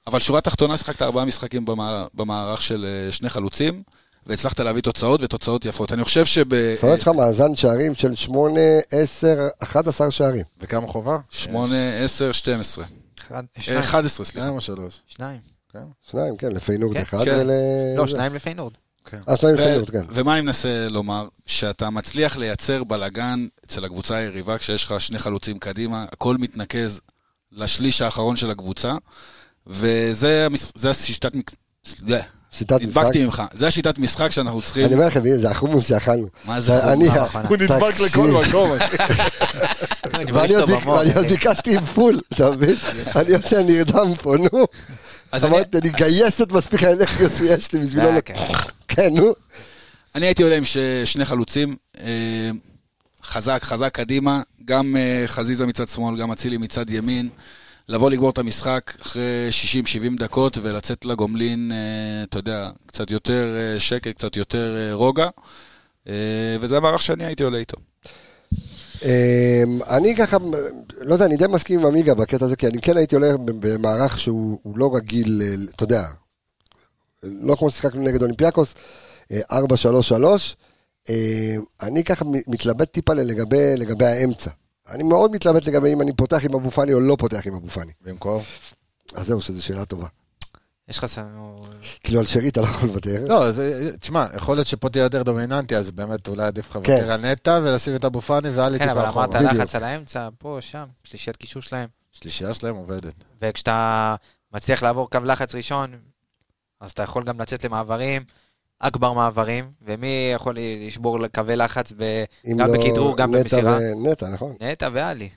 [SPEAKER 5] אבל שורה תחתונה, שיחקת ארבעה משחקים במע- במערך של אה, שני חלוצים, והצלחת להביא תוצאות ותוצאות יפות. אני חושב שב...
[SPEAKER 1] זאת אומרת, יש לך מאזן שערים של 8, 10, 11 שערים.
[SPEAKER 6] וכמה חובה?
[SPEAKER 5] 8, 10, 12.
[SPEAKER 7] אחד,
[SPEAKER 5] אה,
[SPEAKER 7] שניים,
[SPEAKER 5] 11, סליחה.
[SPEAKER 6] שניים או שלוש?
[SPEAKER 7] שניים.
[SPEAKER 1] שניים, כן, לפיינורד
[SPEAKER 7] כן,
[SPEAKER 1] אחד
[SPEAKER 5] כן.
[SPEAKER 1] ול...
[SPEAKER 7] לא, שניים לפעינורד.
[SPEAKER 1] אה, שניים
[SPEAKER 5] ו-
[SPEAKER 1] לפיינורד, כן.
[SPEAKER 5] ומה אני מנסה לומר? שאתה מצליח לייצר בלגן אצל הקבוצה היריבה כשיש לך שני חלוצים קדימה, הכל מתנקז לשליש האחרון של הקבוצה, וזה המש- זה השיטת... מק- זה,
[SPEAKER 1] שיטת משחק.
[SPEAKER 5] נדבקתי ממך, זה השיטת משחק שאנחנו צריכים.
[SPEAKER 1] אני אומר לכם, הנה, זה החומוס שאכלנו.
[SPEAKER 5] מה זה נכון, חומוס?
[SPEAKER 1] אני-
[SPEAKER 5] מה,
[SPEAKER 6] הוא נדבק
[SPEAKER 1] תקשיב.
[SPEAKER 6] לכל [LAUGHS] מקום.
[SPEAKER 1] ואני עוד ביק- ואני עוד ביקשתי עם פול, אתה מבין? אני עוד שאני נרדם פה, נו.
[SPEAKER 5] אז אני-
[SPEAKER 1] אמרתי, אני גייסת מספיק האלקטריות שיש לי בשבילו.
[SPEAKER 7] אה,
[SPEAKER 1] לק-
[SPEAKER 7] כן.
[SPEAKER 1] כן, נו.
[SPEAKER 5] אני הייתי עולה עם ש- שני חלוצים, אה, חזק, חזק קדימה, גם אה, חזיזה מצד שמאל, גם אצילי מצד ימין. לבוא לגמור את המשחק אחרי 60-70 דקות ולצאת לגומלין, אה, אתה יודע, קצת יותר אה, שקט, קצת יותר אה, רוגע. אה, וזה המערך שאני הייתי עולה איתו.
[SPEAKER 1] אמ, אני ככה, לא יודע, אני די מסכים עם עמיגה בקטע הזה, כי אני כן הייתי הולך במערך שהוא הוא לא רגיל, אה, אתה יודע, לא כמו ששיחקנו נגד אולימפיאקוס, אה, 4-3-3. אמ, אני ככה מ- מתלבט טיפה ל- לגבי, לגבי האמצע. אני מאוד מתלבט לגבי אם אני פותח עם אבו פאני או לא פותח עם אבו פאני.
[SPEAKER 6] במקום?
[SPEAKER 1] אז זהו, שזו שאלה טובה.
[SPEAKER 7] יש לך... ס- נו,
[SPEAKER 1] כאילו על שרי אתה לא יכול לוותר.
[SPEAKER 6] לא, זה- תשמע, יכול להיות שפה תהיה יותר דומיננטי, אז באמת אולי עדיף לך
[SPEAKER 1] כן.
[SPEAKER 6] לוותר על נטע ולשים את אבו פאני ואלי
[SPEAKER 7] כן,
[SPEAKER 6] טיפה
[SPEAKER 7] אבל אמרת
[SPEAKER 6] אחורה.
[SPEAKER 1] בדיוק.
[SPEAKER 7] לחץ על האמצע, פה, שם, שלישיית קישור שלהם.
[SPEAKER 6] שלישייה שלהם עובדת.
[SPEAKER 7] וכשאתה מצליח לעבור קו לחץ ראשון, אז אתה יכול גם לצאת למעברים, אכבר מעברים, ומי יכול לשבור קווי לחץ ב...
[SPEAKER 1] אם
[SPEAKER 7] גם
[SPEAKER 1] לא,
[SPEAKER 7] בכדרור, גם
[SPEAKER 1] נטע
[SPEAKER 7] במסירה.
[SPEAKER 1] ו- נטע, נכון.
[SPEAKER 7] נטע ואלי.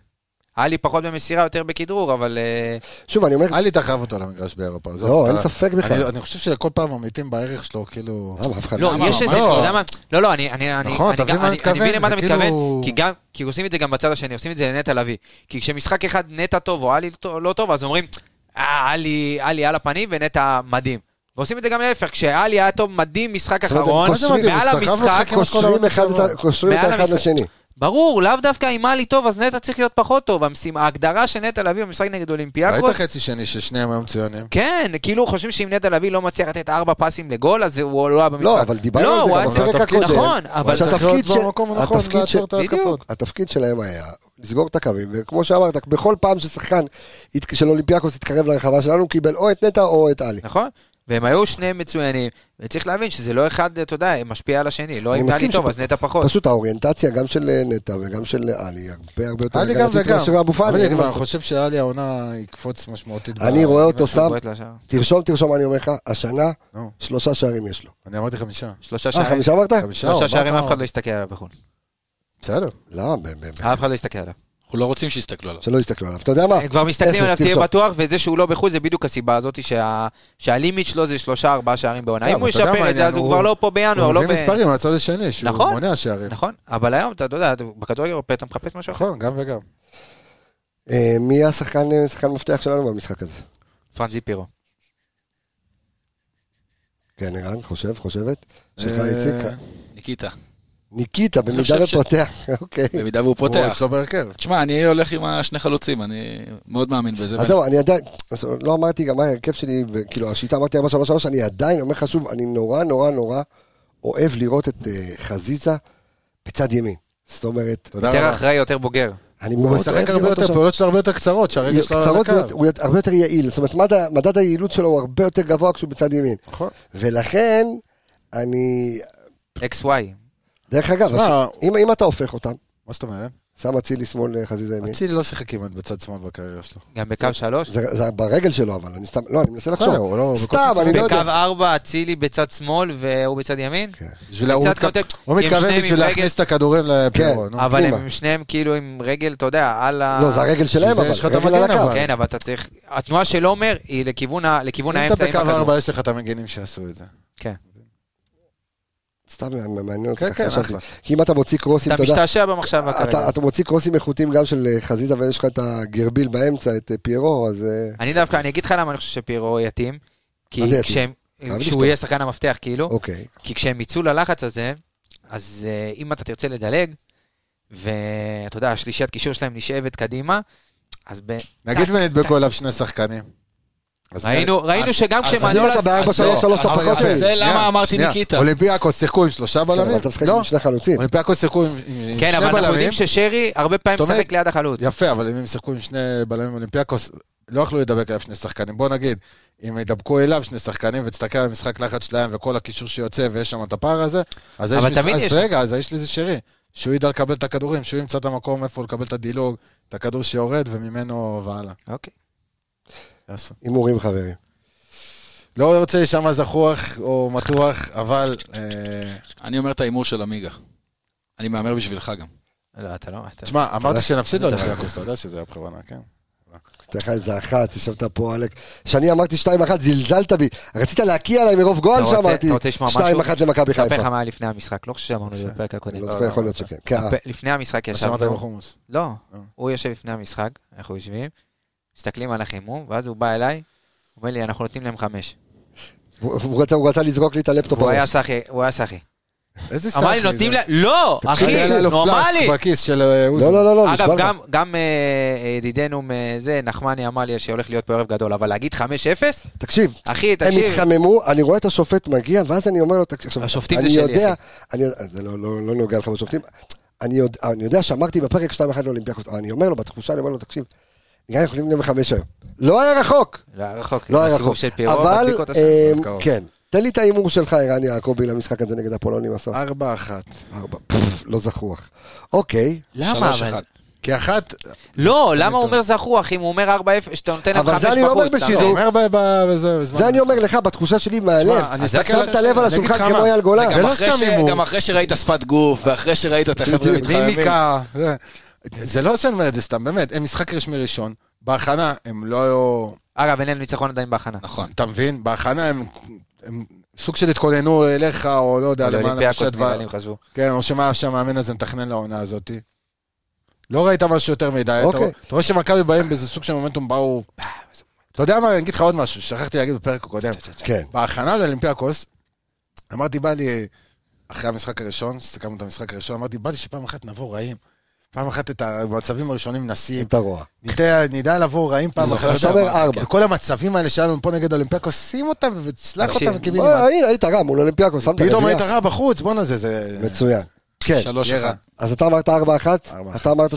[SPEAKER 7] עלי פחות במסירה, יותר בכדרור, אבל... אה,
[SPEAKER 1] שוב, אני אומר,
[SPEAKER 6] אלי תחב אותו למגרש באירופה. עזוב,
[SPEAKER 1] כן. לא,
[SPEAKER 6] אתה-
[SPEAKER 1] אין ספק בכלל. אה,
[SPEAKER 6] אני- אני חושב שכל פעם ממעיטים בערך שלו, כאילו...
[SPEAKER 1] למה, אף אחד
[SPEAKER 7] לא,
[SPEAKER 5] אמר,
[SPEAKER 7] יש
[SPEAKER 5] אמר.
[SPEAKER 7] איזה...
[SPEAKER 6] לא.
[SPEAKER 7] אתה יודע מה? לא, לא, אני... אני- אני-
[SPEAKER 6] נכון,
[SPEAKER 7] אני
[SPEAKER 6] אתה
[SPEAKER 7] גם-
[SPEAKER 6] מבין מה
[SPEAKER 7] אני-
[SPEAKER 6] אני מתכוון?
[SPEAKER 7] אני מבין למה
[SPEAKER 6] זה
[SPEAKER 7] אתה מתכוון,
[SPEAKER 6] כאילו-
[SPEAKER 7] כי גם... כי עושים את זה גם בצד השני, עושים את זה לנטע לביא. כי כשמשחק אחד נטע טוב או עלי טוב- לא טוב, אז אומרים, "אה, עלי עלי על הפנים ונטע מדהים. ועושים את זה גם להפך, כשעלי היה טוב מדהים משחק
[SPEAKER 1] זאת אומרת,
[SPEAKER 7] אחרון,
[SPEAKER 1] מה זה מדהים?
[SPEAKER 7] מעל
[SPEAKER 6] הוא סחב
[SPEAKER 7] המשחק,
[SPEAKER 6] אותך כמו כל לא.
[SPEAKER 1] קושרים
[SPEAKER 6] העונה
[SPEAKER 1] אחד את ה-
[SPEAKER 6] שעברה.
[SPEAKER 1] קושרים את
[SPEAKER 7] מעל
[SPEAKER 1] האחד
[SPEAKER 7] המשחק.
[SPEAKER 1] לשני.
[SPEAKER 7] ברור, לאו דווקא אם עלי טוב, אז נטע צריך להיות פחות טוב. המשימה- ההגדרה של נטע לביא במשחק נגד
[SPEAKER 6] ראית
[SPEAKER 7] אולימפיאקוס,
[SPEAKER 6] חצי שני ששניהם היו מצוינים?
[SPEAKER 7] כן, כאילו חושבים שאם נטע לביא לא מצליח לתת ארבע פסים לגול, אז הוא לא היה במשחק.
[SPEAKER 1] לא, אבל דיברנו על
[SPEAKER 7] לא,
[SPEAKER 1] זה
[SPEAKER 7] הוא
[SPEAKER 1] גם
[SPEAKER 7] היה
[SPEAKER 1] בפרק
[SPEAKER 7] צריך-
[SPEAKER 1] הקודם.
[SPEAKER 7] נכון, אבל...
[SPEAKER 6] אבל צריך
[SPEAKER 1] שהתפקיד
[SPEAKER 6] להיות
[SPEAKER 1] ש-
[SPEAKER 6] במקום הנכון
[SPEAKER 1] התפקיד
[SPEAKER 6] ולעצור
[SPEAKER 1] ש-
[SPEAKER 6] את ההתקפות.
[SPEAKER 7] בדיוק.
[SPEAKER 1] התפקיד שלהם היה לסגור את הקווים, וכמו שאמרת, בכל פעם ששחקן הת- של אולימפיאקוס התקרב לרחבה שלנו, הוא קיבל או את נטע או את עלי.
[SPEAKER 7] נכון? והם היו שניהם מצוינים, וצריך להבין שזה לא אחד, אתה יודע, משפיע על השני. לא
[SPEAKER 1] אני
[SPEAKER 7] אם נתן
[SPEAKER 1] מסכים
[SPEAKER 7] לי טוב,
[SPEAKER 1] שפ-
[SPEAKER 7] אז נטע
[SPEAKER 6] נכון.
[SPEAKER 7] פחות.
[SPEAKER 1] פשוט האוריינטציה גם של אה, נטע וגם של אה, עלי, הרבה הרבה יותר
[SPEAKER 6] עלי גם
[SPEAKER 1] הגנתית
[SPEAKER 6] וגם.
[SPEAKER 1] מאשר אבו
[SPEAKER 6] אבל
[SPEAKER 1] פאני. אין
[SPEAKER 6] אני
[SPEAKER 1] מה
[SPEAKER 6] כבר
[SPEAKER 1] לעשות.
[SPEAKER 6] חושב שאלי העונה יקפוץ משמעותית. ב-
[SPEAKER 1] אני רואה אותו
[SPEAKER 7] משהו
[SPEAKER 1] שם,
[SPEAKER 7] בועט לשער.
[SPEAKER 1] תרשום, תרשום, אני אומר לך, השנה
[SPEAKER 6] נו,
[SPEAKER 1] שלושה שערים יש לו.
[SPEAKER 6] אני אמרתי חמישה.
[SPEAKER 7] שלושה
[SPEAKER 1] אה,
[SPEAKER 7] שערים,
[SPEAKER 1] חמישה אמרת?
[SPEAKER 6] חמישה או
[SPEAKER 7] שלושה
[SPEAKER 6] ארבעה,
[SPEAKER 7] שערים
[SPEAKER 6] כמה?
[SPEAKER 7] אף אחד לא הסתכל עליו בחו"ל.
[SPEAKER 6] בסדר.
[SPEAKER 1] לא, ב- ב- ב-
[SPEAKER 7] אף אחד לא הסתכל עליו.
[SPEAKER 5] אנחנו לא רוצים שיסתכלו עליו.
[SPEAKER 1] שלא יסתכלו עליו. אתה יודע מה?
[SPEAKER 7] הם כבר מסתכלים
[SPEAKER 1] אה, אפס,
[SPEAKER 7] עליו, תהיה
[SPEAKER 1] תרשום.
[SPEAKER 7] בטוח, וזה שהוא לא בחו"ל זה בדיוק הסיבה הזאת שה- שהלימיט שלו זה שלושה ארבעה שערים בעונה.
[SPEAKER 6] לא,
[SPEAKER 7] אם
[SPEAKER 6] אבל
[SPEAKER 7] הוא
[SPEAKER 6] אתה יודע מה
[SPEAKER 7] ישפר את זה,
[SPEAKER 6] העניין?
[SPEAKER 7] אז הוא
[SPEAKER 6] הוא-
[SPEAKER 7] כבר לא פה
[SPEAKER 6] הוא
[SPEAKER 7] בינואר, לא
[SPEAKER 6] מביא
[SPEAKER 7] ב...
[SPEAKER 6] מספרים מהצד השני, שהוא
[SPEAKER 7] נכון.
[SPEAKER 6] מונע שערים.
[SPEAKER 7] נכון, אבל היום אתה אתה יודע, בכדורגל האירופאי אתה מחפש משהו אחר.
[SPEAKER 6] נכון, גם וגם.
[SPEAKER 1] אה, מי השחקן אה, שחקן מפתח שלנו במשחק הזה?
[SPEAKER 7] פרנזי פירו.
[SPEAKER 1] כן, ערן, חושב, חושבת. שלך
[SPEAKER 6] אה,
[SPEAKER 1] איציק?
[SPEAKER 5] ניקיטה,
[SPEAKER 1] ניקיטה, במידה
[SPEAKER 5] חושב ש-
[SPEAKER 1] ופותח, [LAUGHS] אוקיי.
[SPEAKER 5] במידה והוא
[SPEAKER 6] הוא
[SPEAKER 5] פותח.
[SPEAKER 6] אצלו בהרכב.
[SPEAKER 5] תשמע, אני הולך עם השני חלוצים, אני מאוד מאמין בזה.
[SPEAKER 1] אז זהו, אני עדיין, אז לא אמרתי גם מה ההרכב שלי, כאילו השיטה אמרתי 4 3 3 אני עדיין אומר לך שוב, אני נורא נורא נורא אוהב לראות את אה, חזיזה בצד ימין. זאת אומרת,
[SPEAKER 6] תודה
[SPEAKER 7] יותר
[SPEAKER 6] רבה.
[SPEAKER 7] אחראי, יותר בוגר.
[SPEAKER 1] אני
[SPEAKER 6] הוא
[SPEAKER 1] מאוד אוהב
[SPEAKER 6] משחק הרבה
[SPEAKER 1] לראות
[SPEAKER 6] יותר,
[SPEAKER 1] אותו.
[SPEAKER 6] פעולות שלו הרבה יותר קצרות, שהרגל שלו על
[SPEAKER 1] קצרות,
[SPEAKER 6] הקו.
[SPEAKER 1] הוא הרבה יותר יעיל, זאת אומרת מדד, מדד היעילות שלו הוא הרבה יותר גבוה כשהוא בצד ימין.
[SPEAKER 6] נכון.
[SPEAKER 1] ולכן, אני,
[SPEAKER 7] XY.
[SPEAKER 1] דרך אגב,
[SPEAKER 6] מה,
[SPEAKER 1] הש- אם, אם אתה הופך אותם,
[SPEAKER 6] מה זאת אומרת?
[SPEAKER 1] שם אצילי שמאל אה, חזיזה ימין,
[SPEAKER 6] אצילי לא שיחק כמעט בצד שמאל בקריירה שלו.
[SPEAKER 7] גם בקו שלוש.
[SPEAKER 1] זה, זה ברגל שלו אבל, אני סתם, לא, אני מנסה לחשוב,
[SPEAKER 6] בסדר, הוא לא-
[SPEAKER 1] סתם, אני לא
[SPEAKER 7] בקו
[SPEAKER 1] יודע, כן,
[SPEAKER 7] ארבע, אצילי בצד שמאל והוא בצד ימין.
[SPEAKER 6] בשביל הוא
[SPEAKER 7] קצת
[SPEAKER 6] מתכוון-
[SPEAKER 7] קונטקסט,
[SPEAKER 6] הוא
[SPEAKER 7] כי הם
[SPEAKER 6] מתכוון
[SPEAKER 7] שניהם
[SPEAKER 6] בשביל
[SPEAKER 7] עם רגל.
[SPEAKER 6] להכניס את הכדורים לפירו.
[SPEAKER 1] כן.
[SPEAKER 6] נו.
[SPEAKER 7] אבל
[SPEAKER 1] פנימה.
[SPEAKER 7] הם שניהם כאילו עם רגל, אתה יודע, על ה...
[SPEAKER 1] לא, זה הרגל שלהם
[SPEAKER 6] שזה
[SPEAKER 1] אבל,
[SPEAKER 6] יש לך את
[SPEAKER 1] רגל על
[SPEAKER 6] המגן,
[SPEAKER 1] הקו,
[SPEAKER 6] אבל.
[SPEAKER 7] כן, אבל אתה צריך... התנועה של עומר היא לכיוון ה- לכיוון
[SPEAKER 6] אם אתה
[SPEAKER 7] האמצע עם
[SPEAKER 6] בקו
[SPEAKER 7] הכדור.
[SPEAKER 6] ארבע, יש לך את המגינים שעשו את זה.
[SPEAKER 7] כן.
[SPEAKER 1] סתם מע- מעניין אותך,
[SPEAKER 6] כן, כן,
[SPEAKER 1] חשבתי.
[SPEAKER 6] אחלה.
[SPEAKER 1] כי אם אתה מוציא קרוסים, אתה
[SPEAKER 7] אתה
[SPEAKER 1] יודע,
[SPEAKER 7] משתעשע במחשבה
[SPEAKER 1] אתה-
[SPEAKER 7] כרגע.
[SPEAKER 1] אתה מוציא קרוסים איכותיים גם של אה, חזיזה ויש לך את הגרביל באמצע, את אה, פיירו, אז אה,
[SPEAKER 7] אני דווקא, אני אגיד לך למה אני חושב שפירו יתאים. כי
[SPEAKER 1] מה זה יתאים?
[SPEAKER 7] כשהם...
[SPEAKER 1] חייב לפתוח.
[SPEAKER 7] כשהוא יהיה שחקן המפתח, כאילו.
[SPEAKER 1] אוקיי,
[SPEAKER 7] כי כשהם יצאו ללחץ הזה, אז אה, אם אתה תרצה לדלג, ואתה יודע, השלישיית קישור שלהם נשאבת קדימה, אז ב...
[SPEAKER 6] נגיד
[SPEAKER 7] טק,
[SPEAKER 6] ונדבקו עליו שני שחקנים. אז כן.
[SPEAKER 7] ראינו, ראינו
[SPEAKER 5] אז-
[SPEAKER 7] שגם
[SPEAKER 5] אז
[SPEAKER 7] כשהם
[SPEAKER 5] אם
[SPEAKER 1] אז
[SPEAKER 7] עלו
[SPEAKER 1] אם
[SPEAKER 7] לס-
[SPEAKER 1] אתה בארבע
[SPEAKER 5] אז
[SPEAKER 1] שלוש
[SPEAKER 5] לא,
[SPEAKER 1] שלוש אתה
[SPEAKER 5] אז-
[SPEAKER 1] פחות
[SPEAKER 5] אז זה
[SPEAKER 1] טעים.
[SPEAKER 5] למה
[SPEAKER 6] שנייה,
[SPEAKER 5] אמרתי
[SPEAKER 6] שנייה.
[SPEAKER 5] ניקיטה?
[SPEAKER 6] אולימפיאקוס שיחקו עם שלושה
[SPEAKER 1] כן, אבל
[SPEAKER 6] בלמים?
[SPEAKER 1] אתה משחק
[SPEAKER 6] לא,
[SPEAKER 1] עם שני חלוצים,
[SPEAKER 6] אולימפיאקוס שיחקו עם עם
[SPEAKER 7] כן,
[SPEAKER 6] שני
[SPEAKER 7] אבל אנחנו
[SPEAKER 6] בלמים.
[SPEAKER 7] יודעים ששרי הרבה פעמים
[SPEAKER 6] זאת אומרת-
[SPEAKER 7] משחק ליד החלוץ.
[SPEAKER 6] יפה, אבל אם הם שיחקו עם שני בלמים אולימפיאקוס, לא יכלו להידבק אליו שני שחקנים. בוא נגיד, אם ידבקו אליו שני שחקנים ותסתכל על המשחק לחץ שלהם וכל הקישור שיוצא ויש שם את הפער הזה, אז יש
[SPEAKER 7] אבל
[SPEAKER 6] משחק-
[SPEAKER 7] תמיד
[SPEAKER 6] אז
[SPEAKER 7] יש-
[SPEAKER 6] רגע, אז יש לזה שרי. שהוא ידע לקבל את הכדורים, שהוא ימצא את המקום איפה לקבל את הדילוג, את הכדור שיורד וממנו והלאה.
[SPEAKER 7] אוקיי.
[SPEAKER 6] יעשו.
[SPEAKER 1] הימורים חברים.
[SPEAKER 6] לא רוצה להישמע זחוח או מתוח, אבל... אה,
[SPEAKER 5] אני אומר את ההימור של עמיגה. אני מהמר בשבילך גם.
[SPEAKER 7] לא, אתה לא... אתה-
[SPEAKER 6] תשמע, אמרת שנפסיד
[SPEAKER 7] זה
[SPEAKER 6] לאולימפיאקוס, אתה יודע שזה היה בכוונה, כן?
[SPEAKER 1] אתן לך איזה אחת, ישבת פה עלק. כשאני אמרתי 2-1, זלזלת בי. רצית להקיא עליי מרוב גועל
[SPEAKER 7] אתה רוצה-
[SPEAKER 1] שאמרתי
[SPEAKER 7] אתה רוצה לשמוע משהו?
[SPEAKER 1] 2-1 למכבי
[SPEAKER 7] אספר לך
[SPEAKER 1] חיפה.
[SPEAKER 7] מה היה לפני המשחק, לא חושב שאמרנו את זה בפרק הקודם.
[SPEAKER 1] אני לא זוכר, יכול להיות שכן. כן, אה,
[SPEAKER 7] פ- לפני המשחק
[SPEAKER 6] מה שאמרת
[SPEAKER 7] ישבנו,
[SPEAKER 6] בחומוס.
[SPEAKER 7] לא,
[SPEAKER 6] אה.
[SPEAKER 7] הוא יושב לפני המשחק, אנחנו יושבים, מסתכלים על החימום, ואז הוא בא אליי, הוא אומר לי, אנחנו נותנים להם חמש.
[SPEAKER 1] הוא- הוא רצה- הוא רצה לזרוק לי את הלפטופ.
[SPEAKER 7] הוא היה אמ-
[SPEAKER 1] בראש.
[SPEAKER 7] סאחי, הוא היה סאחי.
[SPEAKER 6] איזה סאחי.
[SPEAKER 7] אמר לי,
[SPEAKER 6] זה.
[SPEAKER 7] נותנים להם, לא,
[SPEAKER 6] תקשיב, היה
[SPEAKER 7] אחי,
[SPEAKER 6] לו
[SPEAKER 7] נורמלי.
[SPEAKER 6] פלאסק בכיס של אה, אוזן.
[SPEAKER 1] לא, לא, לא, לא, נשבע
[SPEAKER 7] אגב,
[SPEAKER 1] לך.
[SPEAKER 7] גם- גם אה, ידידנו מזה, נחמני אמר לי שהולך להיות פה ערב גדול, אבל להגיד 5-0?
[SPEAKER 1] תקשיב,
[SPEAKER 7] אחי,
[SPEAKER 1] הם
[SPEAKER 7] תקשיב,
[SPEAKER 1] התחממו, אני רואה את השופט מגיע, ואז אני אומר לו, תקשיב, עכשיו,
[SPEAKER 7] השופטים
[SPEAKER 1] אני
[SPEAKER 7] זה שלי,
[SPEAKER 1] יודע,
[SPEAKER 7] אחי.
[SPEAKER 1] אני- זה לא- לא לא נוגע לך בשופטים, אני יודע- אני יודע שאמרתי בפרק 2-1 לאולימפיאקוס, אבל אני אומר לו, בתחושה, אני אומר לו, תקשיב, גם יכולים גם לחמש היום. לא היה רחוק.
[SPEAKER 7] לא היה רחוק.
[SPEAKER 1] לא היה
[SPEAKER 7] הסיבוב
[SPEAKER 1] רחוק.
[SPEAKER 7] של פירו,
[SPEAKER 1] אבל,
[SPEAKER 7] מדביק אותה שם.
[SPEAKER 1] אמ,
[SPEAKER 6] מאוד קרוב.
[SPEAKER 1] כן. תן לי את ההימור שלך, ערן יעקבי, למשחק הזה נגד הפולונים הסוף.
[SPEAKER 6] ארבע אחת.
[SPEAKER 1] ארבע, פפפ, לא זחוח. אוקיי,
[SPEAKER 7] למה
[SPEAKER 5] שלוש
[SPEAKER 7] אבל?
[SPEAKER 5] אחד.
[SPEAKER 6] כי אחת,
[SPEAKER 7] לא, למה הוא אומר זחוח אם הוא אומר 4-0, שאתה נותן להם 5
[SPEAKER 1] אבל
[SPEAKER 7] בחוץ?
[SPEAKER 1] זה אני לא אומר
[SPEAKER 7] אתה
[SPEAKER 1] בשידור.
[SPEAKER 6] הוא אומר ב- ב- בזה, בזמן.
[SPEAKER 1] זה אני אומר לך, בתחושה שלי מהלב.
[SPEAKER 6] שמע, אני
[SPEAKER 1] אתה
[SPEAKER 6] מסתכל על-
[SPEAKER 1] שמת את הלב על
[SPEAKER 6] אני אגיד
[SPEAKER 1] השולחן
[SPEAKER 6] לך מה,
[SPEAKER 1] כמו אייל גולן.
[SPEAKER 6] זה לא
[SPEAKER 5] אחרי
[SPEAKER 6] סתם
[SPEAKER 5] ש-
[SPEAKER 6] הימור.
[SPEAKER 5] גם אחרי שראית שפת גוף, ואחרי שראית את החבר'ה
[SPEAKER 6] בדיוק,
[SPEAKER 5] מתחממים.
[SPEAKER 6] מימיקה. זה- זה לא שאני אומר את זה סתם, באמת, הם משחק רשמי ראשון. בהכנה הם לא היו...
[SPEAKER 7] אגב, אין להם ניצחון עדיין בהכנה.
[SPEAKER 5] נכון.
[SPEAKER 6] אתה מבין? בהכנה הם... הם סוג של התכוננו אליך, או לא יודע,
[SPEAKER 7] אבל
[SPEAKER 6] למען
[SPEAKER 7] אולימפיאקוס
[SPEAKER 6] המשת
[SPEAKER 7] נראה לי הם חשבו.
[SPEAKER 6] כן, או שמה שהמאמן הזה מתכנן לעונה הזאת. לא ראית משהו יותר מדי. אתה
[SPEAKER 1] אוקיי.
[SPEAKER 6] רוא- אתה רואה שמכבי באים באיזה סוג של מומנטום באו... אתה יודע מה, אני אגיד לך עוד משהו, שכחתי להגיד בפרק הקודם.
[SPEAKER 1] כן.
[SPEAKER 6] בהכנה לאולימפיאקוס, אמרתי, בא לי, אחרי המשחק הראשון, סיכמנו את המשחק הראשון, אמרתי, בא לי שפעם אחת נבוא רעים. פעם אחת את המצבים הראשונים נשים.
[SPEAKER 1] אתה רואה.
[SPEAKER 6] נדע, נדע לבוא רעים פעם
[SPEAKER 1] זוכר
[SPEAKER 6] אחת.
[SPEAKER 1] שאתה אומר ארבע.
[SPEAKER 6] כל המצבים האלה שהיה לנו פה נגד אולימפיאקוס, שים אותם ותשלח
[SPEAKER 7] תקשיב,
[SPEAKER 6] אותם
[SPEAKER 1] בוא,
[SPEAKER 6] קיבינימט.
[SPEAKER 1] הנה, היית רע מול אולימפיאקוס, שמת
[SPEAKER 6] פתאום היית
[SPEAKER 1] רביעייה.
[SPEAKER 6] רע בחוץ, בואנה זה, זה...
[SPEAKER 1] מצוין. כן,
[SPEAKER 5] שלוש
[SPEAKER 6] יהיה
[SPEAKER 5] אחד.
[SPEAKER 6] רע.
[SPEAKER 1] אז אתה אמרת 4-1,
[SPEAKER 6] ארבע
[SPEAKER 1] אתה אמרת 3-1,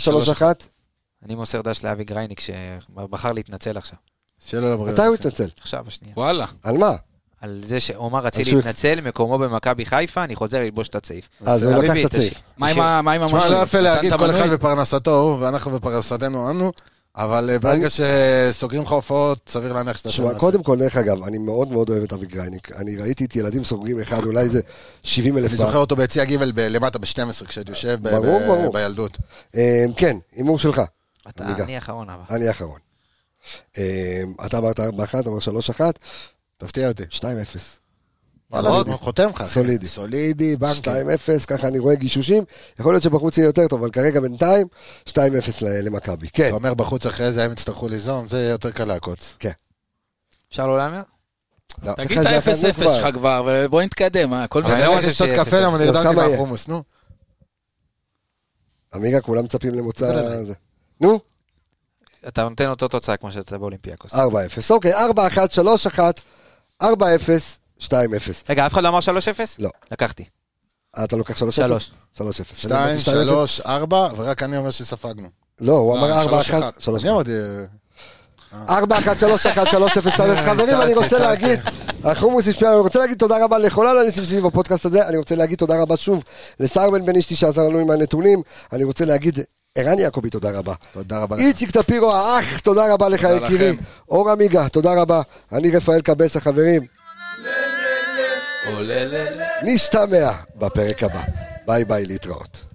[SPEAKER 7] אני מוסר דש לאבי גרייניק שבחר להתנצל עכשיו.
[SPEAKER 6] שיהיה לו לבריאות.
[SPEAKER 1] מתי הוא התנצל?
[SPEAKER 7] עכשיו, השנייה.
[SPEAKER 5] וואלה.
[SPEAKER 1] על מה?
[SPEAKER 7] על זה שעומר
[SPEAKER 1] אז
[SPEAKER 7] אצילי
[SPEAKER 1] שהוא-
[SPEAKER 7] התנצל, מקומו במכבי חיפה, אני חוזר ללבוש את הצעיף.
[SPEAKER 1] אז הוא לקח
[SPEAKER 7] חביבי,
[SPEAKER 1] את הצעיף.
[SPEAKER 7] תשאיר.
[SPEAKER 5] מה עם ה- מה עם
[SPEAKER 6] תשמע,
[SPEAKER 5] המנוי?
[SPEAKER 6] לא יפה
[SPEAKER 5] נתן
[SPEAKER 6] להגיד
[SPEAKER 5] את
[SPEAKER 6] כל
[SPEAKER 5] המנוי?
[SPEAKER 6] אחד בפרנסתו הוא, ואנחנו בפרנסתנו אנו, אבל אה, ברגע שסוגרים לך הופעות, סביר להניח שאתה...
[SPEAKER 1] תשמע,
[SPEAKER 6] שם
[SPEAKER 1] קודם כל, דרך אגב, אני מאוד מאוד אוהב את אבי גרייניק. אני ראיתי את ילדים סוגרים אחד, אולי זה 70 אלף
[SPEAKER 6] אני
[SPEAKER 1] פעם.
[SPEAKER 6] זוכר אותו ביציע ג' ב- למטה ב-12 כשהייתי יושב ב-
[SPEAKER 1] ברור,
[SPEAKER 6] ב-
[SPEAKER 1] ברור.
[SPEAKER 6] בילדות.
[SPEAKER 1] אמ, כן, הימור שלך,
[SPEAKER 7] אתה
[SPEAKER 1] אני גם.
[SPEAKER 7] אני אחרון אבל.
[SPEAKER 1] אני האחרון. אמ, אתה אמרת 4-1, אתה אמר 3-1,
[SPEAKER 6] תפתיע אותי.
[SPEAKER 1] 2-0.
[SPEAKER 6] וואלה,
[SPEAKER 7] מאוד.
[SPEAKER 6] אני חותם לך. אחי.
[SPEAKER 1] סולידי.
[SPEAKER 6] סולידי, בנקי.
[SPEAKER 1] 2-0, ככה אני רואה גישושים. יכול להיות שבחוץ יהיה יותר טוב, אבל כרגע בינתיים, 2-0 ל- למכבי. כן,
[SPEAKER 6] אתה אומר בחוץ אחרי זה, הם יצטרכו ליזום, זה יהיה יותר קל לעקוץ.
[SPEAKER 7] אפשר לא להמר?
[SPEAKER 5] תגיד
[SPEAKER 1] ככה
[SPEAKER 5] את
[SPEAKER 1] זה יפה
[SPEAKER 5] ה-0-0
[SPEAKER 1] מאוד.
[SPEAKER 5] שלך כבר, ובוא נתקדם, אה, הכל
[SPEAKER 7] אבל
[SPEAKER 6] אבל
[SPEAKER 5] בסדר.
[SPEAKER 6] אני
[SPEAKER 7] לא
[SPEAKER 6] הולך
[SPEAKER 7] רוצה
[SPEAKER 6] לשתות
[SPEAKER 7] שיהיה
[SPEAKER 6] קפה,
[SPEAKER 7] אפס.
[SPEAKER 6] למה
[SPEAKER 1] אז
[SPEAKER 6] נרדמתי
[SPEAKER 1] כמה יהיה?
[SPEAKER 6] מהחומוס, נו.
[SPEAKER 1] עמיגה, כולם מצפים
[SPEAKER 6] תדבר
[SPEAKER 1] למוצא...
[SPEAKER 6] אליי.
[SPEAKER 1] זה. נו,
[SPEAKER 7] אתה נותן אותו תוצאה כמו שאתה באולימפיאקוס.
[SPEAKER 1] 4-0. אוקיי, 4-1, 3-1, 4-0, 2-0.
[SPEAKER 7] רגע, אף אחד לא אמר 3-0?
[SPEAKER 1] לא.
[SPEAKER 7] לקחתי.
[SPEAKER 1] אה, אתה לוקח 3-0? 3-0.
[SPEAKER 7] שלוש.
[SPEAKER 6] 2,
[SPEAKER 1] 2-0.
[SPEAKER 6] 3, 4, ורק אני אומר שספגנו.
[SPEAKER 1] לא, הוא
[SPEAKER 5] לא,
[SPEAKER 1] אמר 4-1,
[SPEAKER 5] 3-1.
[SPEAKER 1] 3-1.
[SPEAKER 6] אה, אני אה, אמרתי...
[SPEAKER 1] 4, 1, 3, 1, 3, 0,
[SPEAKER 5] אה,
[SPEAKER 1] 3, חברים, אני רוצה להגיד, החומוס השפיע, אני רוצה להגיד תודה רבה לכל האנשים סביב בפודקאסט הזה, אני רוצה להגיד תודה רבה שוב לסער בן בן אשתי שעזר לנו עם הנתונים, אני רוצה להגיד, ערן יעקבי, תודה רבה.
[SPEAKER 6] תודה רבה לך.
[SPEAKER 1] איציק טפירו, האח, תודה רבה לך,
[SPEAKER 5] תודה
[SPEAKER 1] יקירי.
[SPEAKER 5] לכם.
[SPEAKER 1] אור עמיגה, תודה רבה. אני רפאל קבס, החברים,
[SPEAKER 5] עולה, עולה, עולה.
[SPEAKER 1] נשתמע בפרק הבא. ביי ביי, להתראות.